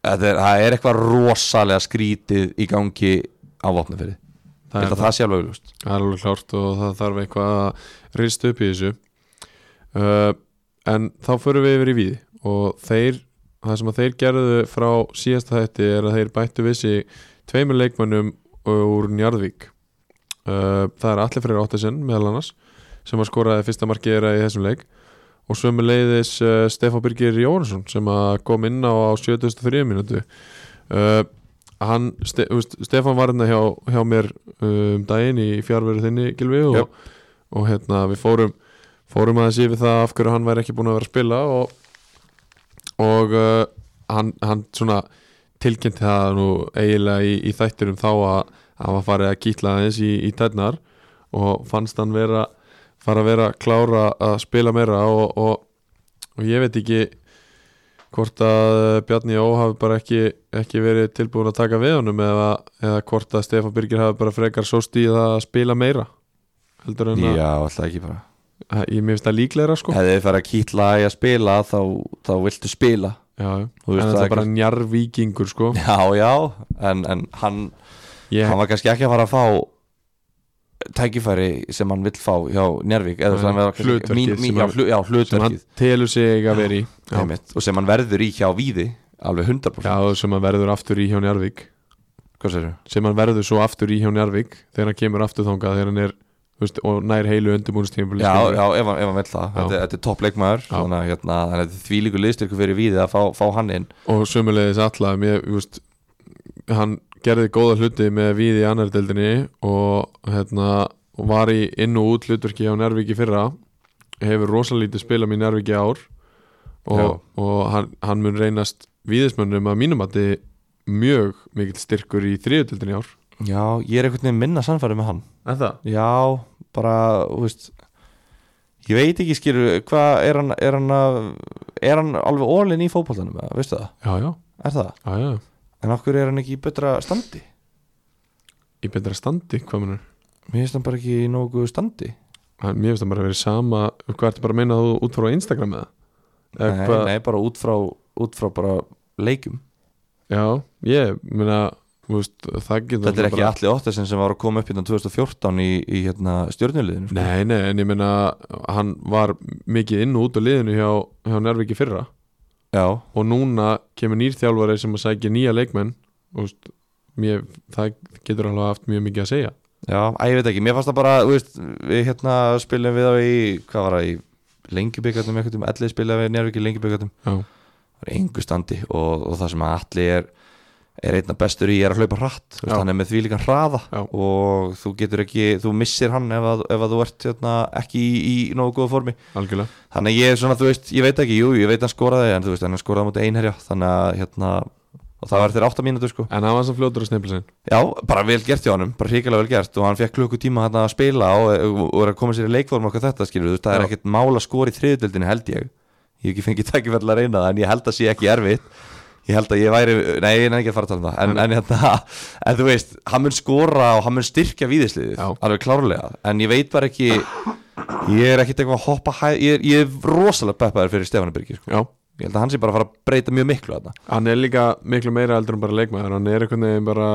Speaker 3: þetta er, það er eitthvað rosalega skrítið í gangi á vopnafyrði,
Speaker 2: það er,
Speaker 3: ég held að
Speaker 2: það,
Speaker 3: það sé alveg augljóst.
Speaker 2: það er alveg klárt og það þarf eitthvað að rist upp í þessu uh, En þá förum við yfir í víði og þeir, það sem að þeir gerðu frá síðasta þætti er að þeir bættu vissi tveimur leikmönnum úr Njarðvík uh, Það er allir fyrir Ottesen meðal annars sem að skoraði fyrsta markiðra í þessum leik og sömu leiðis uh, Stefán Birgir Jónsson sem að kom inn á, á 73 mínútu uh, hann, Ste úst, Stefán var hérna hjá, hjá mér um daginn í fjárveru þinni Gilvi og,
Speaker 3: Jöp.
Speaker 2: og, hérna við fórum fórum aðeins yfir það af hverju hann væri ekki búin að vera að spila og, og uh, hann, hann svona tilkynnti það nú eiginlega í, í þætturum þá að hann var farið að kýtla aðeins í, í tætnar og fannst hann vera fara að vera klára að spila meira og, og, og ég veit ekki hvort að Bjarni Jó hafi bara ekki, ekki verið tilbúin að taka við honum eða, eða hvort að Stefán Birgir hafi bara frekar sóst í það að spila meira heldur en að
Speaker 3: já, alltaf ekki bara
Speaker 2: að- Eh, ég mér finnst það líklegra sko já,
Speaker 3: hefði þið farið að kýtla í að spila þá, þá viltu spila
Speaker 2: já.
Speaker 3: Þú
Speaker 2: en
Speaker 3: veist, það
Speaker 2: það
Speaker 3: er
Speaker 2: er bara njarvíkingur sko
Speaker 3: já, já, en, en hann,
Speaker 2: ég,
Speaker 3: hann var kannski ekki að fara að fá tækifæri sem hann vill fá hjá Njárvík eða
Speaker 2: Nei,
Speaker 3: sem hann var
Speaker 2: hlutverkið
Speaker 3: kannski mín,
Speaker 2: sem
Speaker 3: mín, já,
Speaker 2: hann-
Speaker 3: hlu, já,
Speaker 2: sem hann
Speaker 3: hlutverkið
Speaker 2: telur sig að vera í já,
Speaker 3: einmitt, og sem hann verður í hjá Víði alveg 100%
Speaker 2: já, sem hann verður aftur í hjá njarvík
Speaker 3: Hvað segirðu?
Speaker 2: sem hann verður svo aftur í hjá njarvík þegar hann kemur aftur þangað þegar hann er þú þú veist, og nær heilu undirbúinustímabili
Speaker 3: Já, já, ef hann, ef hann vil það þetta, er- þetta er topp leikmaður Þannig að hérna, þannig að þetta er þvílíku liðstyrku fyrir við að fá, fá hann inn
Speaker 2: og sömulegis alla mér, þú veist, hann gerði góða hluti með við í annar deildinni og hérna og var í inn og út hlutverki á Nærvíki fyrra hefur rosalítið spilað mér Nærvíki ár og, og hann, hann mun reynast viðismönnum að mínum að þið mjög mikill styrkur í þriðutöldinni ár
Speaker 3: Já, ég er einhvern veginn minna sannfærið með hann
Speaker 2: En það?
Speaker 3: Já, bara, þú veist Ég veit ekki skilur Hvað er hann, er hann að Er hann alveg ólinn í fótboltanum, eða, veistu það?
Speaker 2: Já, já,
Speaker 3: Er það?
Speaker 2: já, já,
Speaker 3: En okkur er hann ekki í betra standi?
Speaker 2: í betra standi hvað munur?
Speaker 3: Mér finnst hann bara ekki í nógu góðu standi
Speaker 2: Hann, mér finnst það bara að vera sama hvað ertu bara að meina að þú út frá Instagram eða? Eða
Speaker 3: Nei,
Speaker 2: hvað-
Speaker 3: nei, bara út frá, út frá bara leikum
Speaker 2: Já, ég meina þú veist, það getur
Speaker 3: Þetta er
Speaker 2: náttúrulega
Speaker 3: ekki
Speaker 2: bara-
Speaker 3: allir óttasinn sem var að koma upp hérna 2014 í, í hérna stjórnuleginu
Speaker 2: Nei, nei, en ég meina hann var mikið inn og út á liðinu hjá, hjá Nærviki fyrra
Speaker 3: Já,
Speaker 2: og núna kemur nýr þjálfari sem að sækja nýja leikmenn og veist, mér, það getur alveg haft mjög mikið að segja
Speaker 3: já, að ég veit ekki, mér fannst það bara, þú veist, við hérna spilum við á í, hvað var það, í lengjubikarnum eitthvað, um ellið spilaði við njárvikið lengjubikarnum,
Speaker 2: Já,
Speaker 3: það er engu standi og, og það sem að allir er, er einna bestur í er að hlaupa hratt, þú
Speaker 2: Já.
Speaker 3: veist, hann er með því líka hraða
Speaker 2: Já.
Speaker 3: og þú getur ekki, þú missir hann ef að, ef að þú ert hérna ekki í, í nógu góða formi
Speaker 2: algjörlega
Speaker 3: Þannig að ég er svona, þú veist, ég veit ekki, jú, ég veit hann skoraði en þú veist, en hann skoraði mútið einherja þannig að, hérna, og það var þeir átta mínútur sko
Speaker 2: En hann var sem fljótur að sneipla sinn
Speaker 3: Já, bara vel gert hjá honum, bara hrikalega vel gert og hann fekk klukkutíma hérna að spila og, og er að koma sér í leikform okkar þetta skilur, þú veist, það er
Speaker 2: Já.
Speaker 3: ekkert mál að skora í þriðutöldinu held ég, ég hef ekki fengið takkifæll að reyna það en ég held að sé ekki erfitt ég held að ég væri, nei, ég er ekki að fara að tala um það en, en, hérna, en þú veist, hann mun skora og hann mun styrkja víðisliðið,
Speaker 2: Já.
Speaker 3: alveg klárlega en ég veit bara ekki ég er ekkert eitthvað að hoppa hæ, ég, er, ég er rosalega peppaður fyrir Stefán Birgir sko.
Speaker 2: Já,
Speaker 3: ég held að hann sé bara að fara að breyta mjög miklu þarna.
Speaker 2: hann er líka miklu meira eldur en bara leikmaður hann er einhvern veginn bara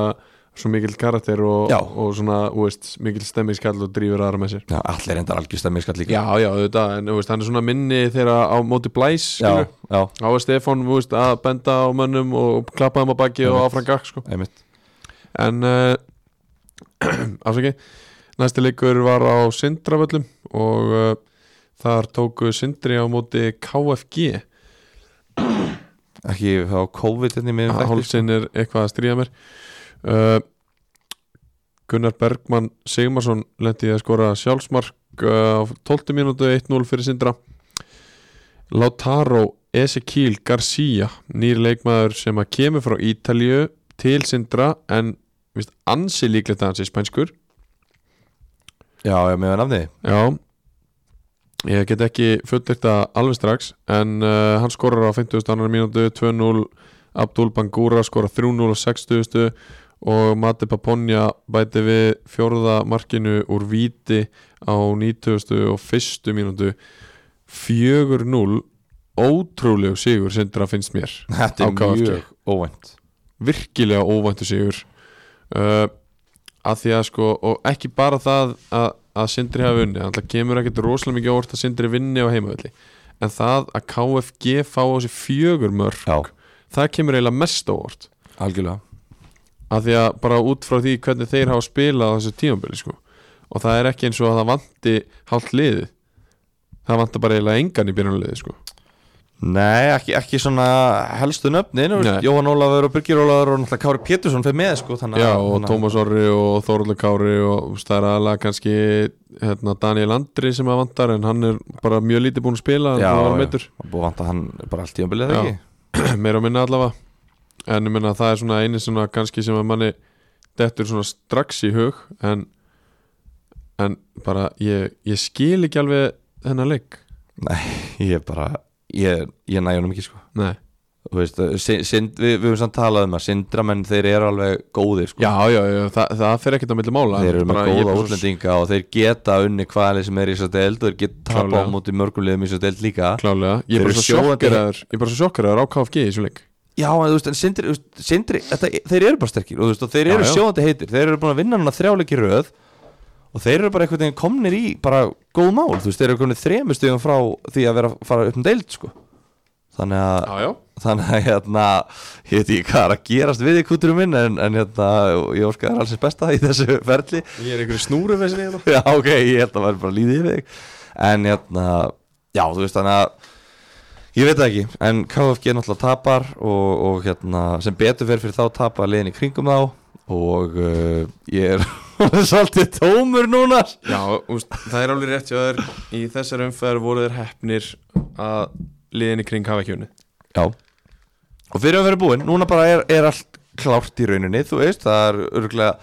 Speaker 2: svo mikill karakter og,
Speaker 3: Já.
Speaker 2: og svona, þú veist, mikill stemmingskall og drífur aðra með sér
Speaker 3: Já, allir endar algjörsta mér skall líka
Speaker 2: Já, já, auðvitað, en þú veist, hann er svona minni þegar á móti blæs
Speaker 3: já,
Speaker 2: skilur.
Speaker 3: já,
Speaker 2: Á að Stefán, þú veist, að benda á mönnum og klappa þeim á baki og
Speaker 3: Einmitt.
Speaker 2: áfram gakk, sko
Speaker 3: einmitt
Speaker 2: En, [CLEARS THROAT] uh, afsaki, næsti leikur var á Sindravöllum og uh, þar tóku Sindri á móti KFG
Speaker 3: ekki þá COVID hérna í
Speaker 2: Ah,
Speaker 3: miðum þætti
Speaker 2: Hálsinn er eitthvað að stríða mér uh, Gunnar Bergmann Sigmarsson lendi að skora sjálfsmark uh, á 12 mínútu 1-0 fyrir Sindra Lautaro Ezekiel Garcia nýr leikmaður sem að kemur frá Ítalju til Sindra en vist, ansi líklegt að hans er spænskur
Speaker 3: já, já, með nafni
Speaker 2: Já Ég get ekki fullirt það alveg strax en uh, hann skorar á 52. mínútu 2-0, Abdul Bangura skorar 3-0 og 60. og Mati Paponja bæti við fjórða markinu úr víti á 90. og 1. mínútu 4-0 ótrúlegu sigur sindra finnst mér Á
Speaker 3: þetta er
Speaker 2: KFG.
Speaker 3: mjög óvænt
Speaker 2: virkilega óvæntu sigur uh, að því að sko og ekki bara það að, að Sindri hafi unni þannig kemur ekkert rosalega mikið óvart að Sindri vinni á heimavölli en það að KFG fá á sig fjögur mörg
Speaker 3: já,
Speaker 2: það kemur eiginlega mest óvart
Speaker 3: algjörlega
Speaker 2: að því að bara út frá því hvernig þeir hafa spilað á þessu tímabili sko og það er ekki eins og að það vanti hálft liðið það vantar bara eiginlega engan í byrjunarliðið sko
Speaker 3: nei, ekki, ekki svona helstu nöfnin þú veist,
Speaker 2: Nei.
Speaker 3: Jóhann Ólafur og Birgir Ólafur og náttúrulega Kári Pétursson fyrir með sko, þannig, að-
Speaker 2: Já og
Speaker 3: þannig að-
Speaker 2: Tómas Orri og Þóruldur Kári og þú veist, það er aðalega kannski hérna, Daniel Andri sem að vantar en hann er bara mjög lítið búin að spila en
Speaker 3: já,
Speaker 2: hann var
Speaker 3: já,
Speaker 2: meiddur, [CLEARS THROAT]
Speaker 3: það er búið að vanta hann bara allt í umbilið
Speaker 2: Já.
Speaker 3: ekki
Speaker 2: meira og minna allavega en ég meina það er svona eini svona kannski sem að manni dettur svona strax í hug en, en bara ég, ég skil ekki alveg þennan leik
Speaker 3: ég er bara, ég, ég næ honum ekki sko
Speaker 2: Nei.
Speaker 3: Þú veist, sind, sind, við, við höfum samt talað um að sindramenn þeir eru alveg góðir sko.
Speaker 2: Já, já, já, það, það fer ekkert á milli mála en
Speaker 3: þeir eru með
Speaker 2: bara ég
Speaker 3: góða
Speaker 2: bara svo
Speaker 3: útlendinga og þeir geta unni hvaðalið sem er í svo deild og þeir geta tapa á
Speaker 2: Klárlega.
Speaker 3: móti mörgum liðum í svo deild líka
Speaker 2: Klálega, ég er
Speaker 3: Þeir
Speaker 2: bara
Speaker 3: eru
Speaker 2: svo
Speaker 3: sjóðandi-
Speaker 2: sjokkeraður Ég er bara svo sjokkeraður á KFG í þessum leik
Speaker 3: Já, en þú veist, en sindri, þú veist, sindri þetta, þeir eru bara sterkir og, þú veist, og þeir
Speaker 2: Já,
Speaker 3: eru
Speaker 2: já.
Speaker 3: sjóðandi heitir þeir eru búin að vinna núna þrjáleiki í röð og þeir eru bara einhvern veginn komnir í bara góð mál, þú veist, þeir eru komin þremur stegum frá því að vera að fara upp um deild sko. þannig að
Speaker 2: Já, já
Speaker 3: þannig að hérna ég veit ekki hvað er að gerast við í kúturum minn en, en hérna ég óska þér alls eins besta í þessu ferli
Speaker 2: Ég er einhverju snúru fyrir sinni
Speaker 3: já ok, ég held að vera bara líðið yfir þig en hérna, já þú veist þannig að ég veit það ekki, en KFG náttúrulega tapar og, og hérna, sem betur fer fyrir þá tapar liðin í kringum þá og uh, ég er [LAUGHS] svolítið tómur núna
Speaker 2: Já, úst, það er alveg rétt hjá þér Í þessar umferð voru þér hefnir að liðin í kring hafa ekki unni
Speaker 3: já, og fyrir að vera búinn núna bara er, er allt klárt í rauninni þú veist, það er örgulega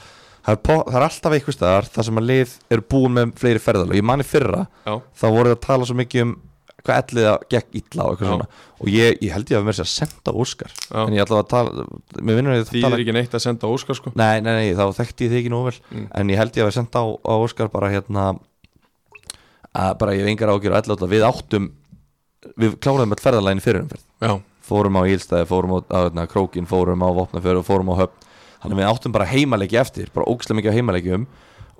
Speaker 3: það er, po, það er alltaf eitthvað staðar þar sem að lið eru búin með fleiri ferðalög, ég mani fyrra
Speaker 2: Já,
Speaker 3: þá voru það að tala svo mikið um hvað ellið að gekk illa og eitthvað
Speaker 2: Já.
Speaker 3: svona og ég, ég held ég að við mér sér að senda Óskar
Speaker 2: Já.
Speaker 3: en ég ætla að tala, mér vinnur ég að
Speaker 2: því
Speaker 3: tala
Speaker 2: er ekki Mm. neitt að senda Óskar sko
Speaker 3: nei, nei, nei, þá þekkti ég þig ekki nóg vel en ég held ég að við senda á, á Óskar bara hérna að bara ég hef engar ágjur að ellið við áttum, við kláraðum all ferðalægin fyrir umferð
Speaker 2: Já,
Speaker 3: fórum á Ílstæði, fórum á, á hérna, Krókin, fórum á Vopnafjörðu, fórum á Höfn þannig að við áttum bara heimaleiki eftir, bara ógislega mikið á heimaleikjum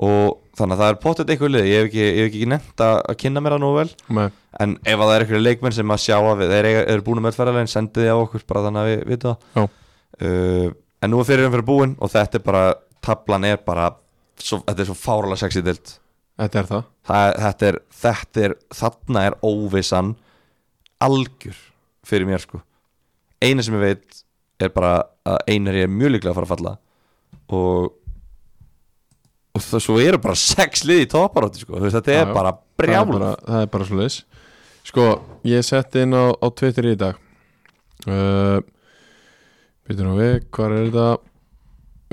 Speaker 3: og þannig að það er pottet eitthvað lið, ég hef ekki, ég hef ekki nefnt að, að kynna mér það nú vel
Speaker 2: með
Speaker 3: en ef að það er einhverju leikmenn sem að sjá að við þeir eiga- eru búin með ferðarlegin, sendið þið á okkur bara þannig að við vitum
Speaker 2: Já.
Speaker 3: það uh, en nú er fyrir fyrir búin og þetta er bara tablan er bara, svo, þetta er svo fárala sexy dild
Speaker 2: Þetta er það
Speaker 3: Það, þetta, er, þetta er, þarna er óvissan algjör fyrir mér sko eina sem ég veit er bara að einar ég er mjög líklega að fara að falla og og það svo eru bara sex lið í toparótti sko, Þú veist, þetta
Speaker 2: Já,
Speaker 3: er
Speaker 2: já.
Speaker 3: bara
Speaker 2: það er
Speaker 3: brjálur
Speaker 2: bara, það er bara svo leiðis Sko, ég setti inn á, á Twitter í dag uh, Býtum nú við, hvar er þetta?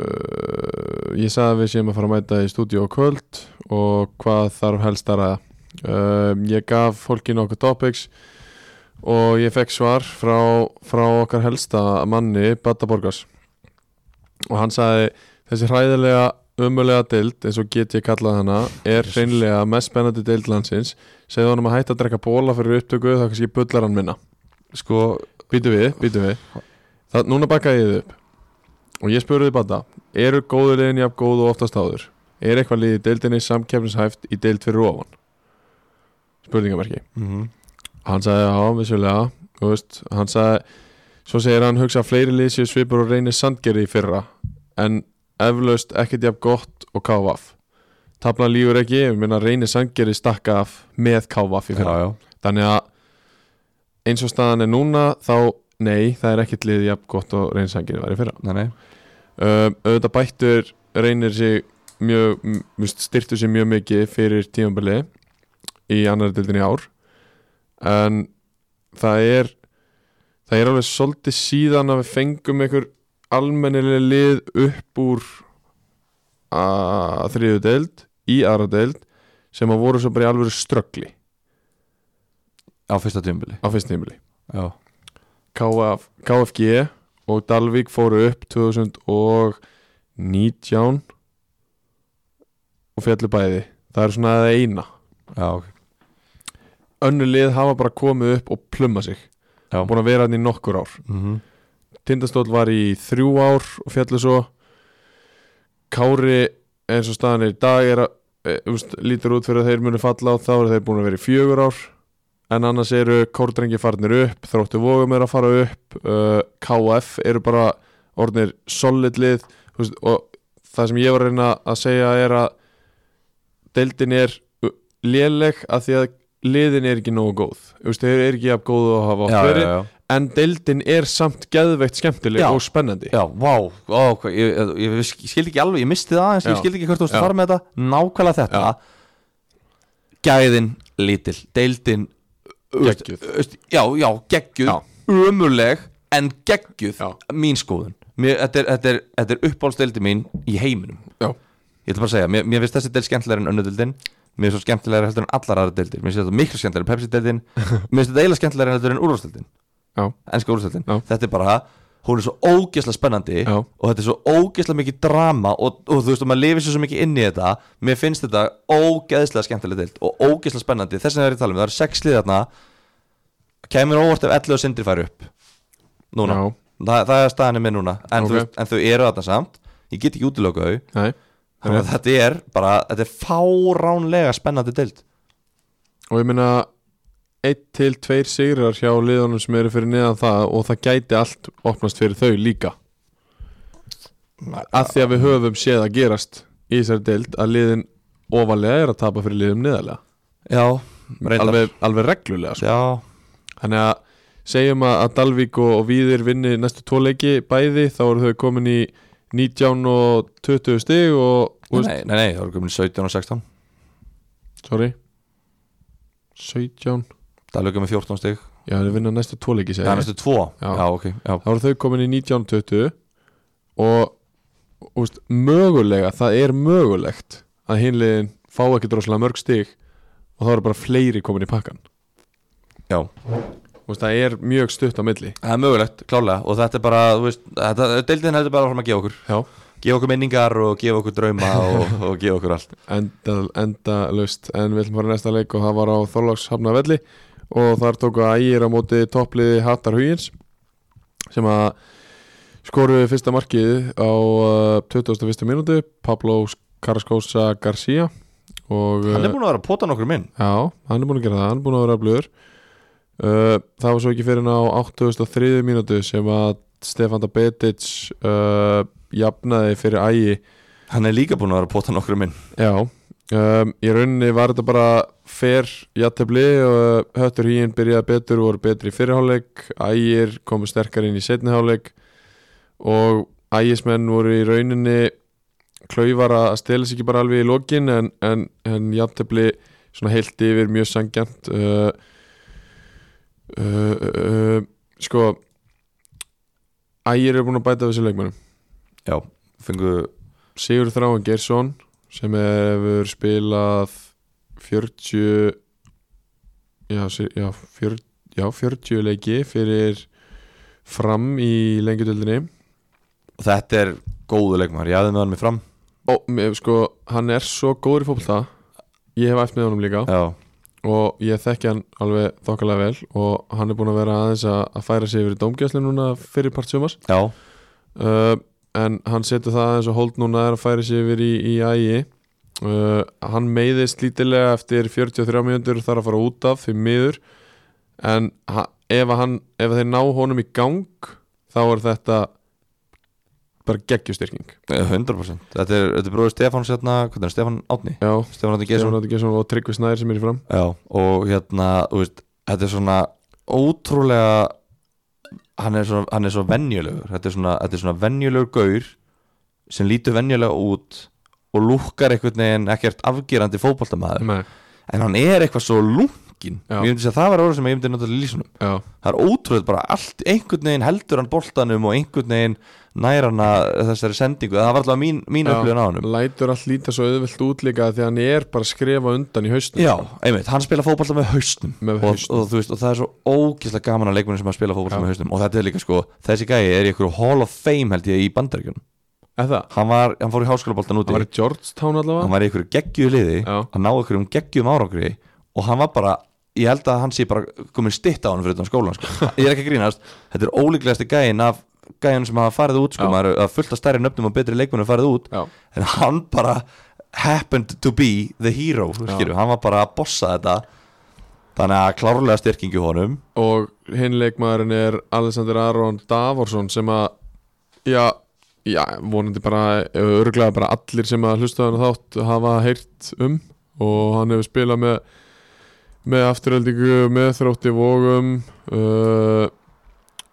Speaker 2: Uh, ég sagði að við séum að fara að mæta í stúdíu á kvöld og hvað þarf helst að ræða uh, Ég gaf fólki nokkuð topics og ég fekk svar frá, frá okkar helsta manni, Bata Borgars og hann sagði þessi hræðilega ömulega deild eins og get ég kallað hana er hreinlega mest spennandi deild landsins segði honum að hætta að drekka bóla fyrir upptöku þá kannski bullar hann minna
Speaker 3: sko,
Speaker 2: býtu við, býtu við það, núna bakkaði ég þið upp og ég spurði bara eru góðu liðin jafn góð og oftast áður er eitthvað liðið deildinni samkeppnishæft í deild fyrir ofan spurningamarki hann sagði já, vissulega þú veist, hann sagði svo segir hann hugsa að fleiri lið séu svipur og reynir sandgeri í fyrra en eflaust ekkert jafn gott og KVF tablan lífur ekki, ég minna reynir sandgeri stakka af með KVF í
Speaker 3: já,
Speaker 2: fyrra
Speaker 3: já,
Speaker 2: þannig að eins og staðan er núna þá nei, það er ekkert lið jafn gott og reynir sandgeri var í fyrra
Speaker 3: nei, nei
Speaker 2: um, auðvitað bættur reynir sig mjög, m- þú veist, styrtu sig mjög mikið fyrir tímabili í annar dildin í ár en það er það er alveg svolítið síðan að við fengum einhver almennileg lið upp úr að þriðu deild í aðra deild sem að voru svo bara í alveg ströggli
Speaker 3: á fyrsta tjumbili
Speaker 2: á fyrst tímabili
Speaker 3: já,
Speaker 2: KF, KFG og Dalvík fóru upp 2019 og fjallu bæði það er svona það eina
Speaker 3: já, ok
Speaker 2: önnu lið hafa bara komið upp og plumma sig
Speaker 3: Já.
Speaker 2: búin að vera hann í nokkur ár
Speaker 3: mm
Speaker 2: Tindastóll var í þrjú ár og fjallu svo Kári eins og staðan er í dag er að, e, úst, lítur út fyrir að þeir munu falla og þá eru þeir búin að vera í fjögur ár en annars eru Kórdrengi farnir upp Þróttu Vógum er að fara upp uh, KF eru bara orðnir solid lið þú veist, og það sem ég var að reyna að segja er að deildin er uh, léleg að því að liðin er ekki nógu góð Þú veist, þeir eru ekki jafn góð og hafa
Speaker 3: já,
Speaker 2: átt
Speaker 3: já,
Speaker 2: verið
Speaker 3: já.
Speaker 2: en deildin er samt geðveikt skemmtileg
Speaker 3: Já.
Speaker 2: og spennandi
Speaker 3: Já, vá, ó, hvað, ég, ég, ég skildi ekki alveg, ég misti það en ég
Speaker 2: Já.
Speaker 3: skildi ekki hvert þú varst
Speaker 2: Já.
Speaker 3: að fara með þetta Nákvæmlega þetta Gæðin lítil, deildin þú veist,
Speaker 2: Geggjuð.
Speaker 3: þú veist, Já, já, geggjuð,
Speaker 2: Já.
Speaker 3: ömurleg en geggjuð,
Speaker 2: Já.
Speaker 3: mín skoðun mér, þetta, er, þetta, er, þetta er uppáhaldsdeildi mín í heiminum
Speaker 2: Já.
Speaker 3: Ég ætla bara að segja, mér, mér finnst þessi deild skemmtilegar en önnu deildin Mér finnst svo skemmtilegar heldur en allar aðra deildir Mér finnst þetta miklu skemmtilegar
Speaker 2: [LAUGHS]
Speaker 3: en Pepsi-deildin Mér finnst þetta eiginlega skemmtilegar heldur en úrvarsdeildin
Speaker 2: Já.
Speaker 3: ennska úrstöldin
Speaker 2: Já.
Speaker 3: þetta er bara, hún er svo ógeðslega spennandi
Speaker 2: Já.
Speaker 3: og þetta er svo ógeðslega mikið drama og, og þú veist, og maður lifir svo mikið inn í þetta mér finnst þetta ógeðslega skemmtilega deilt og ógeðslega spennandi, þess vegna er ég að tala um það eru sex lið þarna kemur óvart ef 11 og sindri færi upp núna,
Speaker 2: Já.
Speaker 3: Þa, það er staðanum minn núna en,
Speaker 2: Ok.
Speaker 3: þú veist, en þau eru þarna samt ég get ekki útilöku þau
Speaker 2: Nei.
Speaker 3: þannig að þetta er bara, þetta er fáránlega spennandi deilt
Speaker 2: og ég meina 1 til 2 sigrar hjá liðunum sem eru fyrir neðan það og það gæti allt opnast fyrir þau líka að því að við höfum séð að gerast í þessari deild að liðin ofalega er að tapa fyrir liðum neðalega
Speaker 3: Já, reyndar.
Speaker 2: alveg, alveg reglulega sko.
Speaker 3: já
Speaker 2: þannig að segjum að, að Dalvík og, og Víðir vinni næstu tóleiki bæði þá eru þau komin í 19 og 20 stig og, og
Speaker 3: Nei, nei, nei, það voru komin 17 og 16
Speaker 2: sorry 17
Speaker 3: Dalvík er með 14 stig
Speaker 2: já þeir vinna næstu tóleiki
Speaker 3: Það
Speaker 2: segja
Speaker 3: er
Speaker 2: ég.
Speaker 3: næstu 2
Speaker 2: Já.
Speaker 3: já ok já.
Speaker 2: þá eru þau komin í 19 og 20 og úst, mögulega það er mögulegt að hinliðin fá ekki droslega mörg stig og þá eru bara fleiri komin í pakkan
Speaker 3: já
Speaker 2: úst, það er mjög stutt á milli
Speaker 3: Það er mögulegt, klálega Og þetta er bara, þú veist þetta, Deildin heldur bara áfram að gefa okkur
Speaker 2: já
Speaker 3: Gefa okkur minningar og gefa okkur [LAUGHS] drauma og, og gefa okkur allt
Speaker 2: enda, enda löst en við ætlum bara í næsta leik og það var á Þorláks hafna velli og þar tóku ægir á móti toppliði Hattar Huyins sem að skoruði fyrsta markið á uh, 21. mínútu Pablo Carrascosa Garcia og
Speaker 3: Hann er
Speaker 2: uh,
Speaker 3: búin að vera að pota nokkur minn
Speaker 2: já, hann er búin að gera það, hann er búin að vera blöður uh, það var svo ekki fyrir hann á 83. mínútu sem að Stefan Dabetic uh, jafnaði fyrir ægi
Speaker 3: Hann er líka búin að vera að pota nokkur minn
Speaker 2: Já, um, í rauninni var þetta bara fer játtöfli og uh, höttur hýinn byrjaði betur og voru betri í fyrirháleik ægir komu sterkar inn í setniháleik og ægismenn voru í rauninni klaufar að stela sig ekki bara alveg í lokin en, en, en játtöfli svona heilt yfir mjög sangjant uh, uh, uh, uh, sko ægir eru búin að bæta við þessu leikmennum
Speaker 3: Já, fengu
Speaker 2: Sigur Þráin Gersson sem hefur spilað 40 já, si- já, 40, já 40 leiki fyrir fram í lengjudöldinni
Speaker 3: Og þetta er góðu leikmar Ég hafði með hann mig fram
Speaker 2: og mér- sko, hann er svo góður í fótbolta ég hef æft með honum líka
Speaker 3: Já,
Speaker 2: og ég þekki hann alveg þokkalega vel og hann er búin að vera aðeins að, að færa sig yfir í dómgjöfsli núna fyrir part sumars
Speaker 3: já
Speaker 2: uh, en hann setur það eins og hold núna er að færa sig yfir í, í ægi uh, hann meiðist lítilega eftir 43 mínútur og þarf að fara út af fyrir miður en ha- ef, að hann, ef þeir ná honum í gang þá er þetta bara geggjustyrking
Speaker 3: Eh, 100% Þetta er, þetta er bróður Stefáns hérna Hvernig er hann? Stefán Átni
Speaker 2: já,
Speaker 3: Stefán Átni Gesson
Speaker 2: Gesson Átti Gesson og Tryggvi Snæðir sem er í fram
Speaker 3: Já, og hérna, þú veist, þetta er svona ótrúlega hann er svo, hann er svo venjulegur þetta er svona, þetta er svona venjulegur gaur sem lítur venjulega út og lúkkar einhvern veginn ekkert afgerandi fótboltamaður
Speaker 2: Nei,
Speaker 3: en hann er eitthvað svo lúngin
Speaker 2: Já.
Speaker 3: ég myndi segja að það var orð sem ég myndi náttúrulega lýsunum
Speaker 2: já,
Speaker 3: það er ótrúlega bara allt, einhvern veginn heldur hann boltanum og einhvern veginn nær hann að þessari sendingu það var alltaf mín, mín upplifun á hann
Speaker 2: lætur allt líta svo auðvelt út líka því að hann er bara að skrefa undan í haustum
Speaker 3: Já, einmitt, hann spila fótballta með hausnum,
Speaker 2: Með hausnum.
Speaker 3: Og, og, þú veist, og það er svo ógeðslega gaman að leikmennin sem að spila fótballta
Speaker 2: Já.
Speaker 3: með hausnum og þetta er líka sko, þessi gæi er í einhverju Hall of Fame held ég í bandaríkjunum
Speaker 2: eða,
Speaker 3: hann, var- hann fór í háskólaboltan úti
Speaker 2: hann var í Georgetown
Speaker 3: hann
Speaker 2: allavega
Speaker 3: var í einhverju geggju liði
Speaker 2: Já.
Speaker 3: að ná einhverjum geggjum árangri og hann var bara, ég held að hann sé bara komin stitt á hann fyrir utan
Speaker 2: [LAUGHS]
Speaker 3: skólan sko. ég er ekki að grínast, þetta er ólíklegasti gæin af gæin sem hafa farið út sko,
Speaker 2: Já.
Speaker 3: maður að fullta stærri nöfnum og betri leikmennu farið út
Speaker 2: Já.
Speaker 3: en hann bara happened to be the hero skilu, hann var bara að bossa þetta þannig að klárlega styrkingi honum
Speaker 2: og hinn leikmaðurinn er Alexander Aron Davorsson sem að já, já vonandi bara örglega bara allir sem að hlusta hann þátt hafa heyrt um og hann hefur spilað með með afturöldingu, með þrótti vógum uh,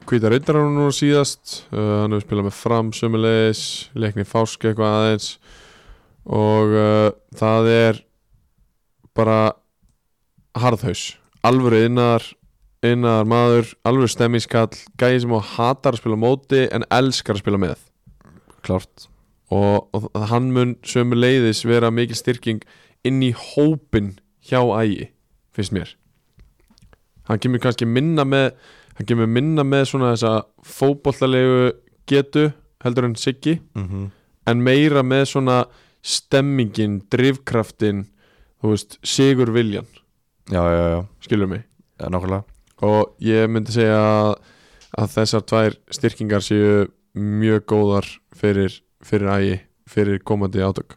Speaker 2: hvítar reyndar hann nú síðast uh, hann hefur spilað með fram sömulegis leikni fásk eitthvað aðeins og uh, það er bara harðhaus alvöru innar innar maður, alveg stemmingskall gæði sem á hatar að spila á móti en elskar að spila með
Speaker 3: klárt
Speaker 2: og, og hann mun sömu leiðis vera mikil styrking inn í hópin hjá ægi, finnst mér hann kemur kannski minna með hann kemur minna með svona þessa fótbollalegu getu heldur en Siggi
Speaker 3: mm
Speaker 2: en meira með svona stemmingin, drifkraftin þú veist, sigur viljan
Speaker 3: já, já, já,
Speaker 2: skilur mig
Speaker 3: já, nákvæmlega
Speaker 2: og ég myndi segja að, að þessar tvær styrkingar séu mjög góðar fyrir, fyrir ægi, fyrir komandi átök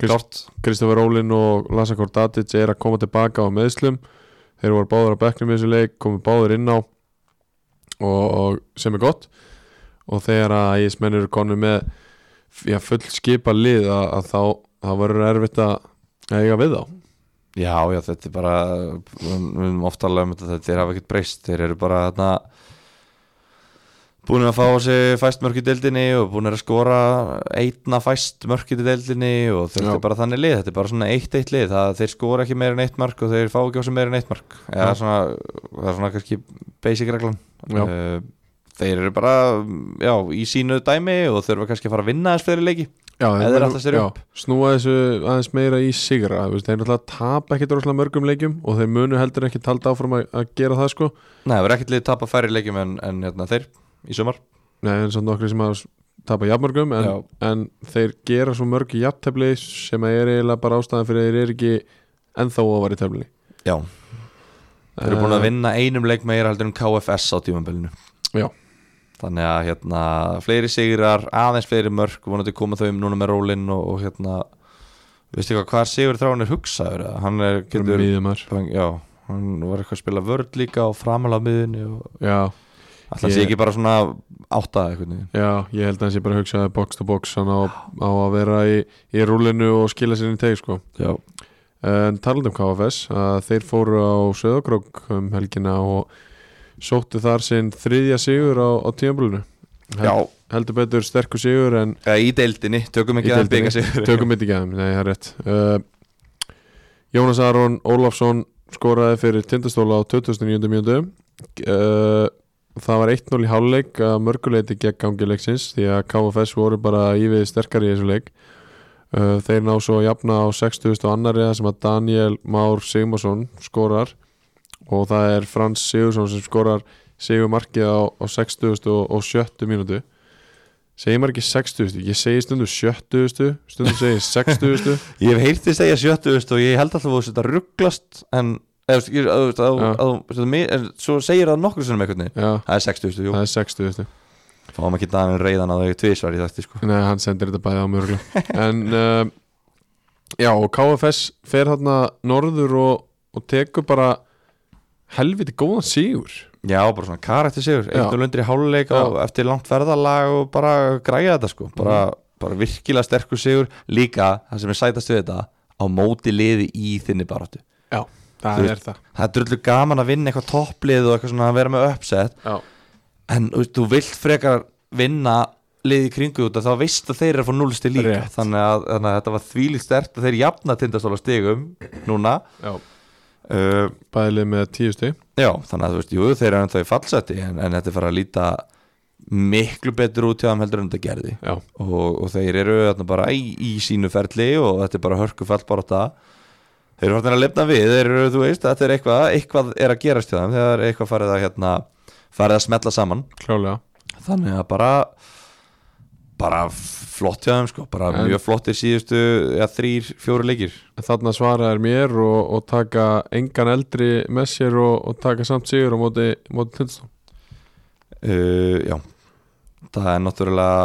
Speaker 3: klart
Speaker 2: Kristoffer Rólin og Lasa Kordatic er að koma tilbaka á meðslum þeir voru báður að bekknum í þessu leik komu báður inn á og, og sem er gott og þegar að ægismenn eru konu með já, full skipa lið að, að þá, þá verður erfitt að eiga við þá
Speaker 3: Já, já, þetta er bara við höfum ofta alveg um þetta, þetta er hafa ekkert breyst þeir eru bara þarna búin að fá sig fæst mörk í deildinni og búin að skora eitna fæst mörk í deildinni og þetta
Speaker 2: Já.
Speaker 3: er bara þannig lið, þetta er bara svona eitt eitt lið, það þeir skora ekki meira en eitt mark og þeir fá ekki á sig meira en eitt mark ja,
Speaker 2: Já.
Speaker 3: svona, það er svona kannski basic reglan
Speaker 2: Já.
Speaker 3: Eh, þeir eru bara já, í sínu dæmi og þurfa kannski að fara að vinna þess fyrir leiki
Speaker 2: Já,
Speaker 3: Ef þeir ætla sér
Speaker 2: já,
Speaker 3: upp.
Speaker 2: snúa þessu aðeins meira í sigra þú veist, þeir náttúrulega tapa ekkert rosalega mörgum leikjum og þeir munu heldur ekki talda áfram að, að gera það sko
Speaker 3: Nei, það verður ekkert lið tapa færri leikjum en, en hérna, þeir í sumar
Speaker 2: Nei, en samt nokkri sem að tapa jafnmörgum en,
Speaker 3: Já.
Speaker 2: en þeir gera svo mörg í jafntefli sem að er eiginlega bara ástæðan fyrir að þeir eru ekki ennþá ofar í Eh, teflinni
Speaker 3: Já, Þeir eru búin að vinna einum leik meira heldur en KFS á tímabilinu
Speaker 2: Já.
Speaker 3: Þannig að hérna, fleiri sigrar, aðeins fleiri mörk vonandi koma þau um núna með rólinn og, og hérna, veistu hvað, hvað Sigur Þráin er hugsaður? eða? Hann er,
Speaker 2: Getur
Speaker 3: getur,
Speaker 2: mýðum þar
Speaker 3: hann, já, hann var eitthvað að spila vörð líka og framhala á miðunni og
Speaker 2: Já,
Speaker 3: alltaf sé
Speaker 2: Ég-
Speaker 3: ekki bara svona átta eitthvað niður
Speaker 2: já, ég held að hans ég bara hugsaði box to box hann á, á að vera í, í rúlinu og skila sér inn í teg sko
Speaker 3: Já,
Speaker 2: En talandi um KFS að þeir fóru á Söðakrók um helgina og sóttu þar sinn þriðja sigur á, á tímabölinu
Speaker 3: já
Speaker 2: Heldur betur sterkur sigur en
Speaker 3: eða í deildinni, tökum
Speaker 2: Í
Speaker 3: ekki að
Speaker 2: deildinni.
Speaker 3: byggja sigur
Speaker 2: Tökum þetta ekki aðeins, nei það er rétt uh, Jónas Aron Ólafsson skoraði fyrir tindastóla á 2009. mjöndu uh, Það var 1-0 í hálfleik að mörguleiti gegn gangi leiksins því að KFS voru bara ívið sterkari í þessu leik uh, Þeir ná svo að jafna á 60. annari þar sem að Daniel Már Sigmarsson skorar og það er Frans Sigursson sem skorar Sigurmarkið á, á 60. og 70. mínútu segir maður ekki 60 ég segi stundu 70 stundu segi 60
Speaker 3: Ég hef heyrt því segja sjöttu veist, og ég held alltaf að þú þetta rugglast en eða, þú veist, að, að,
Speaker 2: Já.
Speaker 3: að, að, að, að, að, svo segir það nokkur sinnum einhvern veginn
Speaker 2: já,
Speaker 3: Það er 60, jú
Speaker 2: það er 60 veistu.
Speaker 3: Fáum ekki Danin reyðan að þau tvísvar í þetta sko
Speaker 2: nei, hann sendir þetta bæði á mjög en uh, já, og KFS fer þarna norður og, og tekur bara helviti góðan sígur
Speaker 3: Já, bara svona karakter sigur,
Speaker 2: Já.
Speaker 3: eitt og lundir í háluleik og eftir langt ferðalag og bara græja þetta sko bara,
Speaker 2: Mhm.
Speaker 3: bara virkilega sterkur sigur líka, það sem er sætast við þetta á móti liði í þinni baráttu
Speaker 2: já,
Speaker 3: Þú
Speaker 2: það
Speaker 3: veist-
Speaker 2: er það
Speaker 3: Það er drullu gaman að vinna eitthvað topplið og eitthvað svona að vera með uppsett
Speaker 2: já,
Speaker 3: en þú veist, þú vilt frekar vinna liði í kringu út að þá veist að þeir eru að fá núlsti líka
Speaker 2: Rétt.
Speaker 3: þannig að, þannig að þetta var þvílíkt stert að þeir jafna tindastóla stigum núna
Speaker 2: já.
Speaker 3: uh,
Speaker 2: bæðið með 10 stig
Speaker 3: Já, þannig að þú veist, jú, þeir eru ennþá í fallseti en, en þetta er farið að líta miklu betur út hjá þeim heldur en þetta gerði
Speaker 2: já,
Speaker 3: og, og þeir eru þarna bara í, í sínu ferli og þetta er bara hörku fall bara þetta þeir eru farin að lefna við, þeir eru, þú veist, þetta er eitthvað eitthvað er að gerast hjá þeim, þegar er eitthvað farið að hérna, farið að smetla saman
Speaker 2: klálega
Speaker 3: þannig að bara bara flott hjá þeim sko, bara
Speaker 2: En-
Speaker 3: mjög flottir síðustu ja, þrýr, fjóru leikir
Speaker 2: þarna svaraðir mér og, og taka engan eldri með sér og, og taka samt sigur á móti, móti tindastól
Speaker 3: uh, Já Það er náttúrulega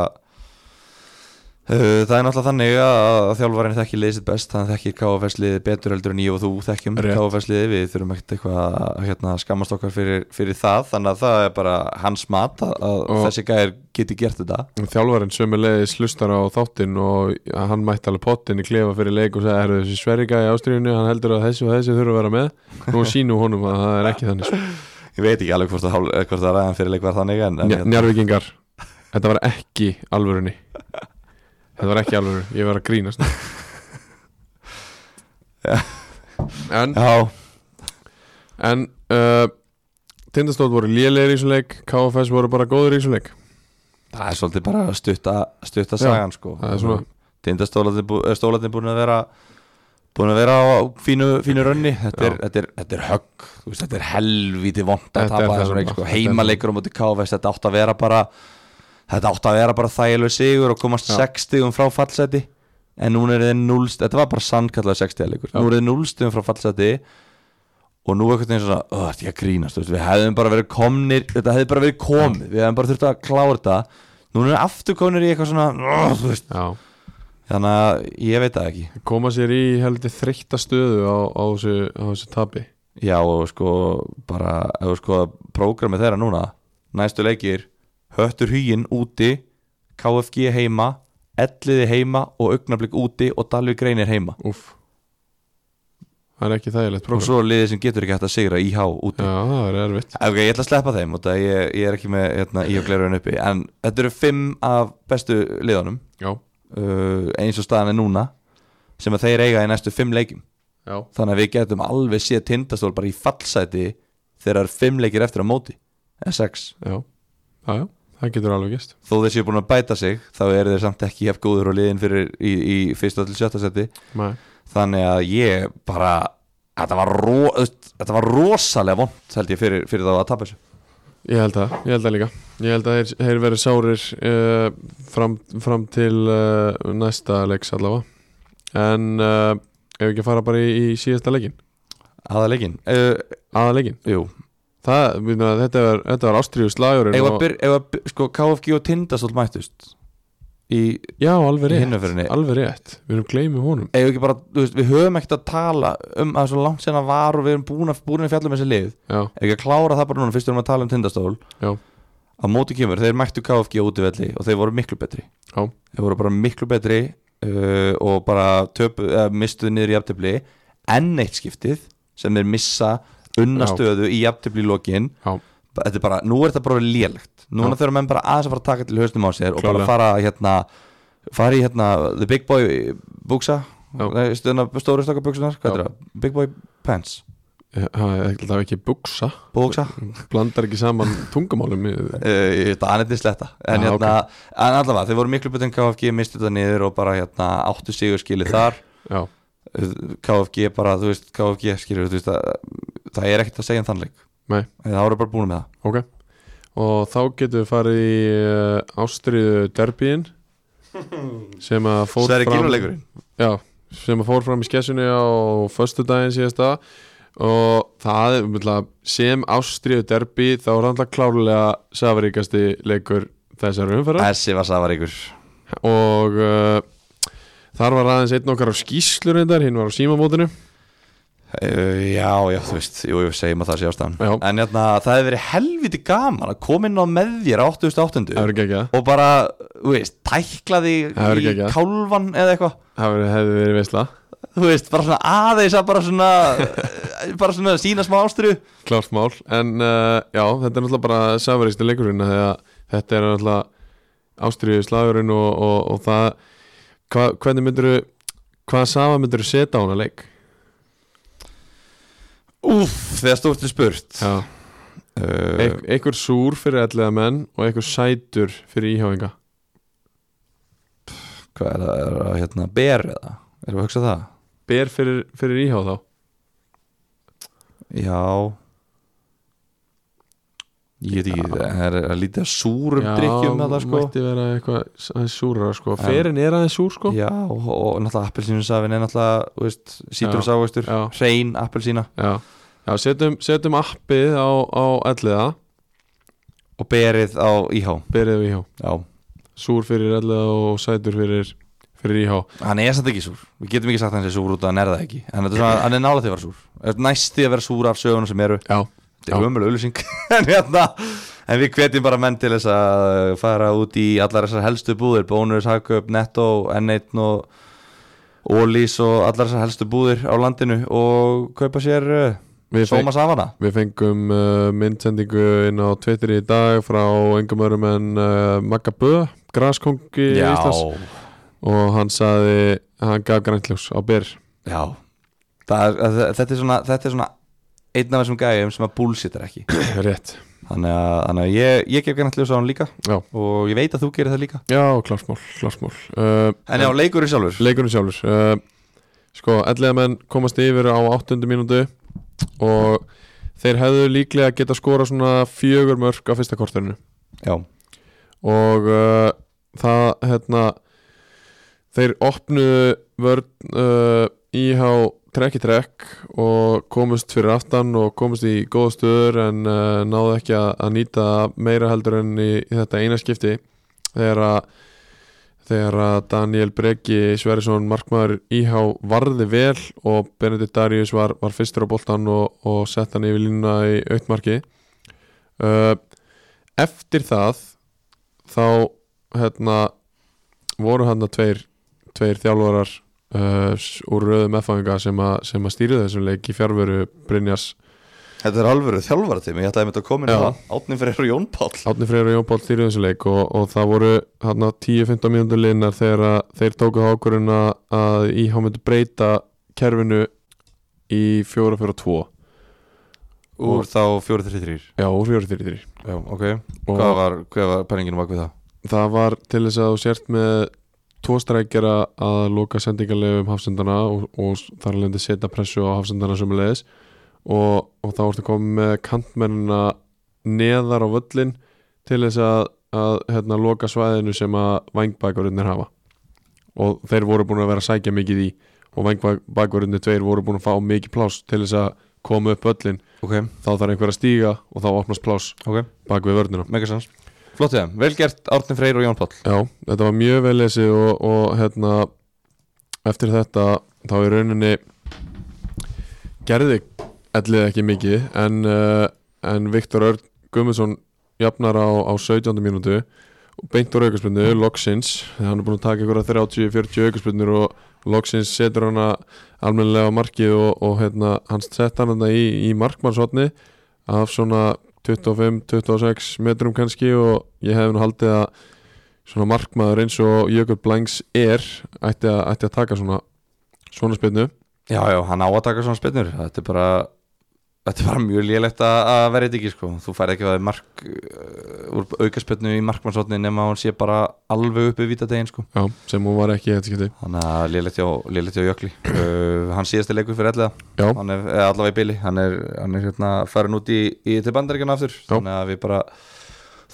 Speaker 3: uh, Það er náttúrulega þannig að, að þjálfarinn þekkir liðið sitt best hann þekkir KFS liðið betur heldur en ég og þú þekkjum
Speaker 2: Rétt.
Speaker 3: KFS liðið við þurfum ekkert eitthvað að hérna, skammast okkar fyrir, fyrir það þannig að það er bara hans mat að, að
Speaker 2: Og-
Speaker 3: þessi gæðir geti gert þetta
Speaker 2: Þjálfarinn sömulegis hlustar á þáttinn og hann mætti alveg pottin í klefa fyrir leik og sagði, herru þessi sverriga í ástriðinu hann heldur að þessi og þessi þurfa að vera með nú sínu honum að það er ekki þannig sko.
Speaker 3: Ég veit ekki alveg hvort það, hál- hvort það ræðan fyrir leik var þannig en, hérna. en
Speaker 2: Nja- Njarvíkingar, þetta var ekki alvörunni þetta var ekki alvörunni, ég var að grínast en,
Speaker 3: Já,
Speaker 2: en uh, Tindastótt voru lélegir í þessum leik KFS voru bara góður í þessum leik
Speaker 3: það er svolítið bara stutta, stutta
Speaker 2: Já,
Speaker 3: sagan sko
Speaker 2: það er svona.
Speaker 3: Tindastólatin búin að vera búin að vera á fínu, fínu rönni þetta er,
Speaker 2: Já.
Speaker 3: þetta, er, þetta er högg þú veist, þetta er helvíti vond að
Speaker 2: Þetta er
Speaker 3: tapa
Speaker 2: það
Speaker 3: þessum leik
Speaker 2: bara.
Speaker 3: sko.
Speaker 2: Þetta er
Speaker 3: heimaleikur á móti KFS þetta átt að vera bara þetta átt að vera bara þægileg sigur og komast
Speaker 2: Já.
Speaker 3: 60 um frá fallseti en núna er þið 0 þetta var bara sannkallað 60 leikur
Speaker 2: Já.
Speaker 3: nú er þið 0 stum frá fallseti og nú eitthvað eins og svona, "Ugh, þetta er ekki að grínast þú veist, við hefðum bara verið komnir, þetta hefði bara verið komið við hefðum bara þurft að klára þetta núna er aftur komnir í eitthvað svona "Ugh", þú veist,
Speaker 2: Já,
Speaker 3: þannig að ég veit það ekki
Speaker 2: koma sér í heldur þreytta stöðu á, á, þessu, á þessu tapi
Speaker 3: já og sko bara ef við sko prógramið þeirra núna næstu leikir höttur huginn úti KFG heima elliði heima og augnablík úti og Dalvi greinir heima
Speaker 2: Úff Það er ekki þægilegt
Speaker 3: og
Speaker 2: prógram
Speaker 3: svo liðið sem getur ekki hægt að sigra IH úti
Speaker 2: Já, það er erfitt
Speaker 3: Ok, ég ætla að sleppa þeim og það ég, ég er ekki með hérna, í og glerun uppi en þetta eru fimm af bestu liðunum
Speaker 2: Já,
Speaker 3: uh, eins og staðan er núna sem að þeir eiga í næstu fimm leikum
Speaker 2: já,
Speaker 3: þannig að við getum alveg séð tindastól bara í fallsæti þegar það eru fimm leikir eftir á móti eða sex
Speaker 2: já Já, já, það getur alveg gist
Speaker 3: þó þeir séu búin að bæta sig þá eru þeir samt ekki jafn góður og liðin fyrir í, í fyrsta til sjötta seti
Speaker 2: Nei,
Speaker 3: þannig að ég bara þetta var, ro, þetta var rosalega vond held ég fyrir, fyrir þá að tapa þessu
Speaker 2: ég held það, ég held það líka Ég held að þeir, þeir verið sárir uh, fram, fram til uh, næsta leiks allavega En uh, ef við ekki að fara bara í, í síðasta leikin
Speaker 3: aða leikin uh,
Speaker 2: Aða leikin
Speaker 3: jú
Speaker 2: Það, við meina, þetta var, þetta var ástríðu slagurinn
Speaker 3: Ef
Speaker 2: og-
Speaker 3: að byr, ef að byr, sko, KFG og Tindastól mættust í,
Speaker 2: Já, alveg
Speaker 3: í
Speaker 2: rétt,
Speaker 3: hinnaferðinni
Speaker 2: alveg rétt Við erum gleymi honum
Speaker 3: Ef ekki bara, þú veist, við höfum ekkert að tala um að svo langt sena var og við erum búin að, búin að fjalla um þessi lið
Speaker 2: Já,
Speaker 3: Ef ekki að klára það bara núna, fyrst erum við að tala um Tindastól
Speaker 2: Já.
Speaker 3: Að móti kemur, þeir mættu KFG á útivelli og þeir voru miklu betri
Speaker 2: Já.
Speaker 3: Þeir voru bara miklu betri uh, og bara töpu, uh, mistuðu niður í jafntefli enn eitt skiptið sem þeir missa unna
Speaker 2: Já.
Speaker 3: stöðu í jafntefli í lokin
Speaker 2: já,
Speaker 3: Ba- þetta er bara, nú er þetta bara lélegt núna
Speaker 2: Já.
Speaker 3: þurfum menn bara aðeins að fara að taka til hausnum á sér og bara
Speaker 2: Klárlega.
Speaker 3: fara hérna fara í hérna the big boy buksa
Speaker 2: Já.
Speaker 3: Nei, stöðna, stóru stakka buksunar,
Speaker 2: Já.
Speaker 3: hvað er það? big boy pants,
Speaker 2: ég Eh, það er alltaf ekki buksa
Speaker 3: buksa
Speaker 2: Blandar ekki
Speaker 3: [LAUGHS]
Speaker 2: saman tungumálum í-
Speaker 3: Uh, það er neitt sletta en,
Speaker 2: Já,
Speaker 3: hérna, en allavega, þeir voru miklu betur en KFG mistu þetta niður og bara hérna, áttu sigur skilið þar
Speaker 2: Já,
Speaker 3: Uh, KFG bara, þú veist, KFG skilur þú veist, að, það er ekkert að segja um þannleik
Speaker 2: Nei.
Speaker 3: það voru bara búin með það
Speaker 2: ok Og þá getum við farið í uh, ástriðu derbíin sem að fór fram
Speaker 3: Gylfaleikurinn.
Speaker 2: Já, sem að fór fram í skessunni á föstudaginn síðasta og það er umhverflega sem ástriðu derbi þá er hann klárlega safaríkasti leikur þessar umferðar
Speaker 3: Þessi var safaríkur
Speaker 2: og uh, þar var aðeins einn okkar á skýslur reyndar, hinn var á símamótinu
Speaker 3: Uh, já, já, þú veist, jú, jú, segjum að það sé
Speaker 2: Já.
Speaker 3: ástæðan En hérna, það hefði verið helviti gaman að koma inn á með þér á 8800
Speaker 2: það verður ekki ekki
Speaker 3: Og bara, þú veist, tækla því
Speaker 2: Það væri
Speaker 3: í
Speaker 2: geggjað.
Speaker 3: kálfan eða eitthvað
Speaker 2: það verður- hefði verið veistla
Speaker 3: Þú veist, bara svona aðeins að bara svona
Speaker 2: [LAUGHS]
Speaker 3: Bara svona sína smá ástru
Speaker 2: klárt mál, en uh, já þetta er náttúrulega bara safaríkasti leikurinn af því að þetta er náttúrulega ástriðu slagurinn og, og, og það hva, hvernig myndirðu hvaða safa myndirðu setja á hana leik
Speaker 3: Úff, þegar stórt er spurt
Speaker 2: já, eh.
Speaker 3: uh,
Speaker 2: Eik, einhver súr fyrir ellega menn og einhver sætur fyrir íhjáinga
Speaker 3: Hvað er það, er það hérna, ber eða? Erum við að hugsa það?
Speaker 2: ber fyrir, fyrir íhjá þá
Speaker 3: Já Ég veit ekki, það er að lítið að súrum drikkjum að það sko
Speaker 2: mætti vera eitthvað s- aðeins súrar sko,
Speaker 3: En-
Speaker 2: ferin er aðeins súr sko
Speaker 3: Já, og, og náttúrulega appelsínusafin er náttúrulega, þú veist, sítrusávöxtur
Speaker 2: Já.
Speaker 3: hrein appelsína
Speaker 2: já, já setjum, setjum appið á, á ellega
Speaker 3: og berið á íhá
Speaker 2: berið við íhjá,
Speaker 3: Já,
Speaker 2: súr fyrir ellega og sætur fyrir, fyrir íhjá
Speaker 3: hann er samt ekki súr Við getum ekki sagt að hann sé súr út að hann er það ekki En þetta er [LAUGHS] svona, hann er nála því að vera súr Þetta er Næst því að vera súr af sögunum sem eru
Speaker 2: já,
Speaker 3: Þetta er ömulega auðlýsing [LAUGHS] en, hérna, en við hvetjum bara menn til þess að uh, fara út í allar þessar helstu búðir Bónus, Hagköp, Netto, N1 og Ólís og allar þessar helstu búðir á landinu og kaupa sér uh,
Speaker 2: Við, feng,
Speaker 3: sóma safana
Speaker 2: við fengum uh, myndsendingu inn á Twitter í dag frá engum öðrum en uh, Magga Bö, graskongi Íslands og hann saði, hann gaf grænljós á ber
Speaker 3: Já það, er- að- þetta, er svona, þetta er svona einn af þessum gæjum sem að búlsittar ekki
Speaker 2: rétt,
Speaker 3: Þannig að, þannig að ég, ég gef gæna ljós á hann líka
Speaker 2: já,
Speaker 3: og ég veit að þú gerir það líka
Speaker 2: já, klársmál klársmál uh,
Speaker 3: En já, leikur í sjálfur
Speaker 2: leikunum sjálfur uh, sko, ellega menn komast yfir á áttundu mínútu og þeir hefðu líklega geta skora svona fjögur mörg á fyrsta korterinu
Speaker 3: Já,
Speaker 2: og uh, það hérna þeir opnuðu vörn uh, íhá trekk í trekk og komust fyrir aftan og komust í góða stöður en uh, náðu ekki að, að nýta meira heldur en í, í þetta eina skipti þegar að þegar að Daniel Breki Sverrisson markmaður IH varði vel og Benedikt Darius var, var fyrstur á boltan og, og sett hann yfir línuna í auktmarki uh, eftir það þá hérna, voru hann tveir, tveir þjálfarar uh, s- úr röðum F-fæðinga sem, að- sem að stýrið þessum leik í fjárveru Brynjas
Speaker 4: Þetta er alvöru þjálfara tími, ég ætlaði einmitt að koma inn á
Speaker 2: Já.
Speaker 4: það Átni fyrir Jón Páll
Speaker 2: Átni Freyr og Jón Pál stýrðu þessu leik og, og það voru hann 10-15 mínútur linnar þegar að þeir tóku þá ákvörðun að- að IH myndi breyta kerfinu í 4-4-2
Speaker 3: Úr þá 4-3-3
Speaker 2: já, úr 4-4-3
Speaker 3: Já, ok
Speaker 2: og
Speaker 3: Hvað var, hvað var penninginu bak við það?
Speaker 2: það var til þess að þú sért með tvo strækjara að loka sendingarlegum hafsendana og, og þar lendi setja pressu á hafsendana sömulegis og, og þá ertu komið með kantmennina neðar á völlin til þess að, að hérna, loka svæðinu sem að vangbækurinnir hafa og þeir voru búin að vera að sækja mikið í og vangbækurinnir tveir voru búin að fá mikið pláss til þess að koma upp völlin
Speaker 3: Ok,
Speaker 2: þá þarf einhver að stíga og þá opnast pláss
Speaker 3: ok,
Speaker 2: bak við vörnina
Speaker 3: megasens Flott ég, vel gert Árni Freyr og Jón Páll
Speaker 2: Já, þetta var mjög vel lesið og, og hérna eftir þetta þá í rauninni gerði ellið ekki mikið en, uh, en Viktor Örn Gummason jafnar á, á 17. mínútu og beint úr aukarspunnu, loksins þegar hann er búin að taka ykkur 30-40 aukarspunnur og loksins setur hann almennilega á markið og, og hérna, hann sett hann þarna í, í markmannshotni af svona 25-26 metrum kannski og ég hef nú haldið að svona markmaður eins og Jökull Blanks er ætti að, ætti að taka svona svona spilnu
Speaker 3: Já, já, hann á að taka svona spinnur Þetta er bara, þetta er bara mjög lélegt að, að vera þetta ekki sko. Þú færð ekki að það er mark uh, úr aukaspinnu í markmannsotni nema hún sé bara alveg uppi víta degin sko.
Speaker 2: já, sem hún var ekki í þetta skipti
Speaker 3: Þannig að lélegt hjá, lélegt hjá [CLEARS THROAT] Jökli uh, Hann síðasti leikur fyrir allega
Speaker 2: Já.
Speaker 3: Hann er eða allavega í bili Hann er, hann er hérna farin út í, í til bandaríkjana aftur Þannig að við bara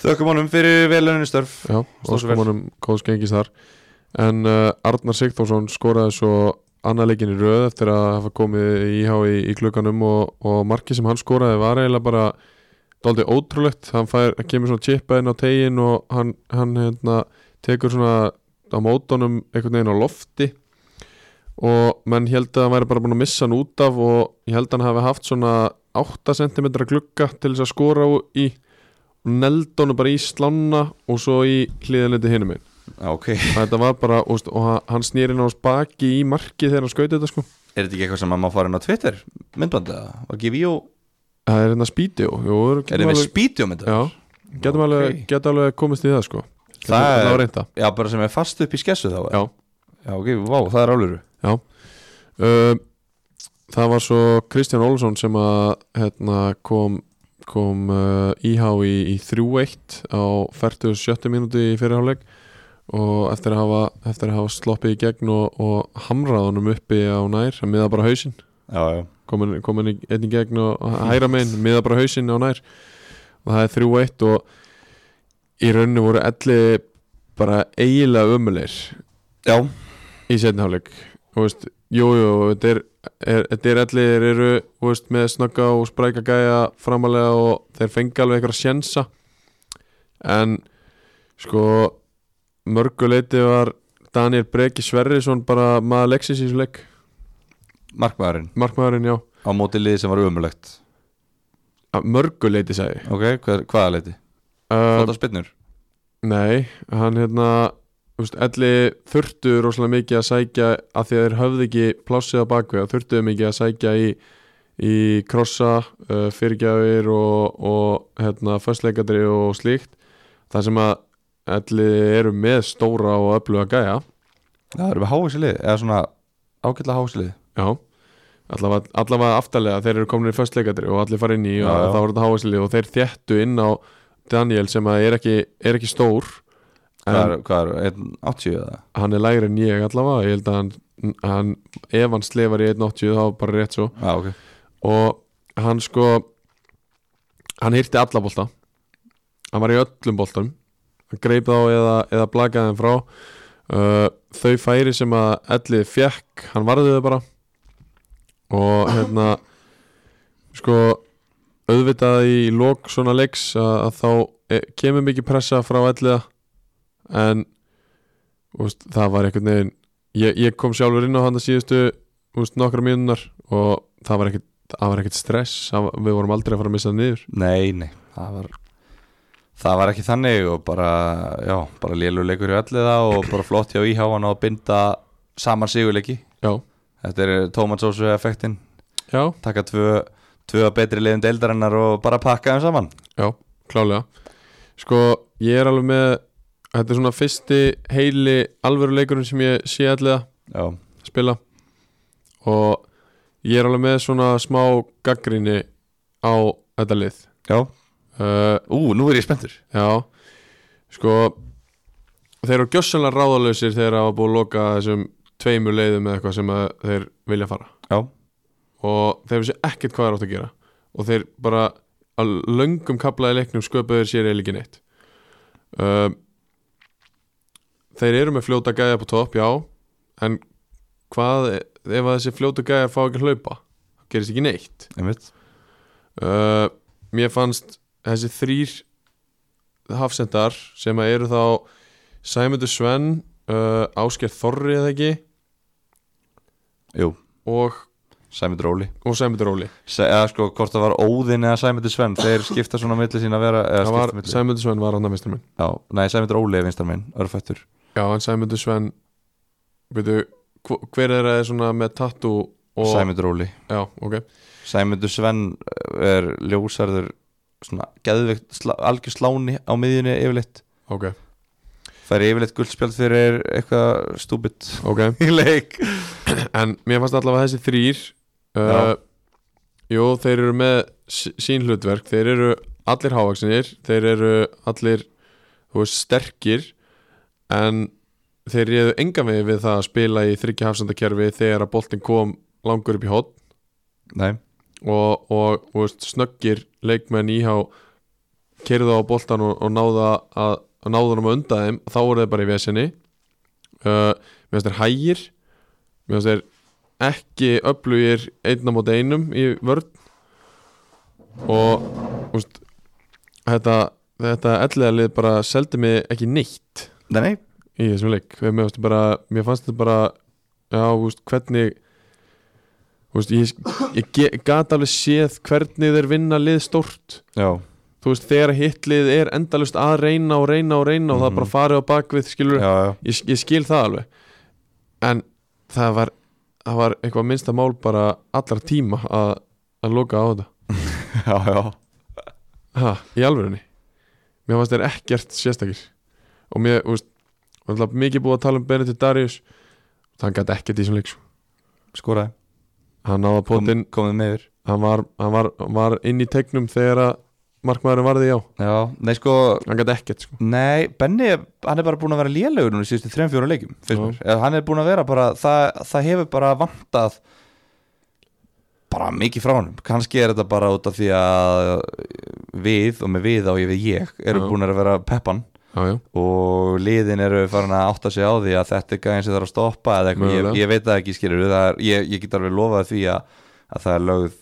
Speaker 3: þökkum honum fyrir velunni störf
Speaker 2: já,
Speaker 3: Stóð sig vel.
Speaker 2: óskum honum góðs gengis þar en uh, Arnar Sigþórsson skoraði svo annar leikin í röð eftir að hafa komið í íhá í, í klukkanum og, og markið sem hann skoraði var eiginlega bara dálítið ótrúlegt, hann fær, kemur svona chipa inn á tegin og hann, hann hérna, tekur svona á mótunum einhvern veginn á lofti og menn held að hann væri bara búin að missa hann út af og ég held að hann hafi haft svona 8 cm glugga til þess að skora úr í og neldi hann bara í slána og svo í hliðanleiti hinum minn
Speaker 3: Já, ok Er
Speaker 2: þetta var bara, úst, og hann- hann snýri inn á hans baki í marki þegar hann skauti þetta sko
Speaker 3: þetta ekki eitthvað sem að maður farin á Twitter myndbanda? Var ekki víó?
Speaker 2: það er hérna spíti og er
Speaker 3: Er þetta með spítjó myndar?
Speaker 2: já, getum alveg,
Speaker 3: Ok.
Speaker 2: getum alveg komist í það sko getum,
Speaker 3: Það er-
Speaker 2: það var reynda
Speaker 3: Já, bara sem er fast upp í skessu þá
Speaker 2: Já.
Speaker 3: Já, ok, vá, það er áluru
Speaker 2: Um, Það var svo Kristján Olsson sem að hérna, kom, kom uh, íhá í, í 3-1 á 47 mínúti í fyrirháleik og eftir að hafa, eftir að hafa sloppið í gegn og, og hamrað honum uppi á nær, að miða bara hausinn
Speaker 3: Já, já
Speaker 2: komin, komin í- einn í gegn og og hæra megin, miða bara hausinn á nær og það er 3-1 og í rauninu voru elli bara eiginlega ömulegir
Speaker 3: Já,
Speaker 2: í setniháleik þú veist, jújú, þetta er, er þetta er allir eru, þú veist, með snögga og spræka gæja framalega og þeir fengi alveg eitthvað sjensa en sko mörguleiti var Daniel Breki Sverrisson bara maður leksins í þessu leik,
Speaker 3: markmaðurinn
Speaker 2: markmaðurinn, já
Speaker 3: á móti liði sem var umulegt
Speaker 2: Að mörguleiti sagði ég.
Speaker 3: Ok, hvað, hvaða leiti?
Speaker 2: uh,
Speaker 3: Flóta spinnur?
Speaker 2: Nei, hann hérna þú veist, Elli þurftu rosalega mikið að sækja að því að þeir höfðu ekki plássið á bakvið og þurftu mikið að sækja í, í krossa, uh, fyrirgjafir og, og hérna, föstleikadri og slíkt þar sem að Elli eru með stóra og öfluga gæja
Speaker 3: Já, það eru við hávísi liði, eða svona ágætlega hávísi liði
Speaker 2: Já, allavega, allavega aftarlega þeir eru komin í föstleikadri og allir fara inn í og
Speaker 3: Já, já.
Speaker 2: það voru þetta hávæsli og þeir þjættu inn á Daniel sem að er ekki, er ekki stór um,
Speaker 3: Hvað er, hvað er, 1.80 eða?
Speaker 2: hann er lægri en ég allavega ég held að hann, hann ef hann slefar í 1.80 þá er bara rétt svo
Speaker 3: Já, ok
Speaker 2: og hann sko hann hýrti alla bolta hann var í öllum boltanum hann greip þá eða, eða blakaði hann frá uh, þau færi sem að ellið fjekk, hann varði þau bara og hérna sko auðvitað í lok svona leiks að, að þá e, kemur mikið pressa frá elliða en og veist, það var einhvern veginn ég, ég kom sjálfur inn á hann að síðustu veist, nokkra mínunar og það var ekkert, það var ekkert stress það, var- við vorum aldrei að fara að missa það niður
Speaker 3: Nei, nei
Speaker 4: Það var
Speaker 3: Það var ekki þannig og bara, já, bara léluleikur í öllu það og bara flott hjá íháan að binda saman sigurleiki.
Speaker 2: já,
Speaker 3: Þetta er Tómansósu effektin,
Speaker 2: já,
Speaker 3: taka tvö, tvö betri liðum deildarinnar og bara pakka þeim saman.
Speaker 2: já, klálega sko, ég er alveg með þetta er svona fyrsti heili alvöru leikurinn sem ég sé allega
Speaker 3: Já,
Speaker 2: spila og ég er alveg með svona smá gaggrinni á þetta lið
Speaker 3: já.
Speaker 2: uh,
Speaker 3: Ú, nú er ég spenntur.
Speaker 2: já sko þeir eru gjössalega ráðalausir þegar það var búið að loka þessum tveimur leiðum eða eitthvað sem að þeir vilja fara
Speaker 3: Já,
Speaker 2: og þeir vissi ekkert hvað þeir átt að gera og þeir bara að löngum kaplaði leiknum sköpuðu þeir sér eiginlega ekki neitt um, Þeir eru með fljóta gæja på topp, já en hvað ef að þessi fljóta gæja fá ekki að hlaupa þá gerist ekki neitt
Speaker 3: einmitt.
Speaker 2: uh, Mér fannst þessi þrýr hafsendar sem að eru þá Sæmundur Sven uh, Ásker Þorri eða ekki
Speaker 3: Jú,
Speaker 2: og,
Speaker 3: Sæmund Róli.
Speaker 2: og Sæmundur Óli
Speaker 3: Se, eða sko, hvort það var Óðinn eða Sæmundur Sven, þeir skipta svona á milli sín að vera, eða
Speaker 2: Það var,
Speaker 3: skipta milli.
Speaker 2: Sæmundur Sven var hann að minn
Speaker 3: Já, nei, Sæmundur Róli er vinstar minn, örfættur.
Speaker 2: Já, en Sæmundur Sven veitu, hv- hver er það svona með tattoo og,
Speaker 3: Sæmundur Róli.
Speaker 2: Já, ok
Speaker 3: Sæmundur Sven eh, er ljósarður svona geðveikt slá, algjör sláni á miðjunni yfirleitt
Speaker 2: Ok,
Speaker 3: fær yfirleitt guldspjald fyrir eitthvað stúbit
Speaker 2: ok
Speaker 3: [LAUGHS] í leik
Speaker 2: En mér fannst allavega þessi þrýr uh,
Speaker 3: Já.
Speaker 2: Jú, þeir eru með sí- sín hlutverk Þeir eru allir hávaksinir Þeir eru allir þú veist, sterkir En þeir réðu engan vegi við það að spila í þryggja hafsandakerfi þegar að boltin kom langur upp í hot
Speaker 3: Nei,
Speaker 2: og, og, og veist, snöggir leikmenn íhá kerðu á boltan og, og náða að, að náða hann að unda þeim þá voru þeir bara í vesinni uh, mér finnst þeir hægir mér finnst þeir ekki öflugir einna móti einum í vörn og veist, þetta, þetta ellega lið bara seldi mig ekki neitt
Speaker 3: nei, nei
Speaker 2: í þessum leik Þegar mér fannst, bara, mér fannst þetta bara já, úst, hvernig úst, ég, ég ge- gat alveg séð hvernig þeir vinna lið stórt
Speaker 3: Já,
Speaker 2: þú veist, þegar hitlið er endalust að reyna og reyna og reyna og það
Speaker 3: Mhm.
Speaker 2: bara farið á bakvið skilur,
Speaker 3: já, já,
Speaker 2: ég, ég skil það alveg en það var það var eitthvað minnsta mál bara allra tíma að, að loka á þetta
Speaker 3: já, já.
Speaker 2: ha, í alvörunni mér fannst þeir ekkert sérstakir og mér, þú veist, var alltaf mikið búið að tala um Benedikt Darius hann gæti ekkert í þessum leik sko.
Speaker 3: skoraði
Speaker 2: hann náða
Speaker 3: Kom,
Speaker 2: potinn,
Speaker 3: komið meður
Speaker 2: hann, var, hann var, var inn í tegnum þegar að markmaðurinn varði já,
Speaker 3: Já, nei sko,
Speaker 2: hann gæti ekkert sko.
Speaker 3: nei, Benni hann er bara búin að vera lélegur núna í síðustu 3-4 leikum
Speaker 2: Já.
Speaker 3: finnst mér. Eða hann er búin að vera bara það, það hefur bara vantað bara mikið frá honum kannski er þetta bara út af því að við, og með við á ég við ég eru
Speaker 2: Já.
Speaker 3: búin að vera peppan
Speaker 2: já, já,
Speaker 3: og liðin eru farin að átta sig á því að þetta er gæðin sem þarf að stoppa eða eitthvað, ég,
Speaker 2: Mögulega.
Speaker 3: ég veit það ekki skilur það er, ég, ég get alveg lofað því að, að það er lögð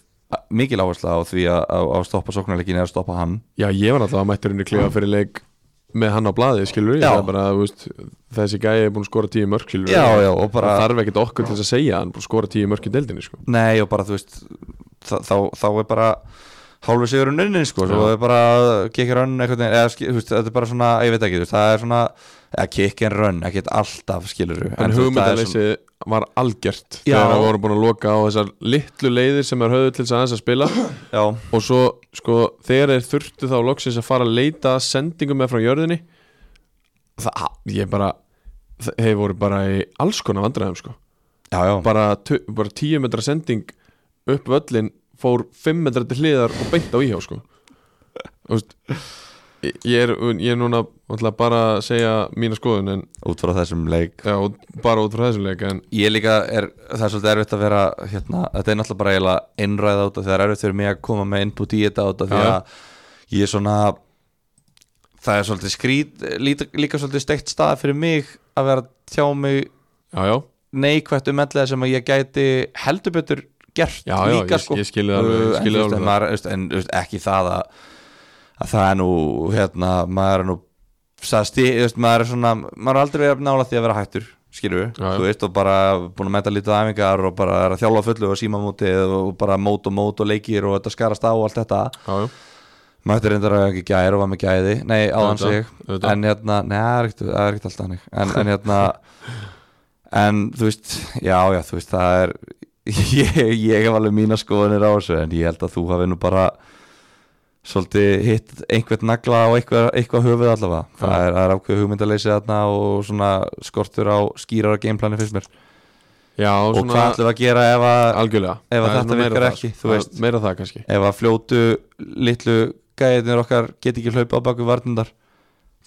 Speaker 3: mikil áhersla á því að, að, að stoppa sóknarleikin eða að stoppa hann
Speaker 2: já, ég var alltaf að mættur inn í klefa fyrir leik með hann á blaði, skilur ég
Speaker 3: Já.
Speaker 2: það er bara, þú veist, þessi gæi er búin að skora tíu mörk, skilur
Speaker 3: já, já, og bara
Speaker 2: það þarf ekkert okkur til þess að segja að hann er búin að skora tíu mörk í deildinni sko.
Speaker 3: Nei og bara þú veist þá, þá, þá er bara hálfu sigur unnin sko, svo
Speaker 2: Já.
Speaker 3: er bara kick and run einhvern veginn, eða skil- þú veist, þetta er bara svona ég veit ekki, þú veist, það er svona eða kick and run, ekkert alltaf skilur en,
Speaker 2: en
Speaker 3: þú veist, það er svona-
Speaker 2: hugmyndaleysi var algjört
Speaker 3: Já.
Speaker 2: þegar það voru búin að loka á þessar litlu leiðir sem er höfðu til þess aðeins að
Speaker 3: [CLEARS THROAT]
Speaker 2: spila
Speaker 3: Já,
Speaker 2: og svo sko þegar þeir þurftu þá loksins að fara að leita að sendingum með frá jörðinni það, ég bara þe- þeir voru bara í alls konar vandræðum sko
Speaker 3: já, já,
Speaker 2: bara, tu- bara 10 metra sending upp völlin fór 5 metra til hliðar og beint á íhjá sko Þú veist, ég- ég er, ég er núna ætla bara að segja mína skoðun en
Speaker 3: út frá þessum leik
Speaker 2: já, og bara út frá þessum leik en
Speaker 3: Ég líka er, það er svolítið erfitt að vera hérna, þetta er náttúrulega bara eiginlega innræða út af því það er erfitt fyrir mig að koma með input í þetta út af því
Speaker 2: Já, já.
Speaker 3: að ég er svona það er svolítið skrít líka, líka svolítið steikt stað fyrir mig að vera að tjá mig
Speaker 2: já, já,
Speaker 3: neikvætt um ellega sem að ég gæti heldur betur gert
Speaker 2: Já, já,
Speaker 3: líka
Speaker 2: ég-
Speaker 3: sko.
Speaker 2: ég skil það alveg, ég
Speaker 3: Uh, en,
Speaker 2: skil það
Speaker 3: þú veist,
Speaker 2: alveg.
Speaker 3: en, maður, þú veist, en þú veist, ekki það að, að það er nú hérna, maður er nú sagðist, ég, veist, maður er svona maður er aldrei verið nála því að vera hættur skilur við,
Speaker 2: Já, já.
Speaker 3: þú veist og bara búin að mæta lítið æfingar og bara er að þjálfa á fullu og síma mótið og bara mót og mót og leikir og þetta skarast á og allt þetta
Speaker 2: já, já,
Speaker 3: Mætti reyndar að ekki gæri og var með gæði Nei, áðan
Speaker 2: Auðvitað,
Speaker 3: sig
Speaker 2: auðvitað.
Speaker 3: En hérna, nei, það er ekkert- það er ekkert alltaf hannig en,
Speaker 2: [LAUGHS]
Speaker 3: en hérna En þú veist, já, já, þú veist Það er, [LAUGHS] ég, ég hef alveg mína skoðunir á þessu En ég held að þú hafi nú bara Svolítið hitt einhvern nagla á eitthvað, eitthvað höfuð allavega Það er, það er ákveð hugmyndaleysi þarna Og svona skortur á skýrar að gameplani finnst mér
Speaker 2: já
Speaker 3: Og
Speaker 2: svona
Speaker 3: hvað ætlum við að gera ef að
Speaker 2: algjörlega
Speaker 3: ef að
Speaker 2: Það er
Speaker 3: þetta
Speaker 2: nú meira
Speaker 3: virkar
Speaker 2: það,
Speaker 3: ekki,
Speaker 2: sko.
Speaker 3: þú
Speaker 2: Það er
Speaker 3: veist.
Speaker 2: meira það kannski
Speaker 3: ef að fljótu litlu gæðinir okkar get ekki hlaupa á baku varnindar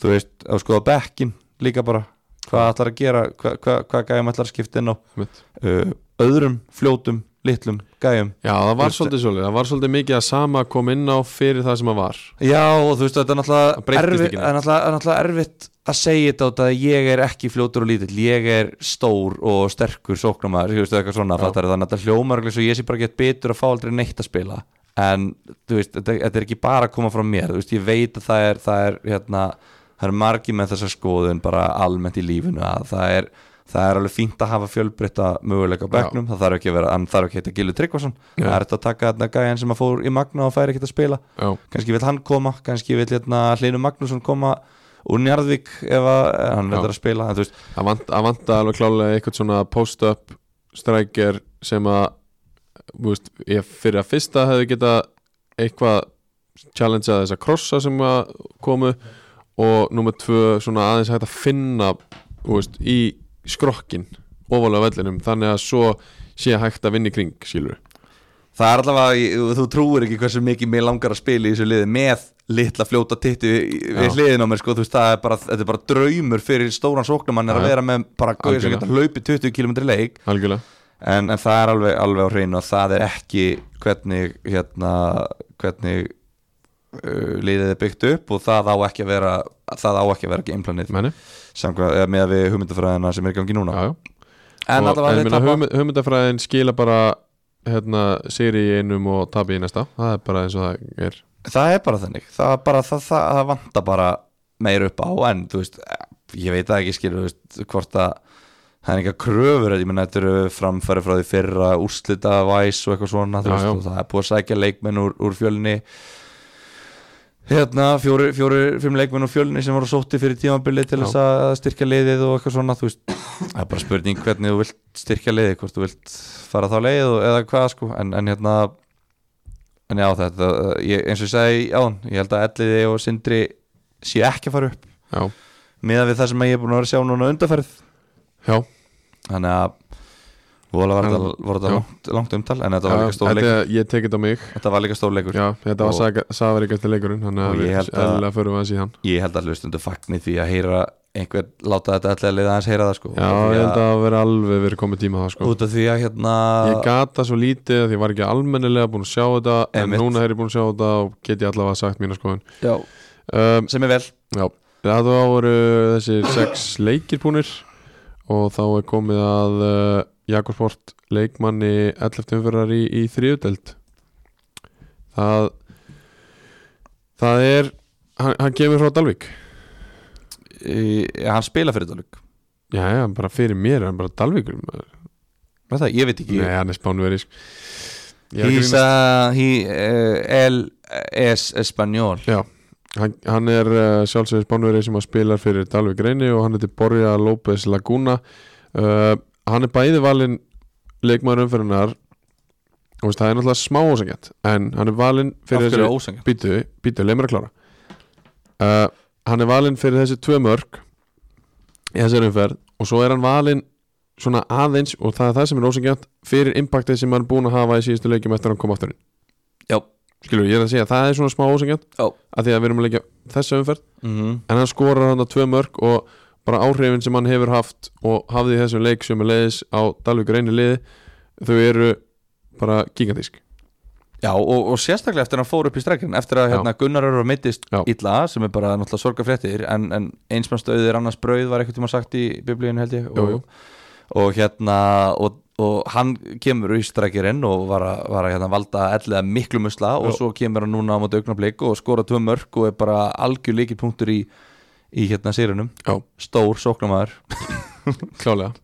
Speaker 3: þú veist, ef skoða bekkin líka bara hvað ætlar að gera, hvað, hvað, hvað gæðum ætlar að skipta inn á
Speaker 2: Einmitt.
Speaker 3: uh, öðrum, fljótum, litlum gæðum
Speaker 2: já, það var
Speaker 3: Þú veist,
Speaker 2: svolítið svolítið það var svolítið mikið að sama kom inn á fyrir það sem að var
Speaker 3: já og þú veist, þetta er
Speaker 2: Það
Speaker 3: náttúrulega
Speaker 2: breyttist
Speaker 3: erfitt,
Speaker 2: ekki
Speaker 3: er náttúrulega, er náttúrulega erfitt að segja þetta út af að ég er ekki fljótur og lítill, ég er stór og sterkur sóknamaður, þú veist, eitthvað svona fattar, þannig að þetta hljómar eins og ég sé bara gett betur að fá aldrei neitt að spila en þú veist, þetta, þetta er ekki bara að koma frá mér þú veist, ég veit að það er, það er hérna, það er margi með þessa skoðun bara almennt í lífinu að það er það er alveg fínt að hafa fjölbreytta möguleika á bekknum, það þarf ekki að vera, hann þarf ekki að heita Gilvi Tryggvason, það er þetta að taka þarna gæjan sem að fór í Magna og færi ekkert að spila
Speaker 2: já,
Speaker 3: kannski vil hann koma, kannski vil hérna Hlynur Magnússon koma úr Njarðvík ef að, eh,
Speaker 2: Já.
Speaker 3: hann reyndar að spila en þú veist,
Speaker 2: það vant- það vantar alveg klálega eitthvað svona post-up striker sem að þú veist, ég fyrir að fyrsta hefði geta eitthvað challengeað þessa krossa sem að komu og nummer tvö svona aðeins hægt að finna þú veist, í skrokkin ofalega vellinum þannig að svo sé hægt að vinna í kring sílur
Speaker 3: það er allavega ég- þú trúir ekki hversu mikið mér langar að spila í þessu liði með litla fljóta titti við-
Speaker 2: Já.
Speaker 3: við hliðin á mér, sko, þú veist, það er bara þetta er bara draumur fyrir stóran sóknumann er
Speaker 2: Já,
Speaker 3: að
Speaker 2: já.
Speaker 3: vera með bara gauðir sem
Speaker 2: Algjörlega.
Speaker 3: geta hlaupið 20 km leik
Speaker 2: algjörlega
Speaker 3: en, en það er alveg, alveg á hreinu og það er ekki hvernig hérna, hvernig uh, liðið er byggt upp og það á ekki að vera það á ekki að vera gameplanið
Speaker 2: Meni,
Speaker 3: samkvæð, eða með að við hugmyndafræðina sem er í gangi núna
Speaker 2: já, já.
Speaker 3: en
Speaker 2: og,
Speaker 3: allavega
Speaker 2: en
Speaker 3: þeir
Speaker 2: minna,
Speaker 3: tapa
Speaker 2: hugmynd, hugmyndafræðin skila bara hérna, séri í einum og tapi í næsta það er bara eins og það er
Speaker 3: það er bara þannig, það, er bara, það, það, það vanta bara meir upp á en þú veist, ég veit það ekki skilur þú veist, hvort að það er eitthvað kröfur, ég menn þetta eru framfæri frá því fyrra úrslita væs og eitthvað svona þú
Speaker 2: Já,
Speaker 3: veist,
Speaker 2: já.
Speaker 3: og það er búið að sækja leikmenn úr, úr fjölni hérna, fjóri, fjóri, fimm leikmenn úr fjölni sem voru sótti fyrir tímabilið til
Speaker 2: Já.
Speaker 3: þess að styrkja liðið og eitthvað svona þú veist, það er bara spurning hvernig þú vilt styrkja liðið, hvort þú vilt fara þá leið og, eða hvað sko, en, en hérna en já, þetta, ég, eins og ég segi áðan, ég held að Elliði og Sindri séu ekki að fara upp
Speaker 2: já,
Speaker 3: meðan við það sem ég er búin að vera að sjá núna undarferð
Speaker 2: já
Speaker 3: þannig að vola var þetta, var þetta
Speaker 2: Já.
Speaker 3: langt, langt umtal en þetta var
Speaker 2: Já,
Speaker 3: líka stór leikur
Speaker 2: þetta, ég tek þetta á mig
Speaker 3: þetta var líka stór leikur
Speaker 2: Já, þetta
Speaker 3: Og-
Speaker 2: var safaríkast leikurinn Þannig
Speaker 3: Og
Speaker 2: að
Speaker 3: ég
Speaker 2: við
Speaker 3: held að-
Speaker 2: eðlilega förum að síðan
Speaker 3: ég held að hlustundu fagni því að heyra einhver láta þetta Elliði liða aðeins heyra það sko
Speaker 2: Já, ég held að vera alveg verið komið tíma það sko
Speaker 3: út af því að hérna
Speaker 2: Ég gata svo lítið að ég var ekki almennilega búin að sjá þetta En
Speaker 3: Einmitt.
Speaker 2: núna er ég búin að sjá þetta og get ég allavega sagt mína skoðun
Speaker 3: já,
Speaker 2: um,
Speaker 3: sem er vel
Speaker 2: Já, það voru þessir sex leikir búnir Og þá er komið að uh, Jakobsport leikmanni 11. umfyrrar í, í þriðudeld Það Það er Hann, hann kemur frá Dalvík
Speaker 3: í, hann spila fyrir þetta luk
Speaker 2: Já, já, bara fyrir mér, hann er bara dalvíkur maður.
Speaker 3: það, ég veit ekki
Speaker 2: Nei, hann er sko. spánveri
Speaker 3: he's a, he, uh, el es espanjol
Speaker 2: Já, hann, hann er uh, sjálfsögur spánveri sem að spila fyrir Dalvík reyni og hann heitir Borja López Laguna uh, Hann er bæði valinn leikmaður umfyrirnar og veist, það er náttúrulega smá ósengjant en hann er valinn fyrir
Speaker 3: af hverju
Speaker 2: þessi
Speaker 3: ósangjant
Speaker 2: býtu, býtu, leið mér að klára uh, hann er valinn fyrir þessi tvö mörg í þessari umferð og svo er hann valinn svona aðeins og það er það sem er ósengjant fyrir impactið sem hann er búin að hafa í síðustu leikjum eftir að hann kom aftur inn
Speaker 3: já,
Speaker 2: skilur, ég er að segja að það er svona smá ósengjant
Speaker 3: já
Speaker 2: að því að við erum að leikja þessa umferð
Speaker 3: mhm
Speaker 2: en hann skorar hann að tvö mörg og bara áhrifin sem hann hefur haft og hafði í þessum leik sem er leiðis á Dalvík reyni liði þau eru bara gigantísk
Speaker 3: Já og, og sérstaklega eftir að hann fór upp í strekkin eftir að
Speaker 2: Já.
Speaker 3: hérna, Gunnar Örvar meittist
Speaker 2: Já.
Speaker 3: illa sem er bara náttúrulega sorgafréttir en, en einsmanns döðir annars brauð var eitthvað tíma sagt í biblíun held ég og,
Speaker 2: Jú, jú.
Speaker 3: og hérna og, og hann kemur í strekkirinn og var að, var að hérna, valda elliða miklu musla og
Speaker 2: Já.
Speaker 3: svo kemur hann núna á móti augnablík og skora tvö mörk og er bara algjör líkipunktur í í hérna sírunum
Speaker 2: Já.
Speaker 3: stór sóknamaður
Speaker 2: klálega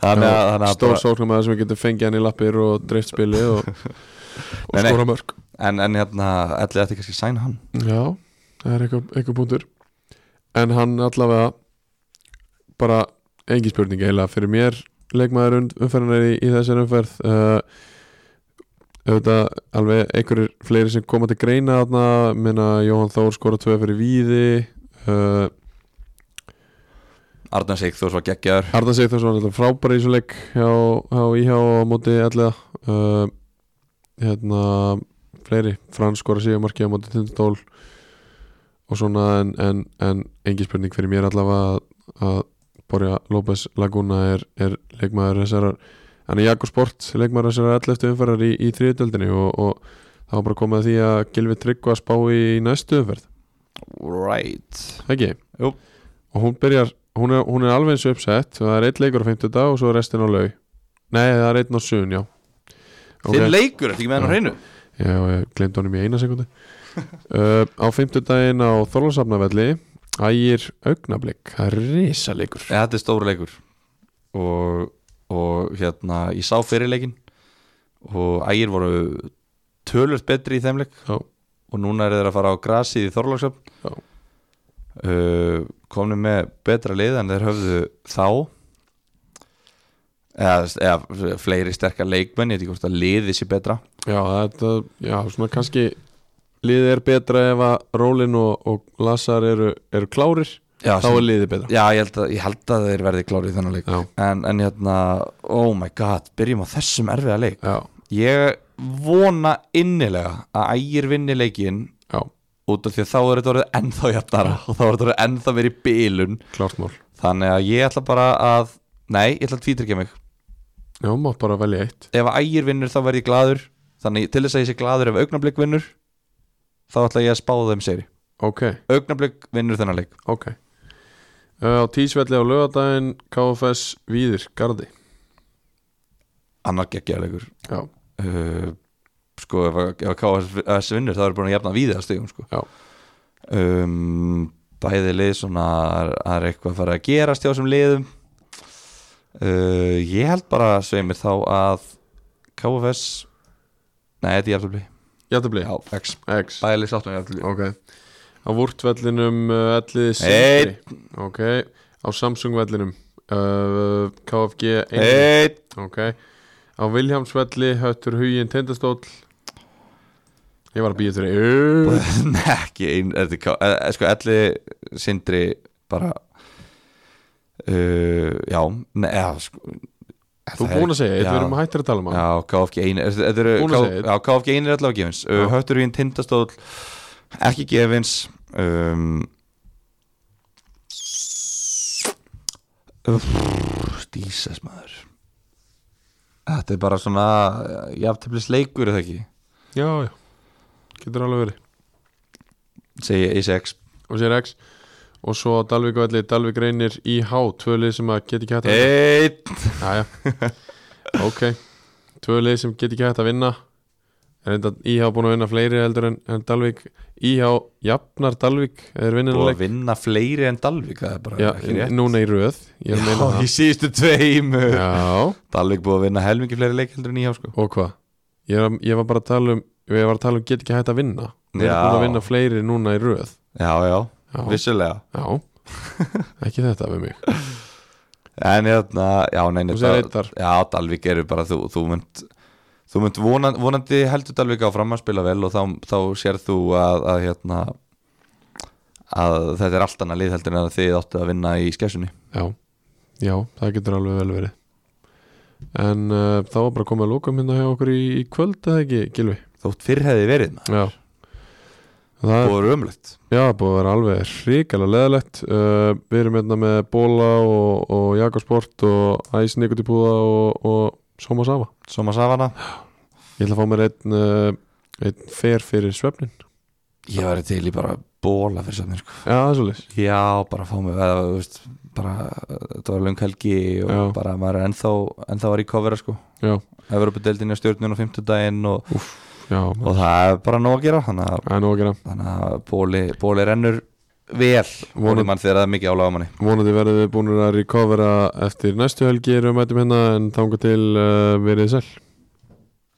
Speaker 3: þannig að, þannig að
Speaker 2: Stór
Speaker 3: bara-
Speaker 2: sóknarmæður sem við getum fengið hann í lappir og dreift spili
Speaker 3: [LAUGHS]
Speaker 2: og, og
Speaker 3: Nei, nei.
Speaker 2: skora mörg
Speaker 3: en, en hérna, ætli þetta kannski sæna hann
Speaker 2: Já, það er eitthvað, eitthvað punktur En hann allavega bara engin spurning eiginlega fyrir mér leikmaður um, umferðanar í, í þessari umferð uh, auðvitað alveg einhverjir fleiri sem koma til greina þarna, minna Jóhann Þór skora tvö fyrir víði uh,
Speaker 3: Arnar Sigþórs var geggjaður
Speaker 2: Arna Sigþórs var alltaf frábæri í þessu leik hjá, hjá íhjá á móti allega uh, hérna fleiri, Frans skora síðan markið á móti tindastól og svona en, en, en engi spurning fyrir mér allavega að- að Borja López Laguna er, er leikmaður þessarar hann er Jakob Sport, leikmaður þessarar 11. umferðar í, í þriðutöldinni og, og það var bara komið að því að Gilvi Tryggva spá í næstu umferð,
Speaker 3: right.
Speaker 2: ekki?
Speaker 3: Jú.
Speaker 2: og hún byrjar, hún er, hún er alveg eins uppsett og það er eitt leikur á 50 dag og svo er restin á laug nei, það er einn á sunn, já Ok.
Speaker 3: þinn leikur, ertu ekki með hann á
Speaker 2: Já.
Speaker 3: hreinu
Speaker 2: Já, ég glemd honum í eina sekundi [LAUGHS] uh, Á fimmtudaginn á Þorlarsafnavelli Ægir augnablik Það er risalegur
Speaker 3: Ja, þetta er stóra leikur og, og hérna, ég sá fyrirleikin og ægir voru tölvöld betri í þeim leik
Speaker 2: Já.
Speaker 3: og núna er þeir að fara á grasið í Þorlóksöfn
Speaker 2: Já.
Speaker 3: uh, komnir með betra lið en þeir höfðu þá eða, eða fleiri sterkar leikmenn, ég veit ekki hvort að liðið sé betra
Speaker 2: Já, þetta, já, svona kannski Liðið er betra ef að Rólin og, og Lassar eru, eru klárir
Speaker 3: Já,
Speaker 2: Þá er liðið betra
Speaker 3: Já, ég held að, ég held að þeir verði klárið í þennan leik
Speaker 2: Já.
Speaker 3: en, en hérna, oh my god byrjum á þessum erfiða leik
Speaker 2: Já,
Speaker 3: Ég vona innilega að ægir vinni leikinn
Speaker 2: já,
Speaker 3: út af því að þá er þetta orðið ennþá jafnara og þá er þetta orðið ennþá verið í bilun
Speaker 2: klárt mál
Speaker 3: þannig að ég ætla bara að nei, ég ætla að tvítryggja mig
Speaker 2: Já, mátt bara velja eitt
Speaker 3: ef að ægir vinnur þá verð ég gladur þannig til þess að ég sé gladur ef augnablik vinnur þá ætla ég að spá þeim séri
Speaker 2: Ok,
Speaker 3: augnablik vinnur þennan leik
Speaker 2: ok uh, Á tísvelli á laugardaginn KFS Víðir, Gardi
Speaker 3: annar geggjarleikur
Speaker 2: Já,
Speaker 3: uh, sko ef að, ef að KS vinnur þá er búin að jafna víða að stegum sko.
Speaker 2: Já.
Speaker 3: um, bæði lið svona það er- það er eitthvað að fara að gerast hjá þessum liðum uh, ég held bara sveimir þá að KFS nei, þetta er jafnabli
Speaker 2: jættabli
Speaker 3: já, X,
Speaker 2: X
Speaker 3: bæði lið sáttum jafnabli
Speaker 2: Ok Á Vúrtvellinum uh, Ellið
Speaker 3: Einn.
Speaker 2: Sindri Ok Á Samsung-vellinum uh, KFG ein.
Speaker 3: eitt
Speaker 2: Ok Á Viljámsvelli Höttur Hugin Tindastóll Ég var að býja þér
Speaker 3: Nei, [LAUGHS] ekki ein, þetta er ká- eh, eh, sko, elli sindri bara uh, já, neða sko,
Speaker 2: Þú er búin að segja eitt, Við erum hættir að tala um hann
Speaker 3: Já, KFG einu er, er, er,
Speaker 2: Búin að segja
Speaker 3: K, já, KFG einu er allavega gefins uh,
Speaker 2: Já.
Speaker 3: Hötturvín, Tindastóll Ekki gefins um, Dísas maður Þetta er bara svona eh, Jafnteflis leikur eða ekki
Speaker 2: Já, já Getur alveg verið
Speaker 3: Segja A6
Speaker 2: Og sér X Og svo á Dalvík-velli Dalvík reynir IH Tvö lið sem að geta ekki hætt að
Speaker 3: Eitt
Speaker 2: Jæja,
Speaker 3: [LAUGHS]
Speaker 2: ok Tvö lið sem get ekki hægt að vinna Er enda IH búin að vinna fleiri heldur en, en Dalvik IH jafnar Dalvik er
Speaker 3: Og að
Speaker 2: vinninleik
Speaker 3: vinna fleiri en Dalvik Það er bara
Speaker 2: Já,
Speaker 3: ekki rétt
Speaker 2: núna í röð Ég er að meina
Speaker 3: Já, í síðustu tveimu
Speaker 2: það Já,
Speaker 3: Dalvik búið að vinna helmingi fleiri leik heldur en nýjá sko
Speaker 2: og hvað? Ég, er að- ég var bara að tala um Ég var að tala um get ekki hægt að vinna Við erum
Speaker 3: Já.
Speaker 2: búin að vinna fleiri núna í röð
Speaker 3: Já, já,
Speaker 2: Já,
Speaker 3: vissulega
Speaker 2: já Ekki þetta við mig
Speaker 3: En hérna, já, neini
Speaker 2: Þú segir Eitar.
Speaker 3: Já, Dalvik eru bara, þú, þú mynd Þú mynd vonandi, vonandi heldur Dalvik áfram að spila vel og þá, þá sér þú að, að hérna að þetta er allt annað lið heldur en að þið áttu að vinna í skessunni
Speaker 2: Já, já, það getur alveg vel verið En uh, það var bara komið að lóka minna hjá okkur í, í kvöld eða ekki, Gilvi?
Speaker 3: Þótt fyrr hefði verið maður
Speaker 2: Já Það er,
Speaker 3: og römlegt
Speaker 2: já, búið að vera alveg hrikalega leðalegt uh, Við erum hérna með Bóla og, og Jakobsport og Æs Nikotipúða og, og Soma Sama
Speaker 3: Soma Savana
Speaker 2: Ég ætla að fá mér einn, uh, einn fer fyrir svefnin
Speaker 3: Ég væri til í bara bóla fyrir safnir sko.
Speaker 2: Já, það er svolítið
Speaker 3: Já, bara fá mig eða, þú veist, bara, þetta var löng helgi og
Speaker 2: Já.
Speaker 3: bara maður er ennþá, ennþá var í kofera sko
Speaker 2: Já,
Speaker 3: Evropadeildin er stjórnun á fimmtudaginn og,
Speaker 2: já,
Speaker 3: og það er bara nóg að gera þannig að
Speaker 2: það er nú að gera
Speaker 3: þannig að bóli, bóli rennur vel
Speaker 2: Vonum-
Speaker 3: Vonum mann þegar það er mikið álaga manni
Speaker 2: Vonandi verðum við búin að recovera eftir næstu helgi erum við mætum hérna en þanga til uh, verið sæl